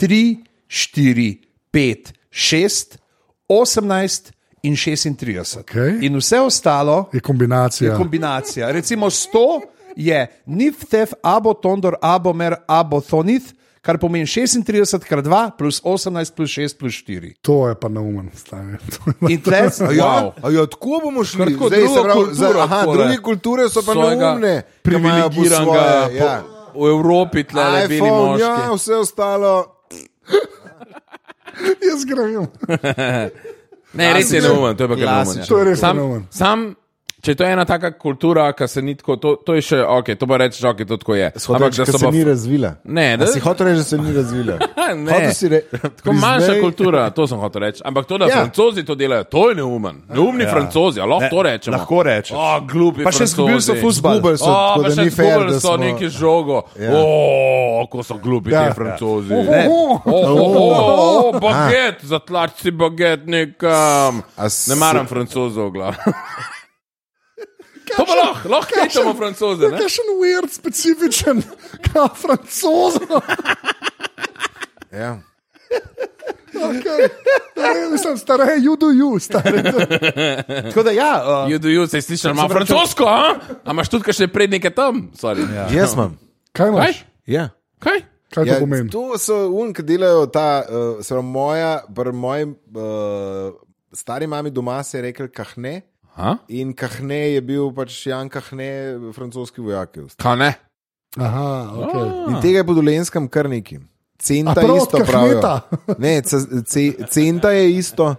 [SPEAKER 3] 3, 4, 5, 6, 18 in 36.
[SPEAKER 2] Okej. Ja.
[SPEAKER 3] In vse ostalo
[SPEAKER 2] Je kombinacija.
[SPEAKER 3] kombinacija. Recimo 100 je niftef, abo tondor, abomer, abothonis, kar pomeni 36 krat 2 plus 18 plus 6 plus 4.
[SPEAKER 2] To je pa neumen stanje. To je-
[SPEAKER 3] In tles,
[SPEAKER 1] A ja,
[SPEAKER 3] wow.
[SPEAKER 1] a ja, tako bomo šli.
[SPEAKER 4] tako
[SPEAKER 1] Zdaj,
[SPEAKER 4] drugo
[SPEAKER 1] se pravi, za,
[SPEAKER 4] kulturo
[SPEAKER 1] aha,
[SPEAKER 4] takole.
[SPEAKER 1] druge kulture so pa
[SPEAKER 4] Svojega
[SPEAKER 1] neumne. ki imajo po
[SPEAKER 4] Privilegiranega.
[SPEAKER 1] svoje, ja.
[SPEAKER 4] po- V Evropi tle bili
[SPEAKER 1] iPhone,
[SPEAKER 4] moški.
[SPEAKER 1] ja, vse ostalo.
[SPEAKER 2] Jaz grem.
[SPEAKER 4] Ne, res je neumen, to je pa kar neumen.
[SPEAKER 3] Klasičen.
[SPEAKER 4] ja.
[SPEAKER 2] To je res
[SPEAKER 4] sam,
[SPEAKER 2] neumen.
[SPEAKER 4] sam Če je to ena taka kultura, ki se ni tako, to, to je še ok, to pa rečeš, ok, to tako je.
[SPEAKER 1] Ampak da se
[SPEAKER 4] pa-
[SPEAKER 1] ni razvila.
[SPEAKER 4] Ne,
[SPEAKER 1] da
[SPEAKER 4] da-
[SPEAKER 1] si hotel reči, da se ni razvila.
[SPEAKER 4] Ne.
[SPEAKER 1] Hotel si re...
[SPEAKER 4] Tako manjša
[SPEAKER 1] priznaj-
[SPEAKER 4] kultura, to sem hotel reči. Ampak to, da
[SPEAKER 1] Ja.
[SPEAKER 4] ja. francozi to delajo, to je neumen. Neumni ja. francozi, a lahko
[SPEAKER 3] Ne,
[SPEAKER 4] ne, to rečemo.
[SPEAKER 3] lahko rečeš.
[SPEAKER 4] O, glupi.
[SPEAKER 3] Pa še izgubili so
[SPEAKER 4] Francozi.
[SPEAKER 3] fuzbal.
[SPEAKER 1] Izgubili so,
[SPEAKER 4] O,
[SPEAKER 1] tako
[SPEAKER 4] pa
[SPEAKER 1] da
[SPEAKER 4] še
[SPEAKER 1] ni fair,
[SPEAKER 4] izgubili
[SPEAKER 1] da
[SPEAKER 4] so
[SPEAKER 1] smo-
[SPEAKER 4] neki žogo.
[SPEAKER 1] Ja.
[SPEAKER 4] O, ko so glupi
[SPEAKER 1] Ja.
[SPEAKER 4] ti francozi.
[SPEAKER 3] Ne.
[SPEAKER 4] O, baget, zatlač si baget nekam.
[SPEAKER 1] A s-
[SPEAKER 4] Ne maram francozov, glav. To pa lahko, lahko rečemo francoze. ne?
[SPEAKER 2] Kaj še en weird, specifičen, kot francoz.
[SPEAKER 1] Ja.
[SPEAKER 2] Okay. Mislim, stare, you do you, stare.
[SPEAKER 3] Tako da, ja, uh,
[SPEAKER 4] You do you, se slišal, ima
[SPEAKER 3] pravi, če-
[SPEAKER 4] francosko, a? A imaš tudi kakšne prednike tam? Sorry.
[SPEAKER 2] Ja.
[SPEAKER 1] Jaz imam.
[SPEAKER 2] Kaj
[SPEAKER 4] Kaj?
[SPEAKER 2] imaš?
[SPEAKER 1] Ja.
[SPEAKER 4] Kaj?
[SPEAKER 2] Kaj to
[SPEAKER 1] Ja,
[SPEAKER 2] pomeni?
[SPEAKER 1] to so un, ki delajo ta, uh, se pravi, moja, pri mojem uh, stari mami doma se je rekel kahne.
[SPEAKER 4] Ha?
[SPEAKER 1] In kahne je bil pač Jan Kahne, francoski vojak. je ostal.
[SPEAKER 4] Kaj ne?
[SPEAKER 2] Aha, okay.
[SPEAKER 1] In
[SPEAKER 4] Ah.
[SPEAKER 1] tega je po dolenskem kar neki. Centa
[SPEAKER 2] A prav
[SPEAKER 1] je
[SPEAKER 2] od
[SPEAKER 1] isto, pravijo.
[SPEAKER 2] Kahneta?
[SPEAKER 1] Ne, ce- ce- centa je isto.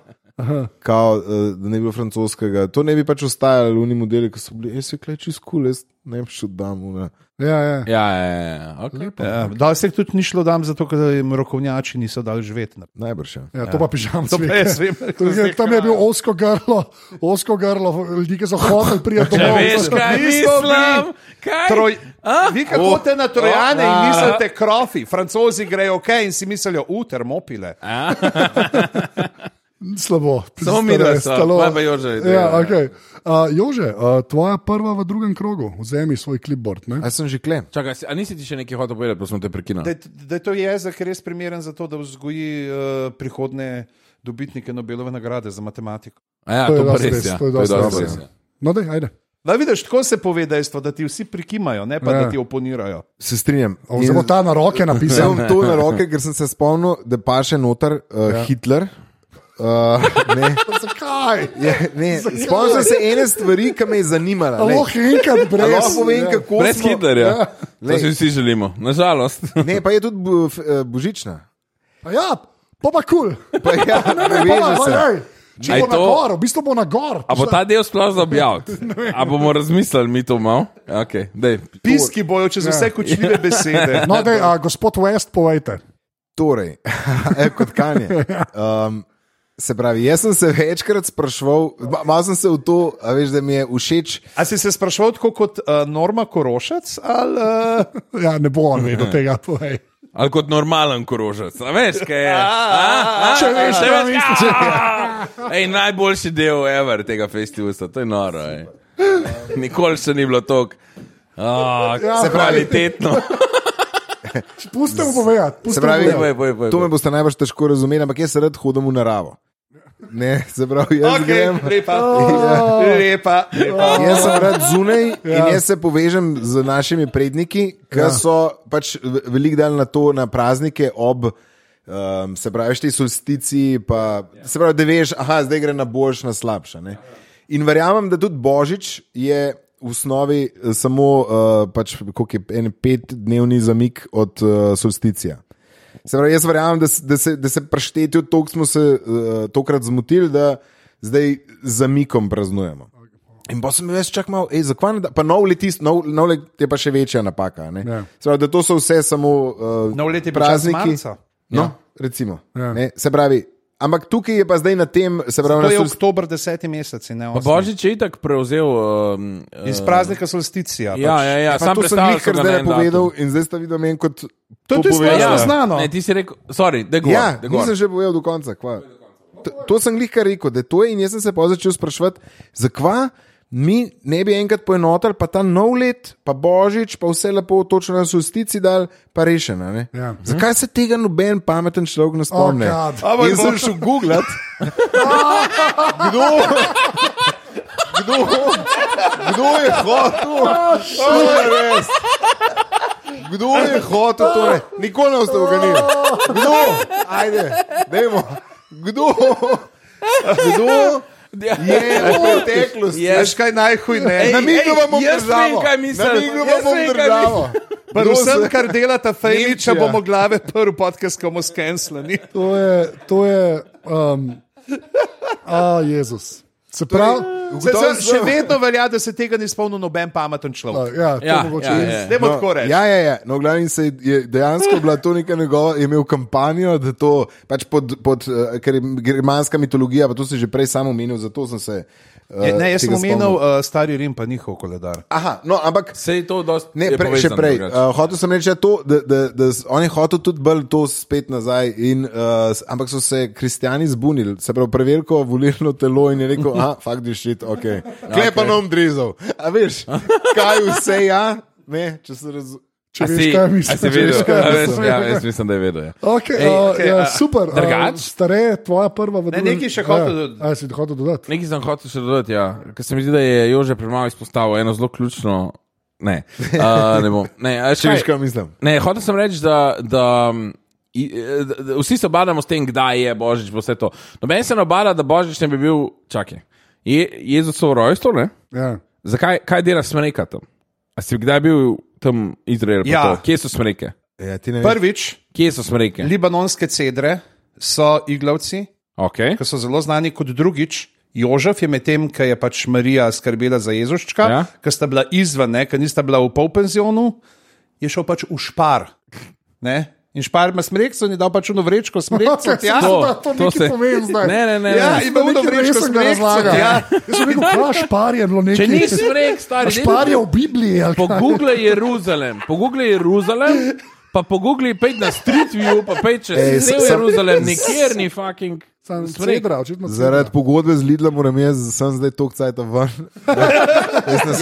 [SPEAKER 1] Kao, eh, da ne bi bilo francoskega. To ne bi pač ostajalo v unem modelu, ki so bili, jaz se kleči skul, jaz ne bi šel dam.
[SPEAKER 2] ja, ja.
[SPEAKER 4] Ja, ja, ja, ja. Okay.
[SPEAKER 3] ja, da se jih tudi ni šlo dam, zato ker jim rokovnjači niso dali živeti.
[SPEAKER 1] Najbrž. Ja.
[SPEAKER 2] Ja, to pa pižam.
[SPEAKER 3] To pa jaz vem.
[SPEAKER 2] Tam je bil osko grlo, osko grlo, ljudi, ki so hodili prijeti
[SPEAKER 4] Ja,
[SPEAKER 2] domov.
[SPEAKER 4] veš, kaj mislim? Kaj?
[SPEAKER 3] Troj,
[SPEAKER 4] A?
[SPEAKER 3] vi kako
[SPEAKER 4] Oh.
[SPEAKER 3] hodite na Trojane in
[SPEAKER 4] Oh.
[SPEAKER 3] mislite krofi, francozi grejo ok in si mislijo, u, termopile.
[SPEAKER 4] A?
[SPEAKER 2] Slabo.
[SPEAKER 4] Samo mi dva sva,
[SPEAKER 2] Stalo-
[SPEAKER 4] kaj pa Jože?
[SPEAKER 2] Ja, okay. uh, Jože, uh, tvoja prva v drugem krogu, vzemi svoj klipbord.
[SPEAKER 1] A sem že kle.
[SPEAKER 4] Čakaj, si- a nisi ti še nekaj hotel povedati, pa smo
[SPEAKER 3] Da,
[SPEAKER 4] te prekinili?
[SPEAKER 3] je- da je to jezik res primeren za to, da vzgoji uh, prihodne dobitnike Nobelove nagrade za matematiko.
[SPEAKER 4] A Ja,
[SPEAKER 2] To je
[SPEAKER 4] to pa
[SPEAKER 2] dosti
[SPEAKER 4] res.
[SPEAKER 2] res,
[SPEAKER 4] ja,
[SPEAKER 2] to je
[SPEAKER 4] to je
[SPEAKER 2] dosti
[SPEAKER 4] dosti
[SPEAKER 2] res,
[SPEAKER 4] res,
[SPEAKER 2] ja.
[SPEAKER 4] ja.
[SPEAKER 2] No, dej, ajde.
[SPEAKER 3] Da vidiš, tako se pove dejstvo, da ti vsi prikimajo, ne pa
[SPEAKER 2] Ja.
[SPEAKER 3] da ti oponirajo.
[SPEAKER 1] Se strinjam.
[SPEAKER 2] O, Samo ta na roke
[SPEAKER 1] Zdaj
[SPEAKER 2] napisal.
[SPEAKER 1] bom to na roke, ker sem se spomnil, da pa še noter uh, ja. Hitler. Uh, ne,
[SPEAKER 2] Zakaj?
[SPEAKER 1] je, ne. Spomnil sem se ene stvari, ki me je zanimala.
[SPEAKER 2] A
[SPEAKER 1] ne.
[SPEAKER 4] Oh,
[SPEAKER 2] Lahko enkrat
[SPEAKER 1] A
[SPEAKER 2] brez.
[SPEAKER 1] Lahko
[SPEAKER 4] Ja.
[SPEAKER 1] povem, kako
[SPEAKER 4] Brez
[SPEAKER 1] smo-
[SPEAKER 4] Hitlerja. To
[SPEAKER 2] Ja.
[SPEAKER 1] Lej.
[SPEAKER 4] si vsi želimo, nažalost.
[SPEAKER 1] Ne, pa je tudi bo, f- eh, božična.
[SPEAKER 2] A Ja, pa pa kul.
[SPEAKER 1] Pa ja,
[SPEAKER 2] Pa,
[SPEAKER 1] veže
[SPEAKER 2] pa,
[SPEAKER 1] se.
[SPEAKER 2] daj. Če
[SPEAKER 4] Aj
[SPEAKER 2] bo na
[SPEAKER 4] to-
[SPEAKER 2] gor, v bistvu bo na gor.
[SPEAKER 4] A bo ta del sploh zabjavt? A bomo razmislili mi to malo? Okay, dej.
[SPEAKER 3] Piski bojo čez vse kočljive besede.
[SPEAKER 2] No, dej, a, gospod West, povejte.
[SPEAKER 1] Torej, eh, kot kanje. Um, se pravi, jaz sem se večkrat spraševal, ma- malo sem se v to, a veš, da mi je všeč.
[SPEAKER 3] A si se sprašval tako kot uh, Norma Korošec ali uh,
[SPEAKER 2] Ja, ne bo on vedel tega, povej.
[SPEAKER 4] Ali kot normalen korožec, a veš, kaj je?
[SPEAKER 2] Če veš,
[SPEAKER 4] Če
[SPEAKER 2] kaj
[SPEAKER 4] veš,
[SPEAKER 2] misliš.
[SPEAKER 4] aaa! Ej, najboljši del ever tega festivala, to je noro. Ej. Nikoli še ni bilo tako.
[SPEAKER 2] Ja,
[SPEAKER 4] Oh, ja, kvalitetno.
[SPEAKER 2] Pusti mu povedati. pusti
[SPEAKER 1] Se
[SPEAKER 2] mu
[SPEAKER 1] pravi,
[SPEAKER 2] povedati.
[SPEAKER 4] Boj, boj, boj,
[SPEAKER 1] to me
[SPEAKER 4] boj.
[SPEAKER 1] boste najbrž težko razumeli, ampak jaz se rad hodim v naravo. Ne, se pravi, jaz okay. grem.
[SPEAKER 3] okay, lepa, lepa, lepa.
[SPEAKER 1] Jaz sem rad zunaj ja. in jaz se povežem z našimi predniki, ki ja. so pač v- veliko dal na to, na praznike ob. Um, se pravi, ti solstici, pa se pravi, da veš, aha, zdaj gre na boljš, na slabše. Ne? In verjamem, da tudi Božič je v osnovi eh, samo uh, pač, koliko je en petdnevni zamik od uh, solsticija. Se pravi, jaz verjamem, da, s- da se, da se preštetijo, toliko smo se uh, tokrat zmotili, da zdaj z zamikom praznujemo. In pa sem bil jaz čak malo, ej, zakaj ne da, pa nov leti, nov, nov let je pa še večja napaka.
[SPEAKER 2] Ja.
[SPEAKER 1] Ja. Pravi, da to so vse samo uh,
[SPEAKER 3] Nov let je bil čas
[SPEAKER 1] prazniki.
[SPEAKER 3] marca.
[SPEAKER 1] No, ja. recimo.
[SPEAKER 2] Ja.
[SPEAKER 1] Ja. Ne, se pravi, ampak tukaj je pa zdaj na tem, se pravi,
[SPEAKER 3] To je
[SPEAKER 1] na solst-
[SPEAKER 3] oktober, deseti mesec. in ne osmi.
[SPEAKER 4] Božič je itak prevzel. Um,
[SPEAKER 3] Iz praznika solsticija.
[SPEAKER 4] ja,
[SPEAKER 3] pač.
[SPEAKER 4] ja, ja,
[SPEAKER 1] Pa
[SPEAKER 4] sam
[SPEAKER 1] to sem
[SPEAKER 4] predstavljal
[SPEAKER 1] jih kar
[SPEAKER 4] so ga na
[SPEAKER 1] zdaj
[SPEAKER 4] en
[SPEAKER 1] povedal in zdaj ste videli meni kot.
[SPEAKER 3] To je tudi
[SPEAKER 1] popovedan.
[SPEAKER 3] strašno
[SPEAKER 4] datum.
[SPEAKER 3] znano.
[SPEAKER 4] Ne, ti si rekel, sorry, da gor.
[SPEAKER 1] Ja,
[SPEAKER 4] daj gor.
[SPEAKER 1] nisem že povedal do konca. kva. To, to sem jih kar rekel, da je to je in jaz sem se pa začel spraševati, zakaj mi ne bi enkrat poenotili, pa ta nov let, pa božič, pa vse lepo, točno na solstici dal, pa rešena.
[SPEAKER 2] Ja.
[SPEAKER 1] Ja. Zakaj se tega noben pameten človek ne spomni?
[SPEAKER 2] Oh, God.
[SPEAKER 1] Oh, jaz sem šel googlat. kdo, kdo, kdo je hotel? To je res. Kdo je hotel to? Ne? Nikoli ne boste uganili. Kdo? Ajde, dajmo. Kdo? Kdo
[SPEAKER 4] Ja.
[SPEAKER 1] je v preteklosti?
[SPEAKER 4] Je.
[SPEAKER 3] Veš kaj najhujneje?
[SPEAKER 1] Namignil vam bom
[SPEAKER 4] jaz vem,
[SPEAKER 1] državo.
[SPEAKER 4] kaj mislim.
[SPEAKER 1] Namignil vam
[SPEAKER 4] Jaz
[SPEAKER 1] bom
[SPEAKER 4] vem, kaj
[SPEAKER 1] državo.
[SPEAKER 3] Predvsem, kar delata fejni,
[SPEAKER 1] Nemčija.
[SPEAKER 3] če bomo glave prvi podcast, ko bomo skenslani.
[SPEAKER 2] To je, to je, um, a Jezus. Se pravi,
[SPEAKER 3] Se, se, še vedno velja, da se tega ni spomnil noben pameten človek.
[SPEAKER 2] ja, to
[SPEAKER 4] Ja,
[SPEAKER 2] mogoče
[SPEAKER 4] ja,
[SPEAKER 2] je.
[SPEAKER 4] ja.
[SPEAKER 3] Dajmo tako reči.
[SPEAKER 1] Ja, ja, ja. No, glavni se je- je dejansko bila to neka njegova, je imel kampanjo, da to pač pod, pod eh, ker je germanska mitologija, pa to si že prej sam omenil, zato sem se. eh,
[SPEAKER 3] Je, ne, jaz sem
[SPEAKER 1] tega
[SPEAKER 3] omenil
[SPEAKER 1] spomnil.
[SPEAKER 3] uh, stari Rim, pa njihov koledar.
[SPEAKER 1] Aha, no, ampak.
[SPEAKER 4] Vse je to dosti.
[SPEAKER 1] Ne,
[SPEAKER 4] je
[SPEAKER 1] pre, še
[SPEAKER 4] povezano
[SPEAKER 1] prej.
[SPEAKER 4] drugače.
[SPEAKER 1] Uh, hotel sem reči, da to, da, da, da s- on je hotel tudi bolj to spet nazaj, in, uh, s- ampak so se kristijani zbunili, se pravi, preverko volilno telo in je rekel: ah, fuck this shit, ok. Klepanom drizel. A veš, kaj vse ja, ne, če se razumeš.
[SPEAKER 2] Če
[SPEAKER 4] A
[SPEAKER 2] veš,
[SPEAKER 4] si-
[SPEAKER 2] kaj mislim,
[SPEAKER 4] a si
[SPEAKER 2] če
[SPEAKER 4] vedel?
[SPEAKER 2] veš, kaj
[SPEAKER 4] A veš,
[SPEAKER 2] mislim.
[SPEAKER 4] Ja, jaz mislim, da je vedel. ja.
[SPEAKER 2] Okay, Ej,
[SPEAKER 4] Ej,
[SPEAKER 2] uh, okay,
[SPEAKER 4] okej,
[SPEAKER 2] ja,
[SPEAKER 4] a-
[SPEAKER 2] super. Uh,
[SPEAKER 4] drugač?
[SPEAKER 2] stare, tvoja prva v
[SPEAKER 3] Ne,
[SPEAKER 2] drugem- Ja,
[SPEAKER 3] nekaj še hotel dodati.
[SPEAKER 2] A, a, si hotel dodati.
[SPEAKER 4] Nekaj sem hotel še dodati, ja. ker se mi zdi, da je Jože premalo izpostavil eno zelo ključno. Ne, uh, ne bom. Ne, a
[SPEAKER 1] Če
[SPEAKER 4] še
[SPEAKER 1] veš, kaj mislim.
[SPEAKER 4] Ne, hotel sem reči, da, da, um, i- eh, da, da vsi se obadamo s tem, kdaj je Božič, pa vse to. Noben se ne obada, da Božič ne bi bil, čakaj, je, Jezusovo rojstvo, ne?
[SPEAKER 2] Ja.
[SPEAKER 4] Zakaj, kaj dela smreka tam? A si kdaj bil tam Izrael? pa
[SPEAKER 3] Ja.
[SPEAKER 4] to? Kje so smreke?
[SPEAKER 1] Ja, ti ne veš.
[SPEAKER 3] Prvič,
[SPEAKER 4] Kje so smreke?
[SPEAKER 3] libanonske cedre so iglavci,
[SPEAKER 4] Okay.
[SPEAKER 3] ki so zelo znani kot drugič. Jožef je medtem, ki je pač Marija skrbela za Jezuščka, ja.
[SPEAKER 4] Ja.
[SPEAKER 3] ki sta bila izven, ne, ki nista bila v polpenzionu, je šel pač v špar. Ne? In špar ima smrekco in je dal pač v vrečko smrekco.
[SPEAKER 2] Ja,
[SPEAKER 3] tja.
[SPEAKER 2] to, to, to nekaj
[SPEAKER 4] se-
[SPEAKER 2] pomeni zdaj.
[SPEAKER 4] Ne, ne, ne.
[SPEAKER 3] Ja,
[SPEAKER 4] ne.
[SPEAKER 3] in- Ima
[SPEAKER 2] Nekaj
[SPEAKER 3] uno vrečko
[SPEAKER 2] resnega
[SPEAKER 3] smrekco,
[SPEAKER 2] razlaga.
[SPEAKER 3] ja.
[SPEAKER 2] Jaz sem rekel, kaj špar je bilo nekaj.
[SPEAKER 4] Če ni smrek, stari, daj,
[SPEAKER 2] Špar je v Bibliji. ali kaj?
[SPEAKER 4] Pogooglej Jeruzalem, pogooglej Jeruzalem, pa pogooglej pej na Street View, pa pej čez
[SPEAKER 1] Ej,
[SPEAKER 4] cel
[SPEAKER 1] sam-
[SPEAKER 4] Jeruzalem, nikjer ni fucking.
[SPEAKER 2] Sam
[SPEAKER 4] smrek.
[SPEAKER 2] cedra, očitno. cedra.
[SPEAKER 1] Zaradi pogodbe z Lidlom moram jaz, sem zdaj tok cajt ven.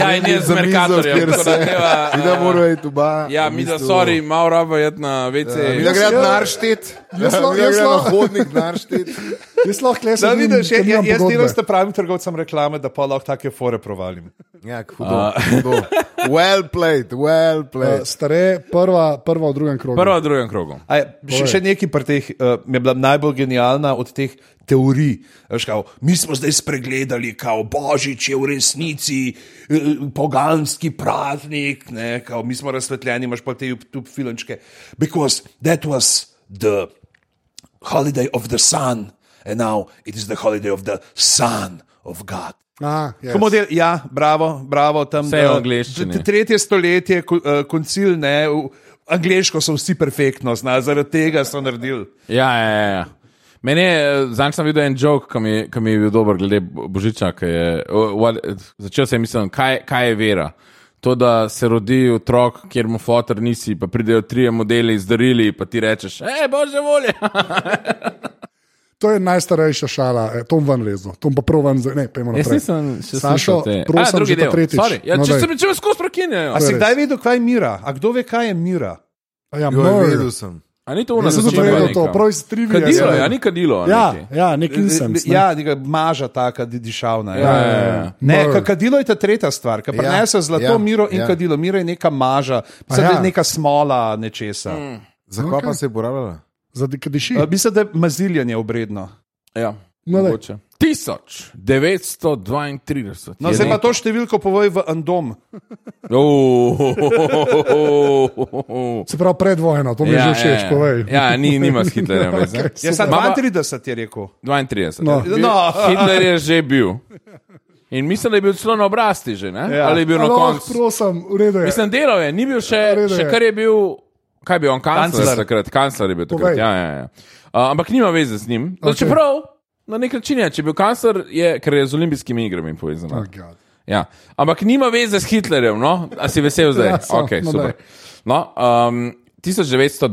[SPEAKER 4] Ja, in jaz z Merkatorjem,
[SPEAKER 1] kjer
[SPEAKER 4] tako da
[SPEAKER 1] se.
[SPEAKER 4] deva,
[SPEAKER 1] Mi da
[SPEAKER 4] eh,
[SPEAKER 1] moramo iti v ba.
[SPEAKER 4] Ja, mi da, sorry, malo rabo je na WC.
[SPEAKER 1] Mi da
[SPEAKER 4] Ja,
[SPEAKER 1] gre narštet.
[SPEAKER 2] Jaz lahko-
[SPEAKER 1] Mi da
[SPEAKER 2] jaz
[SPEAKER 1] gre na
[SPEAKER 2] lahko-
[SPEAKER 1] hodnik narštet.
[SPEAKER 2] Jaz lahko le
[SPEAKER 3] Da,
[SPEAKER 2] sem.
[SPEAKER 3] vidiš, jaz, jaz, jaz delam s tem pravim trgovcem reklame, da pa lahko take fore provalim.
[SPEAKER 1] Ja, hudo. hudo. Well played, well played.
[SPEAKER 2] Eh, Stare, prva, prva v drugem krogu.
[SPEAKER 4] Prvo v drugem krogu.
[SPEAKER 3] A Je, še, še nekaj pri teh, uh, mi je bila najbolj genialna od teh teorij. A veš, Kao, mi smo zdaj spregledali, kao Božič je v resnici uh, poganski praznik, ne, kao, mi smo razsvetljeni, imaš pa te YouTube filmčke. Because that was the holiday of the sun, and now it is the holiday of the son of God.
[SPEAKER 2] Ah, yes.
[SPEAKER 3] Ko model, ja, bravo, bravo tam.
[SPEAKER 4] Vse je v
[SPEAKER 3] da-
[SPEAKER 4] angleščini.
[SPEAKER 3] t- Tretje stoletje, ko- eh, koncil, ne, v- angliško so vsi perfektno, zna, zaradi tega so naredili.
[SPEAKER 4] Ja, ja, ja, ja. Meni je, zanj sem videl en joke, ki mi, ki mi je bil dober, glede Bo- Božiča. ki Je, o, what, začel sem misliti, kaj, kaj je vera. To, da se rodi otrok, kjer mu fotor nisi, pa pridejo trije modeli z darili, pa ti rečeš, hej, bože volje.
[SPEAKER 2] To je najstarejša šala, eh, Tom van Lezno, Tom pa prav van zdaj. Ne, pojmo naprej. Sašo, prosim,
[SPEAKER 4] drugi
[SPEAKER 2] že ta
[SPEAKER 4] del.
[SPEAKER 2] tretjič.
[SPEAKER 4] Sorry. Ja,
[SPEAKER 2] No,
[SPEAKER 4] če
[SPEAKER 2] daj.
[SPEAKER 4] se mi čemu skozi ja. prekinjajo.
[SPEAKER 3] A si kdaj vedel, kaj je mira? A kdo ve, kaj je mira?
[SPEAKER 2] Ja,
[SPEAKER 1] Jo,
[SPEAKER 2] mor.
[SPEAKER 1] vedel sem.
[SPEAKER 4] A ni to v nas?
[SPEAKER 2] Jaz sem zato vedel to, prav iz trivije.
[SPEAKER 4] Kadilo,
[SPEAKER 2] sem
[SPEAKER 4] ja,
[SPEAKER 2] vedel.
[SPEAKER 4] ni kadilo.
[SPEAKER 2] Ja,
[SPEAKER 4] nekaj.
[SPEAKER 2] ja, nek insens. Ne.
[SPEAKER 3] Ja, neka maža taka di- dišavna.
[SPEAKER 4] Ja, ja, ja.
[SPEAKER 3] Ne,
[SPEAKER 2] Mor.
[SPEAKER 3] ka- kadilo je ta tretja stvar, ki prenese zlato
[SPEAKER 1] ja,
[SPEAKER 3] miro in
[SPEAKER 1] ja.
[SPEAKER 3] kadilo. Mira je neka maža, mislim,
[SPEAKER 2] ja.
[SPEAKER 3] da je neka smola nečesa.
[SPEAKER 4] Mm.
[SPEAKER 1] Za kaj pa se je uporabljala?
[SPEAKER 2] Za dekadiši.
[SPEAKER 3] Eh, Mislim, da je maziljenje obredno.
[SPEAKER 4] Ja,
[SPEAKER 2] No, daj.
[SPEAKER 4] mogoče. 1932.
[SPEAKER 3] No, zdaj pa to številko povej v Andom.
[SPEAKER 4] Oh.
[SPEAKER 2] Se pravi pred vojno, to mi je že všeč, povej.
[SPEAKER 4] Ja, ni, nima s Hitlerjem. veze.
[SPEAKER 3] Jaz sem
[SPEAKER 4] Mama-
[SPEAKER 3] 32 Ja, je rekel.
[SPEAKER 4] 32.
[SPEAKER 2] No.
[SPEAKER 3] No.
[SPEAKER 4] ja. Hitler je že bil. In mislim, da je bil celo na oblasti že, ne?
[SPEAKER 3] Ja.
[SPEAKER 4] Ja. ali je bil na
[SPEAKER 2] Aloh,
[SPEAKER 4] koncu.
[SPEAKER 2] prosim, v redu je.
[SPEAKER 4] Mislim, delal je, ni bil še,
[SPEAKER 2] redu
[SPEAKER 4] še
[SPEAKER 2] Ja, je.
[SPEAKER 4] kar je bil. Kaj je bil on, kancler?
[SPEAKER 3] Kancler.
[SPEAKER 4] Takrat, kancler je bil takrat.
[SPEAKER 2] Povej.
[SPEAKER 4] Ja, ja, ja. Uh, ampak nima veze z njim. Okay. Čeprav na nek način je, če je bil kancler, je, ker je z olimpijskimi igrami povezan.
[SPEAKER 2] Oh, God.
[SPEAKER 4] Ja. Ampak nima veze s Hitlerjem, no? a si vesel zdaj.
[SPEAKER 2] Ja,
[SPEAKER 4] Ja,
[SPEAKER 2] so,
[SPEAKER 4] okay,
[SPEAKER 2] no,
[SPEAKER 4] super. No, um,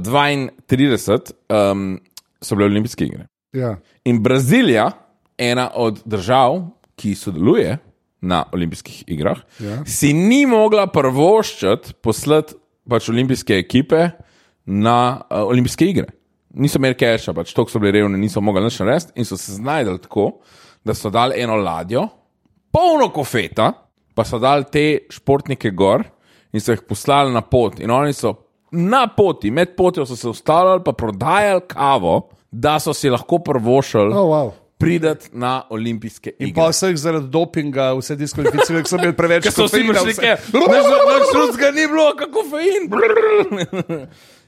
[SPEAKER 4] 1932 um, so bile olimpijske igre.
[SPEAKER 2] Ja.
[SPEAKER 4] In Brazilija, ena od držav, ki sodeluje na olimpijskih igrah,
[SPEAKER 2] Ja.
[SPEAKER 4] ja. si ni mogla prvoščiti poslati pač olimpijske ekipe na uh, olimpijske igre. Niso imeli keša, pač toliko so bili revni, niso mogli nič narediti in so se znašli tako, da so dali eno ladjo, polno kofeta, pa so dali te športnike gor in so jih poslali na pot. In oni so na poti, med potjo so se ustavljali, pa prodajali kavo, da so si lahko prvošili
[SPEAKER 2] Oh, wow.
[SPEAKER 4] pridati na olimpijske
[SPEAKER 3] In
[SPEAKER 4] igre.
[SPEAKER 3] pa vseh zaradi dopinga, vse diskvalificirali, ker so bili preveč
[SPEAKER 4] Ker so vsi
[SPEAKER 3] kofeina,
[SPEAKER 4] prišli,
[SPEAKER 3] vse-
[SPEAKER 4] ker nič drugega ni bilo, kako fein.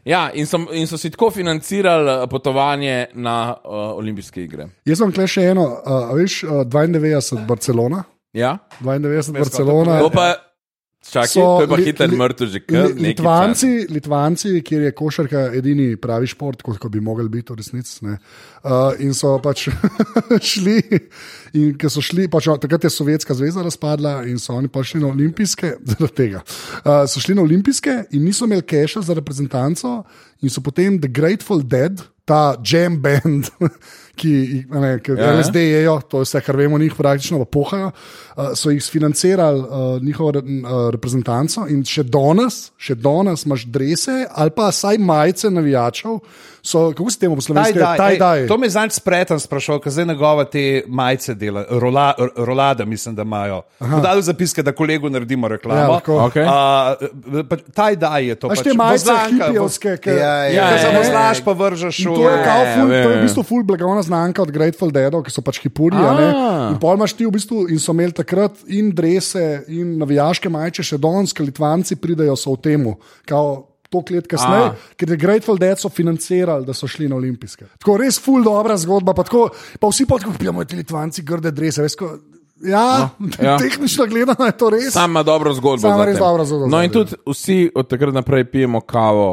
[SPEAKER 4] Ja, in, sem, in so si tako financirali eh, potovanje na uh, olimpijske igre.
[SPEAKER 2] Jaz imam kle še eno, uh, veš, uh, 92 Barcelona.
[SPEAKER 4] Ja?
[SPEAKER 2] 92 Barcelona.
[SPEAKER 4] To pa, čakaj,
[SPEAKER 2] so
[SPEAKER 4] to je pa
[SPEAKER 2] li-
[SPEAKER 4] Hitler
[SPEAKER 2] li-
[SPEAKER 4] mrtev že
[SPEAKER 2] Li-
[SPEAKER 4] kar nekaj časa.
[SPEAKER 2] Litvanci, Litvanci, kjer je košarka edini pravi šport, kot, kot bi mogel biti v resnici. ne. Uh, in so pač šli, in ko so šli, pač, takrat je Sovjetska zveza razpadla in so oni pač šli na olimpijske, zaradi tega. Uh, so šli na olimpijske in niso imeli keša za reprezentanco, in so potem The Grateful Dead, ta jam band, ki, a ne, ki
[SPEAKER 4] Ja, ja.
[SPEAKER 2] ja, LSD jejo, to je vse, kar vemo o njih, praktično pa pohajo. Uh, so jih financirali uh, njihovo re, uh, reprezentanco in še danes, še danes imaš drese ali pa saj majice navijačev. So, kako se temu po slovenski
[SPEAKER 3] Tie-dye, ej,
[SPEAKER 2] daj?
[SPEAKER 3] To me je zadnjič spreten sprašal, ker zdaj nagova te majice dela, rola, r- rolada, mislim, da imajo. Podal zapiske, da kolegu naredimo
[SPEAKER 2] Ja,
[SPEAKER 3] reklamo.
[SPEAKER 2] lahko.
[SPEAKER 4] Okej.
[SPEAKER 3] uh, taj daj je to.
[SPEAKER 2] Pač te majice
[SPEAKER 3] vozlanka,
[SPEAKER 2] hipijevske,
[SPEAKER 5] Ja,
[SPEAKER 2] ki
[SPEAKER 5] ja, ja,
[SPEAKER 3] voz- Ki
[SPEAKER 4] ja,
[SPEAKER 3] samo
[SPEAKER 4] ja.
[SPEAKER 3] znaš, pa vržeš
[SPEAKER 2] In
[SPEAKER 3] v.
[SPEAKER 2] To je, kao
[SPEAKER 4] Ja,
[SPEAKER 2] ful,
[SPEAKER 4] ja,
[SPEAKER 2] to je
[SPEAKER 4] ja.
[SPEAKER 2] v bistvu ful blagovna znamka od Grateful Deadov, ki so pač hipuri. a ne. In pol imaš ti v bistvu in so imeli takrat in drese in navijaške majice, še danes, ki Litvanci pridejo so v temu. Kao, To let kasneje,
[SPEAKER 4] A.
[SPEAKER 2] ker je Grateful Dead so financirali, da so šli na olimpijske. Tako res ful dobra zgodba, pa, tako, pa vsi pa tako kupimo ti Litvanci grde drese. Res, ko, ja, no,
[SPEAKER 4] ja.
[SPEAKER 2] ja, tehnično gledano je to res.
[SPEAKER 4] Sam ima dobro zgodbo.
[SPEAKER 2] Sam ima
[SPEAKER 4] za
[SPEAKER 2] res
[SPEAKER 4] tem.
[SPEAKER 2] dobro zgodbo
[SPEAKER 4] No,
[SPEAKER 2] za
[SPEAKER 4] in
[SPEAKER 2] tem.
[SPEAKER 4] tudi vsi od takrat naprej pijemo kavo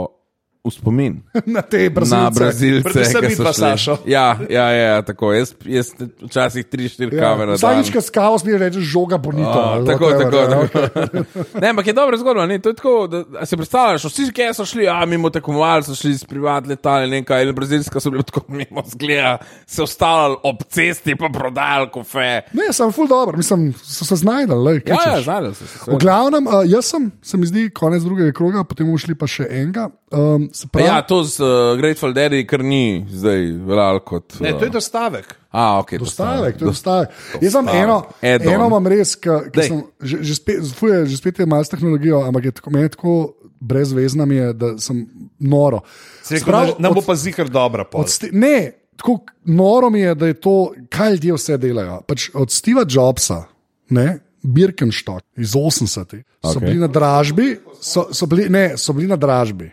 [SPEAKER 4] v spomin.
[SPEAKER 2] na te
[SPEAKER 4] Na
[SPEAKER 2] brazilce.
[SPEAKER 4] Brazilce,
[SPEAKER 3] Predvsem
[SPEAKER 4] ki so
[SPEAKER 3] midva,
[SPEAKER 4] šli.
[SPEAKER 3] Sašo.
[SPEAKER 4] Ja, ja, ja, tako. Jaz, jaz včasih tri, štiri ja, kave na dan.
[SPEAKER 2] Vsakič, ko s kavo smeš reči, žoga bonito.
[SPEAKER 4] A,
[SPEAKER 2] ali
[SPEAKER 4] tako,
[SPEAKER 2] whatever,
[SPEAKER 4] tako.
[SPEAKER 2] ja,
[SPEAKER 4] tako. ne, ampak je dobra zgodba. Ne? To je tako, da, da si predstavljaš, vsi, ki so šli, a mimo tekmovali, so šli s privatne letale, nekaj, ali brazilska so bili tako mimo zgleda, se ustavljali ob cesti, pa prodajali kofe.
[SPEAKER 2] Ne, sem ful dobro, mislim, so se znajdel. Lej,
[SPEAKER 4] Ja, ja, znali so se.
[SPEAKER 2] V
[SPEAKER 4] seveda.
[SPEAKER 2] glavnem, uh, jaz sem, se mi zdi, konec drugega kroga, potem bomo šli pa še enega. Um, se pravi,
[SPEAKER 4] Ja, to z uh, Grateful Dead, kar ni zdaj veljal kot.
[SPEAKER 3] Ne, to je
[SPEAKER 4] uh,
[SPEAKER 3] dostavek.
[SPEAKER 4] a, okay,
[SPEAKER 2] dostavek, to je dostavek. Jaz sem eno,
[SPEAKER 4] Add-on.
[SPEAKER 2] eno imam res, ki
[SPEAKER 4] Dej.
[SPEAKER 2] sem že, že spet, fuje, že spet je malo s tehnologijo, ampak je tako, meni je tako brezvezna mi je, da sem noro.
[SPEAKER 3] Si Rekel,
[SPEAKER 2] Sprav-
[SPEAKER 3] Sprav, nam bo
[SPEAKER 2] od-
[SPEAKER 3] pa zikr dobra. pol.
[SPEAKER 2] Od Ste- Ne, tako noro mi je, da je to, kaj ljudje vse delajo. Pač od Steva Jobsa, ne, Birkenstock iz 80-ih, so
[SPEAKER 4] Okej.
[SPEAKER 2] bili na dražbi, so, so bili, ne, so bili na dražbi.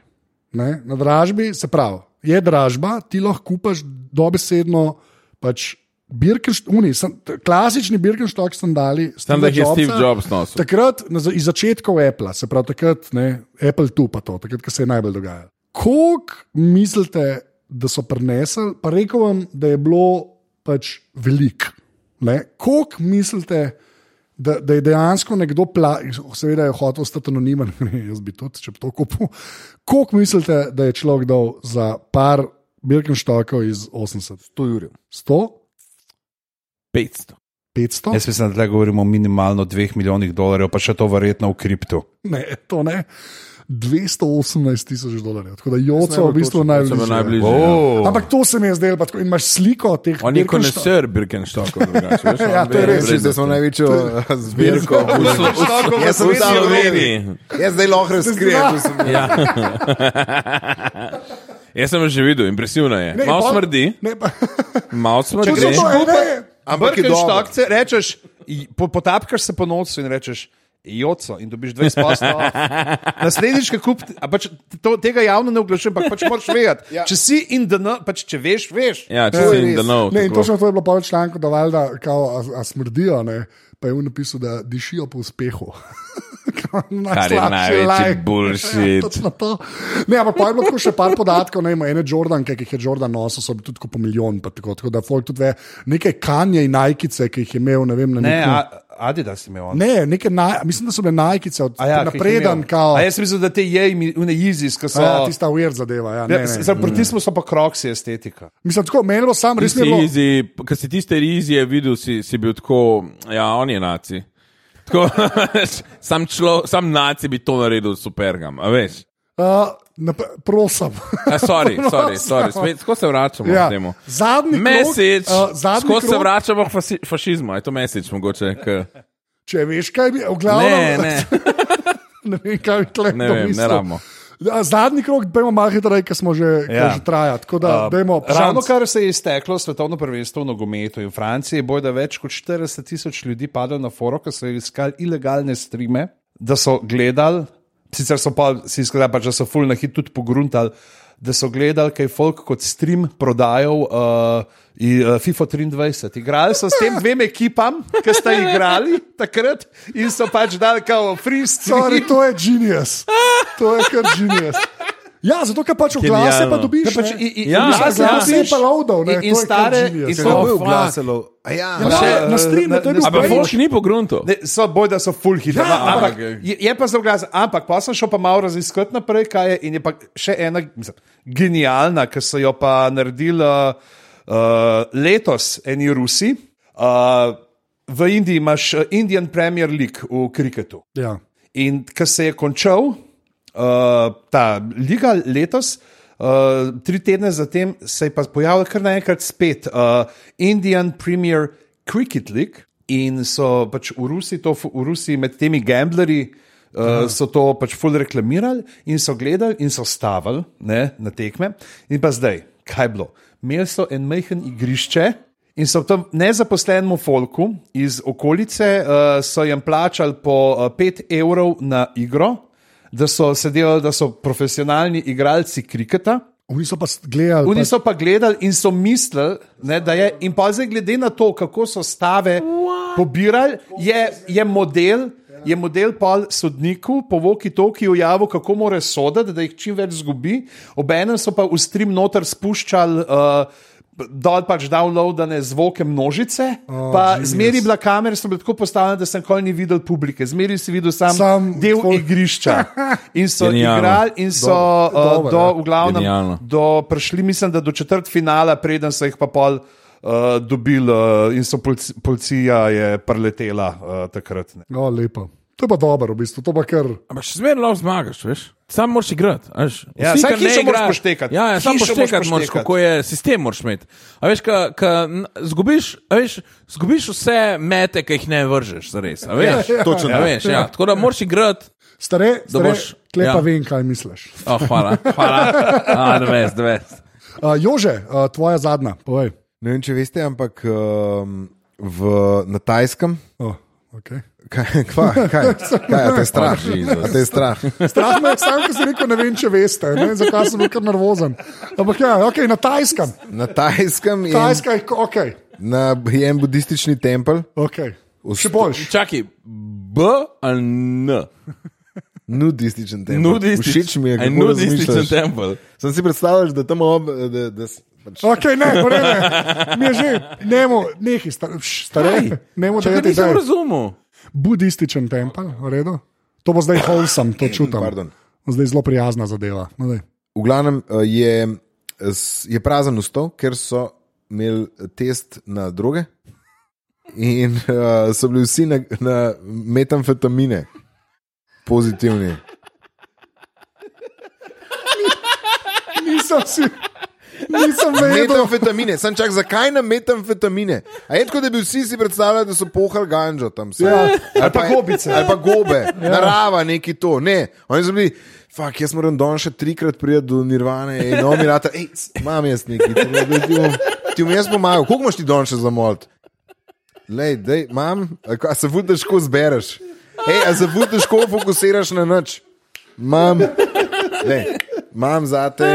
[SPEAKER 2] Ne, na dražbi se pravi, je dražba, ti lahko kupaš dobesedno. Pač Birkenstock, uni, san, t- klasični Birkenstock sandali.
[SPEAKER 4] Tam, da jih je
[SPEAKER 2] Steva
[SPEAKER 4] Steve
[SPEAKER 2] Jobsa.
[SPEAKER 4] Jobs nosil.
[SPEAKER 2] Takrat, na za- iz začetkov Apple, se pravi takrat, ne, Apple tu pa to, takrat, ko se je najbolj dogajalo. Kolik mislite, da so prenesli, pa rekel vam, da je bilo pač veliko. Kolik mislite, da, da je dejansko nekdo, pla, seveda je hotel ostati anonimen, jaz bi tudi, če bi to kupil. Kolik mislite, da je človek dal za par Birkenstockov iz 80? 100 jurjev. 100?
[SPEAKER 4] 500.
[SPEAKER 2] 500?
[SPEAKER 3] Jaz mislim, da tukaj govorimo o minimalno 2 milijonih dolarjev, pa še to verjetno v kriptu.
[SPEAKER 2] Ne, to ne. 218 tisoč dolarjev, tako da joco v
[SPEAKER 1] najbolj
[SPEAKER 2] bistvu
[SPEAKER 1] točno,
[SPEAKER 4] Sem bil
[SPEAKER 2] najbližje.
[SPEAKER 4] najbližje. ja.
[SPEAKER 3] Oh.
[SPEAKER 2] Ampak to se mi je zdelo, pa tako, in imaš sliko teh
[SPEAKER 4] On je
[SPEAKER 2] Birkenstock-
[SPEAKER 4] koneser Birkenstocka.
[SPEAKER 2] Ja, to je
[SPEAKER 1] Reči, da smo največjo eh, zbirko Jaz sem
[SPEAKER 4] v
[SPEAKER 1] tam
[SPEAKER 4] Sloveniji.
[SPEAKER 1] Jaz zdaj lahko razkrijem. to sem-
[SPEAKER 4] Jaz sem jo že videl, impresivno je.
[SPEAKER 2] Ne,
[SPEAKER 4] Malo
[SPEAKER 2] pol-
[SPEAKER 4] smrdi,
[SPEAKER 2] Ne, pa,
[SPEAKER 4] malo
[SPEAKER 2] to so
[SPEAKER 4] smrdi.
[SPEAKER 2] to ene,
[SPEAKER 1] Ampak je dobro.
[SPEAKER 3] Birkenstockce, rečeš, i- po, potapkaš se po nocu in rečeš. Joco in dobiš 20 posto. Naslednjič, ko kup, a pač to, tega javno ne oglašujem, ampak pač moraš vedeti. Ja. Če si in da ne, pač če veš, veš.
[SPEAKER 4] Ja, če
[SPEAKER 2] to
[SPEAKER 4] si
[SPEAKER 2] je
[SPEAKER 4] in
[SPEAKER 2] res.
[SPEAKER 4] da nov.
[SPEAKER 2] Ne, in
[SPEAKER 4] tako.
[SPEAKER 2] točno to je bilo pol članku, da valjda, kao, a, a smrdijo, ne. Pa je v napisu, da dišijo po uspehu. Kao
[SPEAKER 4] Kar je
[SPEAKER 2] najslabši
[SPEAKER 4] največji
[SPEAKER 2] laj.
[SPEAKER 4] bullshit.
[SPEAKER 2] Točno to. Ne, ampak pa je bilo tako še par podatkov, ne, ima ene Jordanke, ki jih je Jordan nosil, so bili tudi tako po milijon, pa tako, tako da folk tudi ve, nekaj kanje in najkice, ki jih je imel, ne vem, na
[SPEAKER 3] Ne,
[SPEAKER 2] nekem.
[SPEAKER 3] a, Adidas je imel on.
[SPEAKER 2] Ne, neke naj, mislim, da so bile najkice od
[SPEAKER 3] A ja, ki jih je
[SPEAKER 2] napreden,
[SPEAKER 3] imel.
[SPEAKER 2] kao,
[SPEAKER 3] A jaz mislim, da te je, une Yeezys, ki so.
[SPEAKER 2] ja, tista weird zadeva. Ja, ne,
[SPEAKER 3] Ne,
[SPEAKER 2] ne.
[SPEAKER 3] za prtismo so pa kroksi estetika.
[SPEAKER 2] Mislim, tako, meni je bilo sam, res mi je bilo.
[SPEAKER 4] Rizi, ko si tiste rizije videl, si, si bil tako, ja, on je naci. Tako, sam, člo, sam naci bi to naredil s supergam, a veš.
[SPEAKER 2] Uh, nap- prosim.
[SPEAKER 4] A, sorry, sorry, sorry. Spet, tako se vračamo ja.
[SPEAKER 2] No, Ja.
[SPEAKER 4] k temu.
[SPEAKER 2] Zadnji
[SPEAKER 4] Message,
[SPEAKER 2] krog, uh, zadnji
[SPEAKER 4] tako se
[SPEAKER 2] krog. Ja,
[SPEAKER 4] vračamo k fasi, fašizmu, je to message mogoče. K...
[SPEAKER 2] Če veš, kaj bi, v
[SPEAKER 4] Ne,
[SPEAKER 2] glavnem,
[SPEAKER 4] ne,
[SPEAKER 2] ne vem, kaj bi tle.
[SPEAKER 4] ne vem, ne rabimo.
[SPEAKER 2] Zadnji krok, pojmo malo hitreje, ker smo že,
[SPEAKER 3] Ja.
[SPEAKER 2] ja. že trajali. Tako da, uh, dajmo,
[SPEAKER 3] Ravno kar Ehm, se je izteklo svetovno prvenstvo v nogometu in v Franciji, boj da več kot 40 tisoč ljudi padlo na foro, ker so iskali ilegalne streame, da so gledali. Sicer so pa, si izkazali, pač, da so fulno na hit tudi pogruntali, da so gledali, kaj folk kot stream prodajal uh, i, uh, FIFA 23. Igrali so s tem dvem ekipam, ki sta igrali takrat in so pač dali kao free stream.
[SPEAKER 2] Sorry, to je genijus. To je kar genijus. Ja, zato ker pač oglase pa
[SPEAKER 4] Genialno.
[SPEAKER 2] dobiš.
[SPEAKER 3] Pač,
[SPEAKER 2] ne.
[SPEAKER 3] i, i,
[SPEAKER 4] Ja,
[SPEAKER 3] oglase
[SPEAKER 4] oglase
[SPEAKER 3] dobiš
[SPEAKER 2] pa loadov, ne,
[SPEAKER 3] in- In
[SPEAKER 2] to je kar
[SPEAKER 3] stare,
[SPEAKER 2] genius.
[SPEAKER 3] in
[SPEAKER 2] Kako
[SPEAKER 3] so
[SPEAKER 1] Kako je
[SPEAKER 2] Oh,
[SPEAKER 1] oglasilo? A Ja,
[SPEAKER 2] Ja,
[SPEAKER 1] še-
[SPEAKER 2] na- na streamu, to je bil
[SPEAKER 3] na-
[SPEAKER 4] Ampak
[SPEAKER 2] Pajič.
[SPEAKER 4] folk ni pogrunto.
[SPEAKER 3] Ne, so boj, da so full hitri.
[SPEAKER 2] Ja,
[SPEAKER 3] Ja, ampak,
[SPEAKER 4] ampak-
[SPEAKER 3] je, je pa zelo glas. Ampak pa sem šel pa malo raziskati naprej, kaj je. In je pa še ena mislim, genialna, ki so jo pa naredili uh, uh, letos, eni Rusi. Uh, v Indiji imaš eh, Indian Premier League v kriketu.
[SPEAKER 2] Ja.
[SPEAKER 3] In ko se je končal uh, ta liga letos, uh, tri tedne zatem se je pa pojavil kar naenkrat spet uh, Indian Premier Cricket League in so pač v Rusiji, to, fu- v Rusiji med temi gamblerji. Uh, so to pač ful reklamirali in so gledali in so stavili ne, na tekme. In pa zdaj, kaj je bilo? Imeli so en majhen igrišče, In so tam nezaposlenemu folku iz okolice, uh, so jim plačali po 5 uh, evrov na igro, da so sedeli, da so profesionalni igralci kriketa.
[SPEAKER 2] Oni so pa s- gledali.
[SPEAKER 3] Oni
[SPEAKER 2] pa-
[SPEAKER 3] so pa gledali in so mislili, ne, da je. In pa zdaj, glede na to, kako so stave pobirali, je, je model. Je model pa sodniku po Voki Tokiju javil, kako mora soditi, da jih čim več zgubi. Obenem so pa v stream noter spuščali uh, dol pač downloadane zvoke množice. Oh, pa
[SPEAKER 2] genius.
[SPEAKER 3] zmeri bila kamera, sem bila tako postavljena, da sem kol ni videl publike, zmeri si videl sam,
[SPEAKER 2] Sam
[SPEAKER 3] sam del
[SPEAKER 2] folk.
[SPEAKER 3] igrišča. In so
[SPEAKER 4] Genialno.
[SPEAKER 3] igrali in so
[SPEAKER 2] Dobro, dobro,
[SPEAKER 3] uh, do,
[SPEAKER 2] ja.
[SPEAKER 3] v glavnem,
[SPEAKER 4] Genialno.
[SPEAKER 3] do, prišli, mislim, da do četrt finala, preden so jih pa pol uh, dobili, uh, in so polici, policija je preletela uh, takrat. Ne.
[SPEAKER 2] No, lepo. To je pa dobro, v bistvu. To pa kar.
[SPEAKER 4] Ampak še zmeraj lahko zmagaš, veš. Sam moraš igrati. a veš.
[SPEAKER 3] Ja,
[SPEAKER 4] Vsi,
[SPEAKER 3] saj
[SPEAKER 4] kar ne
[SPEAKER 3] hišo moraš
[SPEAKER 4] igrajo-
[SPEAKER 3] poštekati.
[SPEAKER 4] Ja, ja samo
[SPEAKER 3] Hišo moraš
[SPEAKER 4] poštekati moraš,
[SPEAKER 3] poštekati.
[SPEAKER 4] kako je sistem moraš imeti. A veš, ka, ka, n- zgubiš, a veš, zgubiš vse mete, ki jih ne vržeš, zares. a Veš,
[SPEAKER 2] Ja, ja.
[SPEAKER 1] Točno
[SPEAKER 4] Ja,
[SPEAKER 1] to.
[SPEAKER 4] veš, ja. Tako da moraš igrati.
[SPEAKER 2] Stare, stare
[SPEAKER 4] boš-
[SPEAKER 2] klepa ja.
[SPEAKER 4] ja.
[SPEAKER 2] vem, kaj misliš.
[SPEAKER 4] Oh, hvala, hvala. Ah, the best, the best.
[SPEAKER 2] Uh, Jože, uh, tvoja zadnja, povej.
[SPEAKER 1] Ne vem, če veste, ampak um, v, na Tajskem.
[SPEAKER 2] Oh, okay.
[SPEAKER 1] Kaj, kva, kaj, kaj, a te je strah?
[SPEAKER 2] Oh,
[SPEAKER 1] A te je strah?
[SPEAKER 2] Strah me je, sam, ki si rekel, ne vem, če veste, ne? zakaj sem bil kar nervozen. Ampak ja, okay, na tajskem.
[SPEAKER 1] Na Tajskem je, en-
[SPEAKER 2] Tajska je, ok.
[SPEAKER 1] na, je en budistični tempelj.
[SPEAKER 2] okay. Še
[SPEAKER 1] Osta-
[SPEAKER 2] boljš.
[SPEAKER 4] Čakaj, B ali N?
[SPEAKER 1] Nudističen tempelj.
[SPEAKER 4] Nudističen-
[SPEAKER 1] Všeč mi je,
[SPEAKER 4] Aj,
[SPEAKER 1] kako
[SPEAKER 4] nudističen
[SPEAKER 1] razmišljaš.
[SPEAKER 4] tempel.
[SPEAKER 1] Sem si predstavljal, da tam ob, da, da, s- pač,
[SPEAKER 2] Okay, ne, ne, ne. Mi je že, nemo, nehi, star, š, stare, nemo, da je
[SPEAKER 4] Čakaj,
[SPEAKER 2] ti
[SPEAKER 4] nisem
[SPEAKER 2] zdaj
[SPEAKER 4] razumel.
[SPEAKER 2] budističen tempel, v redu. To bo zdaj wholesome, to čutim.
[SPEAKER 1] Pardon.
[SPEAKER 2] Zdaj zelo prijazna zadeva. No, daj.
[SPEAKER 1] v glavnem eh, je, s- je prazen usto, ker so imeli test na droge in uh, so bili vsi na, na metamfetamine pozitivni.
[SPEAKER 2] Nisem si, nisem vedel.
[SPEAKER 1] Metamfetamine, sem čak, zakaj na metamfetamine? A je tako, da bi vsi si predstavljali, da so pohali ganžo tam. Ja.
[SPEAKER 2] ali pa gobice.
[SPEAKER 1] Ali pa gobe, ja. narava, neki to. Ne, oni so bili, fuk, jaz moram don še trikrat priti do nirvane, ej, no, mi rata, ej, c, imam jaz neki, ti bom- ti bom- ti bom jaz pomagal, koliko imaš ti don še za molt? Lej, dej, imam, a ka- a se vud težko zbereš. Ej, a se vud težko fokusiraš na nič. Imam, lej, imam za te,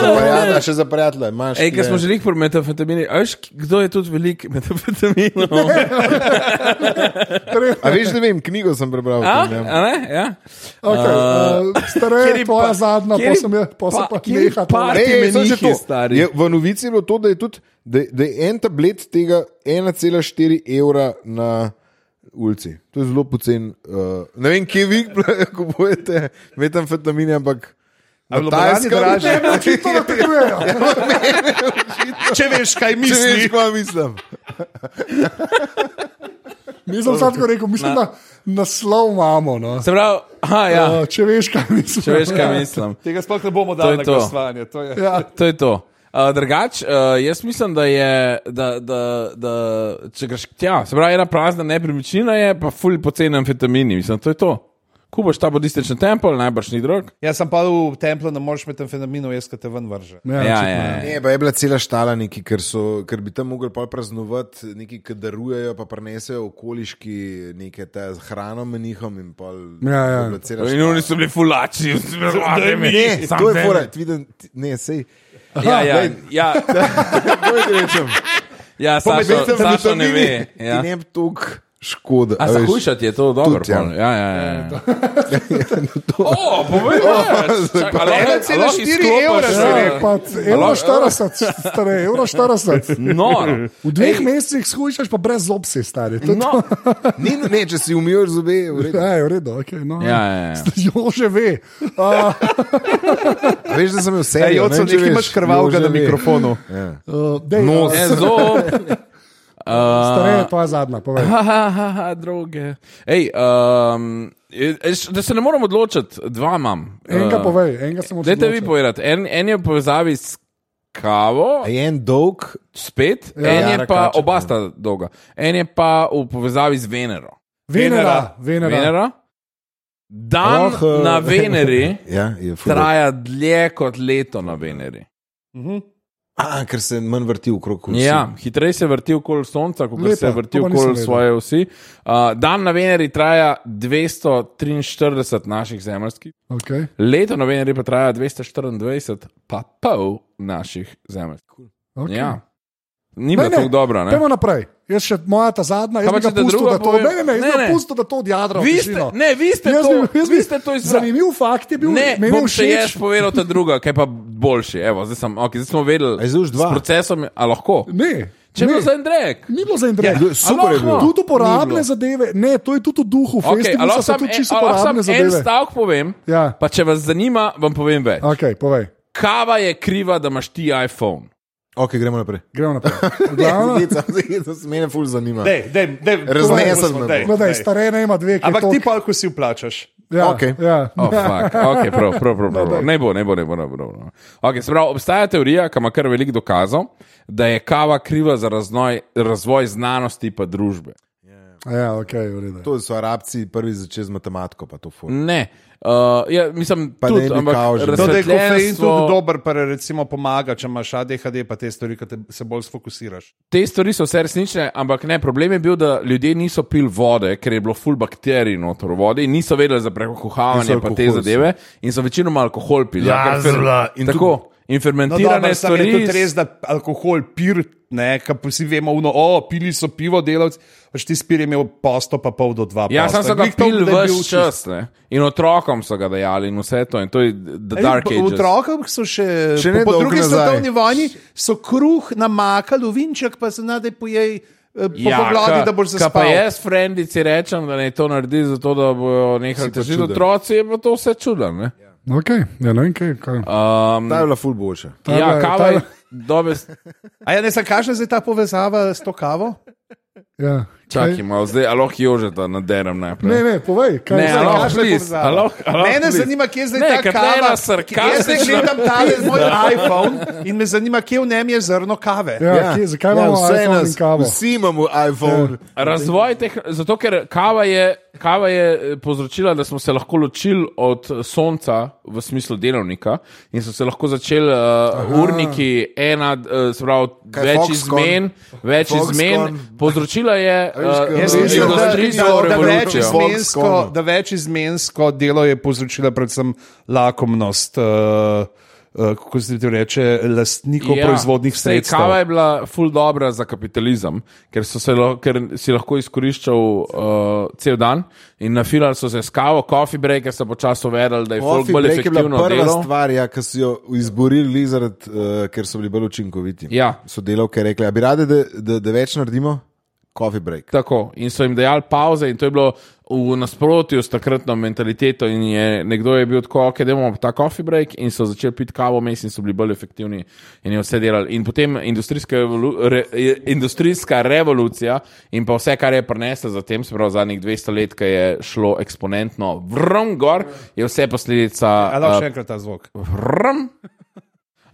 [SPEAKER 1] za prijatelja, še za prijatelja, imaš.
[SPEAKER 4] Ej, ker
[SPEAKER 1] tule.
[SPEAKER 4] smo že rekli pri metamfetamini, a veš, ki- kdo je tudi velik metamfetaminov?
[SPEAKER 1] A veš, ne vem, knjigo sem prebral. o
[SPEAKER 4] A?
[SPEAKER 1] tem, ja.
[SPEAKER 4] A ne? Ja.
[SPEAKER 2] Okay,
[SPEAKER 4] Uh,
[SPEAKER 2] uh, stare,
[SPEAKER 4] kateri
[SPEAKER 2] tvoja pa,
[SPEAKER 4] pa-
[SPEAKER 2] zadnja,
[SPEAKER 4] kateri
[SPEAKER 2] posem je, posem
[SPEAKER 4] pa-
[SPEAKER 2] pa
[SPEAKER 4] kateri
[SPEAKER 2] neha. to.
[SPEAKER 4] par-
[SPEAKER 1] Ej, ej, samo še
[SPEAKER 4] menihi,
[SPEAKER 1] to.
[SPEAKER 4] stari.
[SPEAKER 1] Je, v novici je bilo to, da je, tudi, da, je- da je en tablet tega 1,4 evra na ulici. To je zelo pocen. Uh, ne vem, kje vi kupujete metamfetamine, ampak.
[SPEAKER 3] A v Ljubljani dražje?
[SPEAKER 2] To nategujejo.
[SPEAKER 3] Če veš, kaj
[SPEAKER 1] Če veš,
[SPEAKER 3] misliš.
[SPEAKER 1] kaj mislim.
[SPEAKER 2] Nisem sam tako rekel, mislim, da naslov imamo. No.
[SPEAKER 4] Se pravi, aha, ja,
[SPEAKER 1] Oh,
[SPEAKER 2] Uh, če veš, kaj misliš.
[SPEAKER 4] če veš, kaj mislim.
[SPEAKER 3] Tega sploh ne bomo dali
[SPEAKER 4] je
[SPEAKER 3] na
[SPEAKER 4] to.
[SPEAKER 3] glasovanje. to je-
[SPEAKER 2] Ja.
[SPEAKER 4] To je to. Uh, drugač, uh, jaz mislim, da je, da, da, da če greš tja, se pravi, ena prazna nepremičnina je, pa ful poceni amfetamini, mislim, to je to. kupaš ta budistični tempelj, najbrž ni drug.
[SPEAKER 3] Jaz sem pa v templu, ne moreš med amfetaminov, jaz te ven vrže.
[SPEAKER 4] Ja, ja,
[SPEAKER 2] očitno,
[SPEAKER 4] ja.
[SPEAKER 1] Ne, pa je bila cela štala, neki, ker, so, ker bi tam mogli pol praznovati, neki, ki darujejo, pa prinesejo okoliški nekaj te z hrano menihom in pol.
[SPEAKER 2] Ja, ja.
[SPEAKER 1] je bila cela
[SPEAKER 4] In
[SPEAKER 1] štala.
[SPEAKER 4] oni so bili fulači, vsi so
[SPEAKER 1] Ne, E, to je fora, ti vidim, ti- ne, sej.
[SPEAKER 4] Ja, ja,
[SPEAKER 1] Lej,
[SPEAKER 4] ja,
[SPEAKER 1] Kako je rečem?
[SPEAKER 4] ja Sašo,
[SPEAKER 1] Povedal sem, da
[SPEAKER 4] Sašo
[SPEAKER 1] to
[SPEAKER 4] ne ve. Ja.
[SPEAKER 1] Ti ne bi tok škode.
[SPEAKER 4] A
[SPEAKER 1] a
[SPEAKER 4] za
[SPEAKER 1] veš.
[SPEAKER 4] hujšati je to dobro.
[SPEAKER 1] Tudi, ja.
[SPEAKER 4] pol. Ja, ja, ja. ja. O, povej, ja, čakaj, a lahko- a lahko
[SPEAKER 3] 1,4
[SPEAKER 4] izklopiš,
[SPEAKER 3] evra si
[SPEAKER 4] ja.
[SPEAKER 3] rekel.
[SPEAKER 2] Pa c- Evro 40, stare, evro 40.
[SPEAKER 4] Mm. Noro.
[SPEAKER 2] V dveh mesecih skušaš, pa brez zob si stari. To je to.
[SPEAKER 4] No.
[SPEAKER 1] Ni, ne, če si umiješ zobe, v redu.
[SPEAKER 2] Ja, je v redu, okay, no.
[SPEAKER 4] Ja, ja, ja.
[SPEAKER 2] Jo že ve. Uh,
[SPEAKER 1] A Veš, da sem imel vse.
[SPEAKER 3] Ej, Joco, nekaj imaš krvavega na mikrofonu.
[SPEAKER 2] uh, dej,
[SPEAKER 1] No,
[SPEAKER 2] no,
[SPEAKER 4] Ne, Zelo.
[SPEAKER 2] stare, to je zadnja, povej.
[SPEAKER 4] Haha, droge. Ej, um, e, eš, da se ne moram odločiti, dva imam.
[SPEAKER 2] Enega
[SPEAKER 4] Eh,
[SPEAKER 2] povej, enega sem odšel.
[SPEAKER 4] Dajte vi povedati. En, en je v povezavi s kavo,
[SPEAKER 1] A je en dolg,
[SPEAKER 4] spet, ja,
[SPEAKER 2] Ja.
[SPEAKER 4] en je
[SPEAKER 1] Jara
[SPEAKER 4] pa,
[SPEAKER 1] Kačer,
[SPEAKER 4] oba sta dolga, en je pa v povezavi z Venero.
[SPEAKER 2] Venera, Venera.
[SPEAKER 4] Venera. Dan
[SPEAKER 1] Oh, eh.
[SPEAKER 4] na Veneri
[SPEAKER 1] ja, je ful dolg.
[SPEAKER 4] traja dlje kot leto na Veneri.
[SPEAKER 1] A, ker se manj vrti v kroku.
[SPEAKER 4] Ja, hitreje se vrti okoli Sonca, kot
[SPEAKER 2] Lepo,
[SPEAKER 4] se vrti
[SPEAKER 2] to pa nisem
[SPEAKER 4] okoli
[SPEAKER 2] vedel.
[SPEAKER 4] svoje vsi. Uh, dan na Veneri traja 243 naših zemljskih,
[SPEAKER 2] Okay.
[SPEAKER 4] leto na Veneri pa traja 224, pa pol naših zemljskih.
[SPEAKER 2] Okay.
[SPEAKER 4] Ja.
[SPEAKER 2] Ne,
[SPEAKER 4] Ni bilo
[SPEAKER 2] ne,
[SPEAKER 4] tako dobro. ne?
[SPEAKER 2] Pejmo naprej. Jaz še moja ta zadnja,
[SPEAKER 4] Kaj pa,
[SPEAKER 2] jaz bi
[SPEAKER 4] če
[SPEAKER 2] ga
[SPEAKER 4] te
[SPEAKER 2] pustil,
[SPEAKER 4] druga
[SPEAKER 2] da to,
[SPEAKER 4] povem?
[SPEAKER 2] ne, ne, ne,
[SPEAKER 4] Ne,
[SPEAKER 2] jaz bi
[SPEAKER 4] ne.
[SPEAKER 2] ga pustil, da to odjadra. v
[SPEAKER 4] Vi ste,
[SPEAKER 2] tišino.
[SPEAKER 4] ne, vi ste
[SPEAKER 2] Jaz
[SPEAKER 4] to,
[SPEAKER 2] bi- jaz bi-
[SPEAKER 4] vi ste to izrazili.
[SPEAKER 2] Zanimiv fakt je bil,
[SPEAKER 4] Ne,
[SPEAKER 2] meni je
[SPEAKER 4] bom še jaz
[SPEAKER 2] všeč.
[SPEAKER 4] povedal ta druga, kaj pa boljši. Evo, zdaj, sem, okay, zdaj smo vedeli,
[SPEAKER 1] A je zdaj už dva?
[SPEAKER 4] s procesom, je- a lahko.
[SPEAKER 2] Ne,
[SPEAKER 4] Če
[SPEAKER 2] ne.
[SPEAKER 4] bo za en drek.
[SPEAKER 2] Ni bilo za internet.
[SPEAKER 1] Ja, super je bilo.
[SPEAKER 2] Tudi uporabne
[SPEAKER 1] Ni bilo.
[SPEAKER 2] zadeve, ne, to je tudi v duhu
[SPEAKER 4] Okay,
[SPEAKER 2] festivala, so tudi čisto uporabne
[SPEAKER 4] sam en
[SPEAKER 2] zadeve.
[SPEAKER 4] stavek povem,
[SPEAKER 2] Ja.
[SPEAKER 4] pa če vas zanima, vam povem več.
[SPEAKER 2] Ok, povej,
[SPEAKER 4] Kava je kriva, da imaš ti iPhone.
[SPEAKER 1] Ok, gremo naprej.
[SPEAKER 2] gremo naprej. V glavnem-
[SPEAKER 1] Glavno, se mene ful zanima.
[SPEAKER 3] Dej, dej, dej,
[SPEAKER 1] Raznesel
[SPEAKER 3] povej,
[SPEAKER 1] me bo.
[SPEAKER 3] dej,
[SPEAKER 2] No, daj,
[SPEAKER 3] dej.
[SPEAKER 2] stare ne ima dve, ki
[SPEAKER 3] Ampak
[SPEAKER 2] je
[SPEAKER 3] ti
[SPEAKER 2] tok.
[SPEAKER 3] pa, ko si vplačaš.
[SPEAKER 2] ja,
[SPEAKER 1] Okej.
[SPEAKER 2] ja.
[SPEAKER 4] Oh, fuck. okay, prav, prav, prav, prav, prav. Ne bo, ne bo, ne bo. Ne bo, ne bo. Okay, se pravi, obstaja teorija, ki ima kar veliko dokazov, da je kava kriva za raznoj, razvoj znanosti in družbe.
[SPEAKER 2] ja, ok, v redu.
[SPEAKER 1] To so arabci prvi začeli z matematiko, pa to ful.
[SPEAKER 4] Ne. Uh, ja, mislim,
[SPEAKER 1] Pa
[SPEAKER 4] tudi,
[SPEAKER 1] ne bi
[SPEAKER 4] ampak
[SPEAKER 1] kao že.
[SPEAKER 3] To, da je kofein tudi
[SPEAKER 4] razsvetljenstvo,
[SPEAKER 3] dober, pa recimo pomaga, če imaš ADHD, pa te stvari, ki te se bolj sfokusiraš.
[SPEAKER 4] te stvari so vse resnične, ampak ne, problem je bil, da ljudje niso pil vode, ker je bilo full bakterij noter v vodi, in niso vedeli za
[SPEAKER 1] Niso
[SPEAKER 4] prekuhavanje pa te
[SPEAKER 1] alkohol so.
[SPEAKER 4] zadeve in so večinoma alkohol pili.
[SPEAKER 1] Ja,
[SPEAKER 4] ker fer-
[SPEAKER 1] zla. In
[SPEAKER 4] tako. In
[SPEAKER 3] No,
[SPEAKER 4] fermentirane
[SPEAKER 3] dobro, samo je
[SPEAKER 4] stvari.
[SPEAKER 3] tudi res, da alkohol pir, ne, kar vsi vemo, uno, o, pili so pivo, delavci, pač ti spir je imel posto, pa pol do dva.
[SPEAKER 4] Ja,
[SPEAKER 3] posta.
[SPEAKER 4] sam so ga
[SPEAKER 3] Glih to,
[SPEAKER 4] pil
[SPEAKER 3] da je bil
[SPEAKER 4] vse
[SPEAKER 3] čist-
[SPEAKER 4] čas. Ne? In otrokom so ga dajali, in vse to. In to je The
[SPEAKER 3] Ej,
[SPEAKER 4] Dark
[SPEAKER 3] po-
[SPEAKER 4] Age.
[SPEAKER 3] Otrokom so
[SPEAKER 1] Še
[SPEAKER 3] še, še
[SPEAKER 1] ne
[SPEAKER 3] po, po
[SPEAKER 1] dolgo
[SPEAKER 3] drugi
[SPEAKER 1] nazaj.
[SPEAKER 3] svetovni vojni so kruh namakali v vinček, pa se nade pojej eh, po ja, glavi, da boš
[SPEAKER 4] ka pa
[SPEAKER 3] zaspal.
[SPEAKER 4] jaz, frendici, rečem, da ne to naredi, zato da bojo nehali
[SPEAKER 1] pa
[SPEAKER 4] težiti
[SPEAKER 1] čuden.
[SPEAKER 4] otroci, je pa to vse čudno. Ja,
[SPEAKER 2] Ok, ja, ne vem, kaj. kaj.
[SPEAKER 3] Ja.
[SPEAKER 4] um,
[SPEAKER 1] Ta je bila ful boljša.
[SPEAKER 2] Ta
[SPEAKER 4] ja
[SPEAKER 2] bila-
[SPEAKER 4] kava
[SPEAKER 2] ta
[SPEAKER 4] je
[SPEAKER 2] bila-
[SPEAKER 4] dobes.
[SPEAKER 3] A ja, ne, sem kakšna je zdaj ta povezava s to kavo?
[SPEAKER 2] Ja. Kaj?
[SPEAKER 4] Čakaj malo, zdaj aloh jožeta naderem
[SPEAKER 2] Ne,
[SPEAKER 4] najprej.
[SPEAKER 2] ne, povej, kaj Ja,
[SPEAKER 4] Ne,
[SPEAKER 2] je
[SPEAKER 4] alo.
[SPEAKER 2] zdaj.
[SPEAKER 4] Aloha,
[SPEAKER 3] Kakšna je
[SPEAKER 4] please,
[SPEAKER 3] povezava?
[SPEAKER 4] aloha, aloha,
[SPEAKER 3] Mene
[SPEAKER 4] please.
[SPEAKER 3] zanima, kje je zdaj
[SPEAKER 4] Ah, Ne,
[SPEAKER 3] ta
[SPEAKER 4] ker tale
[SPEAKER 3] kava.
[SPEAKER 4] sarkastična-
[SPEAKER 3] Jaz zdaj gledam ta moj iPhone in me zanima, kje v njem je zrno kave.
[SPEAKER 2] Ja, kje, zakaj imamo
[SPEAKER 1] vse
[SPEAKER 2] iPhone
[SPEAKER 1] nas-
[SPEAKER 2] in kavo?
[SPEAKER 1] Vsi imamo iPhone.
[SPEAKER 4] Razvoj teh, zato ker kava je, kava je eh, povzročila, da smo se lahko ločili od sonca v smislu delovnika in so se lahko začeli uh, urniki, ena, uh, se pravi,
[SPEAKER 1] Kaj,
[SPEAKER 4] več
[SPEAKER 1] Foxconn?
[SPEAKER 4] izmen, več
[SPEAKER 1] Foxconn?
[SPEAKER 4] izmen, povzročila je
[SPEAKER 1] veš, ko-
[SPEAKER 4] uh,
[SPEAKER 3] Jaz
[SPEAKER 1] Ja,
[SPEAKER 3] mislim, da,
[SPEAKER 4] industrijsko
[SPEAKER 3] da, da, več
[SPEAKER 4] revolucijo.
[SPEAKER 1] izmen-
[SPEAKER 3] izmensko, da več izmensko delo je povzročila predvsem lakomnost. Uh, uh, Kako se ti reče, lastnikov ja, proizvodnih
[SPEAKER 4] sej,
[SPEAKER 3] sredstev.
[SPEAKER 4] Kava je bila ful dobra za kapitalizem, ker, so se lo, ker si lahko izkoriščal uh, cel dan in nafilali so se s kavo, coffee break, ker so počasi uvedli, da je folk
[SPEAKER 1] Coffee
[SPEAKER 4] bolj
[SPEAKER 1] break je bila
[SPEAKER 4] efektivno
[SPEAKER 1] prva
[SPEAKER 4] delo.
[SPEAKER 1] stvar, ja, ki so jo izborili, zaradi, uh, ker so bili bolj učinkoviti.
[SPEAKER 4] Ja.
[SPEAKER 1] So delavke rekli, da bi radi, da, da, da več naredimo, coffee break.
[SPEAKER 4] Tako, in so jim dajali pauze, in to je bilo v nasprotju s takratno mentaliteto. In je, nekdo je bil tako, ok, da imamo ta coffee break, in so začeli piti kavo, mes in so bili bolj efektivni in je vse delali. In potem industrijska, evolu, re, je- industrijska revolucija in pa vse, kar je prinesla za tem, se pravi zadnjih 200 let, ki je šlo eksponentno vrom gor, je vse posledica.
[SPEAKER 3] Ali lahko
[SPEAKER 4] eh,
[SPEAKER 3] še enkrat ta zvok?
[SPEAKER 4] Vrom.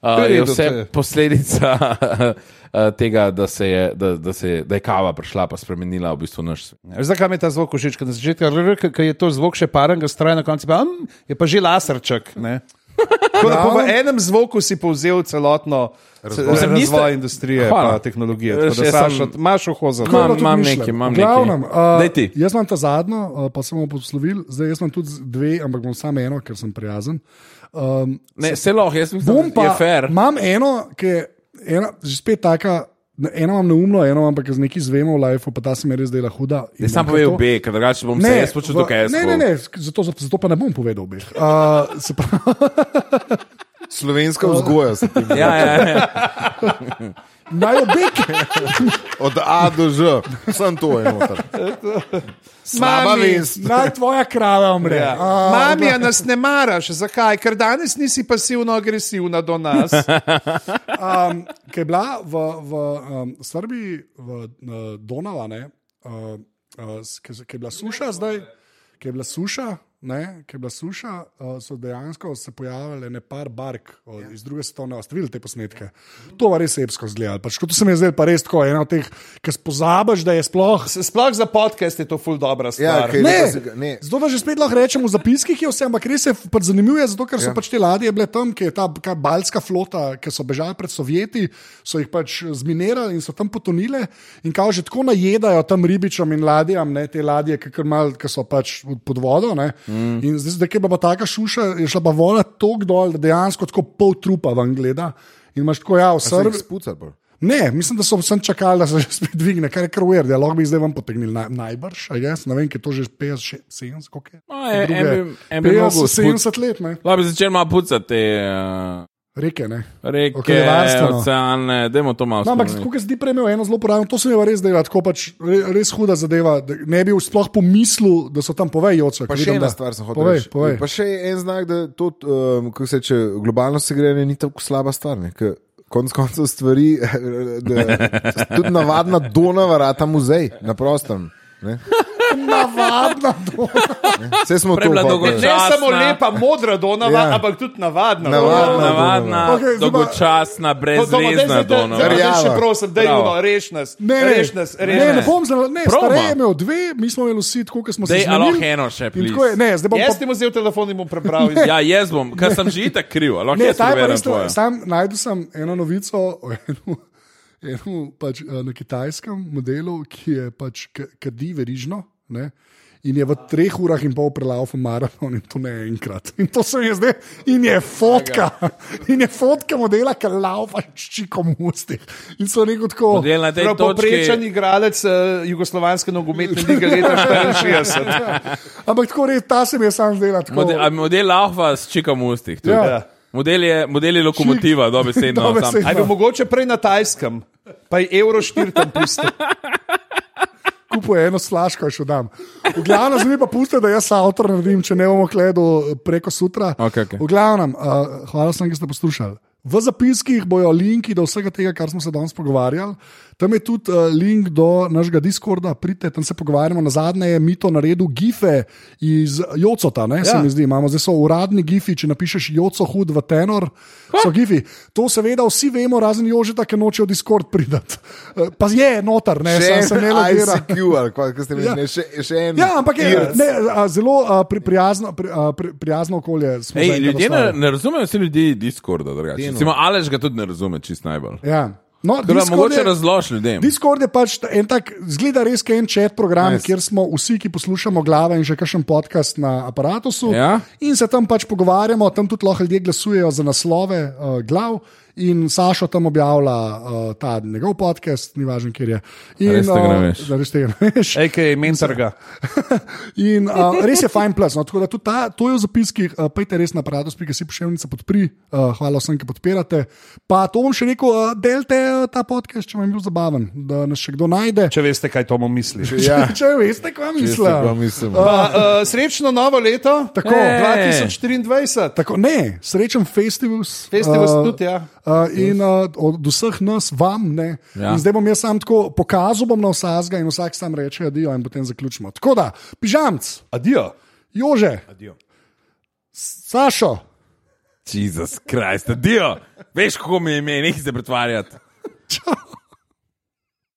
[SPEAKER 4] Uh,
[SPEAKER 3] Pri
[SPEAKER 4] je
[SPEAKER 3] redu, to
[SPEAKER 4] vse
[SPEAKER 3] je.
[SPEAKER 4] posledica uh, tega, da, se je, da, da, se je, da je kava prišla in spremenila v bistvu naš svet.
[SPEAKER 3] Veš, Zakaj mi je ta zvok všeč? Ker Na začetku rr, k- k je to zvok še paren, ga stroj na koncu pa mm, je pa že laserček. ne. Tako da po v
[SPEAKER 4] Ja.
[SPEAKER 3] enem zvoku si povzel celotno ce-
[SPEAKER 1] Razvoj.
[SPEAKER 3] razvoj,
[SPEAKER 4] Mislim, niste-
[SPEAKER 3] industrije
[SPEAKER 4] Hvala.
[SPEAKER 3] in tehnologije. Tako da,
[SPEAKER 4] Še sem-
[SPEAKER 3] Sašo, imaš uho za
[SPEAKER 4] Imam,
[SPEAKER 3] to.
[SPEAKER 2] tudi
[SPEAKER 4] imam
[SPEAKER 2] mišljen.
[SPEAKER 4] nekaj, imam
[SPEAKER 2] V glavnem,
[SPEAKER 4] nekaj.
[SPEAKER 2] uh,
[SPEAKER 4] Daj ti.
[SPEAKER 2] Jaz imam ta zadnjo, uh, pa sem jo poslovil, zdaj jaz imam tudi z- dve, ampak bom samo eno, ker sem prijazen. Um,
[SPEAKER 4] Ne, se lahko, jaz
[SPEAKER 2] bom
[SPEAKER 4] mislim,
[SPEAKER 2] pa,
[SPEAKER 4] da je fair.
[SPEAKER 2] imam eno, ki je ena, že spet taka, eno imam neumno, eno imam pa ki z neki zvemo v lifeu, pa ta se mi res dela huda. in
[SPEAKER 4] Ne, sam
[SPEAKER 2] bom
[SPEAKER 4] povej
[SPEAKER 2] kar to-
[SPEAKER 4] obe, ker drugače bom se jaz počutil,
[SPEAKER 2] v-
[SPEAKER 4] kaj jaz.
[SPEAKER 2] ne, ne, ne, sk- zato, zato pa ne bom povedal obeh. Uh, se pravi,
[SPEAKER 1] Slovenska vzgoja, se pravi,
[SPEAKER 4] Oh. Ja, ja, ja.
[SPEAKER 2] naj obeh,
[SPEAKER 1] od A do Ž, sem to je noter. Slaba
[SPEAKER 3] Mami,
[SPEAKER 1] vest.
[SPEAKER 2] naj tvoja krava umre.
[SPEAKER 3] Ja.
[SPEAKER 2] A,
[SPEAKER 3] Mami, a nas ne maraš, zakaj? Ker danes nisi pasivno-agresivna do nas.
[SPEAKER 2] um, ki je bila v, v um, Srbiji, v uh, Donava, ne, uh, uh, s- ki ki je bila suša, zdaj, ki je bila suša. Ne, ki je bila suša, uh, so dejansko se pojavile nekaj bark od, ja. iz druge svetovne vojne. Ste videli te posnetke? To je res epsko zgledalo. Pač, kot to se mi je zdelo, pa res tako, ena od teh, ki spozabiš, da je sploh.
[SPEAKER 3] Sploh za podcast je to ful
[SPEAKER 1] Ja,
[SPEAKER 3] dobra stvar.
[SPEAKER 1] kaj
[SPEAKER 2] Ne,
[SPEAKER 1] lepa si ga- ne.
[SPEAKER 2] Zato da že spet lahko rečemo v zapiskih, je vse, ampak res je pač zanimivo, je zato ker so ja. pač te ladje bile tam, ki je ta ka- balska flota, ki so bežali pred Sovjeti, so jih pač zminirali in so tam potonile. In kao že tako najedajo tam ribičem in ladjam, ne, te ladje, ki, kar mal, ki so pač pod vodo. ne.
[SPEAKER 1] Mm.
[SPEAKER 2] In zdaj, zdaj, ki je bila pa taka šuša, je šla pa voda tok dol, da dejansko tako pol trupa vam gleda. In imaš tako, ja, v
[SPEAKER 1] Prvi
[SPEAKER 2] Srbiji.
[SPEAKER 1] spucar. bolj.
[SPEAKER 2] Ne, mislim, da so vsem čakali, da se že spet dvigne, kar je kar ujer, dialog bi jih zdaj vam potegnil na, najbrž, jaz ne vem, ki je to že 50, 70, koliko je.
[SPEAKER 4] No, en-
[SPEAKER 2] Druge-
[SPEAKER 4] en bi- en bi
[SPEAKER 2] 50,
[SPEAKER 4] mogel sput-
[SPEAKER 2] 70 let, ne.
[SPEAKER 4] Lahko bi začel malo pucati te uh,
[SPEAKER 2] Reke, ne.
[SPEAKER 4] reke,
[SPEAKER 2] Okoljevarstveno.
[SPEAKER 4] oceane, dajmo to malo.
[SPEAKER 2] No, ampak
[SPEAKER 4] spremeniti.
[SPEAKER 2] tako, kot si ti prej imel eno zelo porajeno, to se mi je pa res delo, tako pač re, res huda zadeva. da Ne bi sploh pomislil, da so tam povejo,
[SPEAKER 1] Pa še ena stvar sem hotel
[SPEAKER 2] povej,
[SPEAKER 1] reči.
[SPEAKER 2] povej.
[SPEAKER 1] Pa še en znak, da to, um, kako se reče, globalno segrejanje ni tako slaba stvar. Ne? ker Konec koncev stvari, da, tudi navadna Donava, rata muzej na prostem. Ne?
[SPEAKER 2] Navadna, to.
[SPEAKER 1] Vse smo
[SPEAKER 4] Prebila
[SPEAKER 1] to
[SPEAKER 4] dolgo-
[SPEAKER 1] dolgo.
[SPEAKER 3] Ne
[SPEAKER 4] Časna.
[SPEAKER 3] samo lepa, modra donava,
[SPEAKER 1] Ja.
[SPEAKER 3] ampak tudi navadna.
[SPEAKER 1] Navadna.
[SPEAKER 3] donava. No,
[SPEAKER 4] Navadna,
[SPEAKER 2] Okej, zdaj pa- No,
[SPEAKER 4] dolgočasna, brezvezna donova.
[SPEAKER 1] zdaj-
[SPEAKER 3] Rjav, še
[SPEAKER 1] Rjava.
[SPEAKER 3] prosim, da je
[SPEAKER 4] Bravo.
[SPEAKER 3] bilo, reš nas.
[SPEAKER 2] Ne, ne,
[SPEAKER 3] reš nas, reš
[SPEAKER 2] ne, ne
[SPEAKER 3] nas.
[SPEAKER 2] bom zelo, ne,
[SPEAKER 4] Proma.
[SPEAKER 2] starej je imel dve, mi smo imeli vsi, tako kot smo se
[SPEAKER 4] Dej, a lahko
[SPEAKER 2] zmenili.
[SPEAKER 4] eno še,
[SPEAKER 2] In tako je,
[SPEAKER 4] please?
[SPEAKER 2] ne, zdaj bom pa
[SPEAKER 3] Jaz ti bom vzel telefon in bom prebral. iz-
[SPEAKER 4] Ja, jaz bom, ker sem že itak kriv. a Lahko
[SPEAKER 2] Ne,
[SPEAKER 4] jaz
[SPEAKER 2] ta je pa
[SPEAKER 4] preberem
[SPEAKER 2] res to.
[SPEAKER 4] tvojo?
[SPEAKER 2] Sam najdel sem eno novico o enem, enem pač, eh, na kitajskem modelu, ki je pač ka- kadi verižno. Ne? In je v treh urah in pol prelaufal maraton, in to ne enkrat. In to se mi je zdaj, in je fotka, in je fotka modela, ki laupa s čikom v ustih. In so neko tako.
[SPEAKER 4] Del na tej
[SPEAKER 3] Prav Povprečen
[SPEAKER 4] točki.
[SPEAKER 3] igralec eh, jugoslovanske nogometne lige leta 64.
[SPEAKER 2] Ja. Ampak tako res, ta se mi je sam zdela tako.
[SPEAKER 4] Model, a model Alfa s čikom v ustih. tudi?
[SPEAKER 2] Ja.
[SPEAKER 4] Model je, model je lokomotiva, dobesedno. sam.
[SPEAKER 2] Dobesedno.
[SPEAKER 3] Ali bi mogoče prej na tajskem, pa je evro štir tam pustil.
[SPEAKER 2] kupuje eno slaško, in še dam. V glavnem, zdaj mi pa pusti, da jaz avtor naredim, če ne bomo gledali preko sutra.
[SPEAKER 4] Okej, okej.
[SPEAKER 2] V glavnem, uh, hvala sem, da ste poslušali. V zapiskih bojo linki do vsega tega, kar smo se danes pogovarjali. Tam je tudi uh, link do našega Discorda, pridite, tam se pogovarjamo. Na zadnje je mito naredil gife iz Jocota, ne, ja. se
[SPEAKER 3] Ja.
[SPEAKER 2] mi zdi. Imamo zdaj so uradni gifi, če napišeš Joco hud v tenor, so gifi. To seveda vsi vemo, razen Jožeta, ki nočejo Discord pridati. Uh, pa je notar, ne,
[SPEAKER 1] Še
[SPEAKER 2] sam se ne
[SPEAKER 1] en
[SPEAKER 2] lagira.
[SPEAKER 1] ICQ, ali kaj ste mi
[SPEAKER 2] Ja.
[SPEAKER 1] rekli, še, še en.
[SPEAKER 2] Ja, ampak je
[SPEAKER 1] IRC.
[SPEAKER 2] ne, a, zelo a, pri, prijazno, pri, a, pri, prijazno okolje. smo
[SPEAKER 4] Ej,
[SPEAKER 2] zaenkrat
[SPEAKER 4] ljudje ne,
[SPEAKER 2] ustvarili.
[SPEAKER 4] ne razumejo vsi ljudi Discorda. drugače. Recimo, Alež ga tudi ne razume, čist najbolj.
[SPEAKER 2] Ja. No,
[SPEAKER 4] Tako da
[SPEAKER 2] Discord,
[SPEAKER 4] mogoče
[SPEAKER 2] je,
[SPEAKER 4] razloži ljudem.
[SPEAKER 2] Discord je pač ta- en tak, zgleda res kot en čet program,
[SPEAKER 1] Nice.
[SPEAKER 2] nice. kjer smo vsi, ki poslušamo glave in še kakšen podcast na aparatu.
[SPEAKER 4] Ja.
[SPEAKER 2] In se tam pač pogovarjamo, tam tudi lahko ljudje glasujejo za naslove uh, glav. In Sašo tam objavlja uh, ta njegov podcast, ni važno, kje je. In,
[SPEAKER 4] Res tega ne veš.
[SPEAKER 2] Uh, res tega ne veš.
[SPEAKER 3] Ej, mentorga.
[SPEAKER 2] In uh, res je fajn plus. No, tako da tudi ta, to je v zapiskih, uh, pejte res na parados, pika si pošiljnica podpri, uh, hvala vsem, ki podpirate. Pa to bom še rekel, uh, delite uh, ta podcast, če vam je bil zabaven, da nas še kdo najde.
[SPEAKER 3] Če veste, kaj tomu misliš.
[SPEAKER 1] Ja.
[SPEAKER 2] Če, če veste, kva
[SPEAKER 1] Tako
[SPEAKER 2] mislim.
[SPEAKER 1] mislim.
[SPEAKER 3] Pa, uh, srečno novo leto, Eh.
[SPEAKER 2] Tako.
[SPEAKER 4] Ej.
[SPEAKER 3] 2024.
[SPEAKER 2] Tako, ne, srečen festivals.
[SPEAKER 3] Festivals
[SPEAKER 2] eh,
[SPEAKER 3] tudi, ja.
[SPEAKER 2] eh, in uh, od vseh nas, vam, ne. Ja.
[SPEAKER 4] Ja.
[SPEAKER 2] Zdaj bom jaz sam tako pokazal, bom na vsakega in vsak sam reče, adijo, in potem zaključimo. Tako da, pižamc,
[SPEAKER 3] Adijo.
[SPEAKER 2] Jože,
[SPEAKER 3] Adijo.
[SPEAKER 2] Sašo,
[SPEAKER 4] Jezus Krist, dio, veš, kako mi je ime, nekaj se pretvarjati.
[SPEAKER 2] Čau.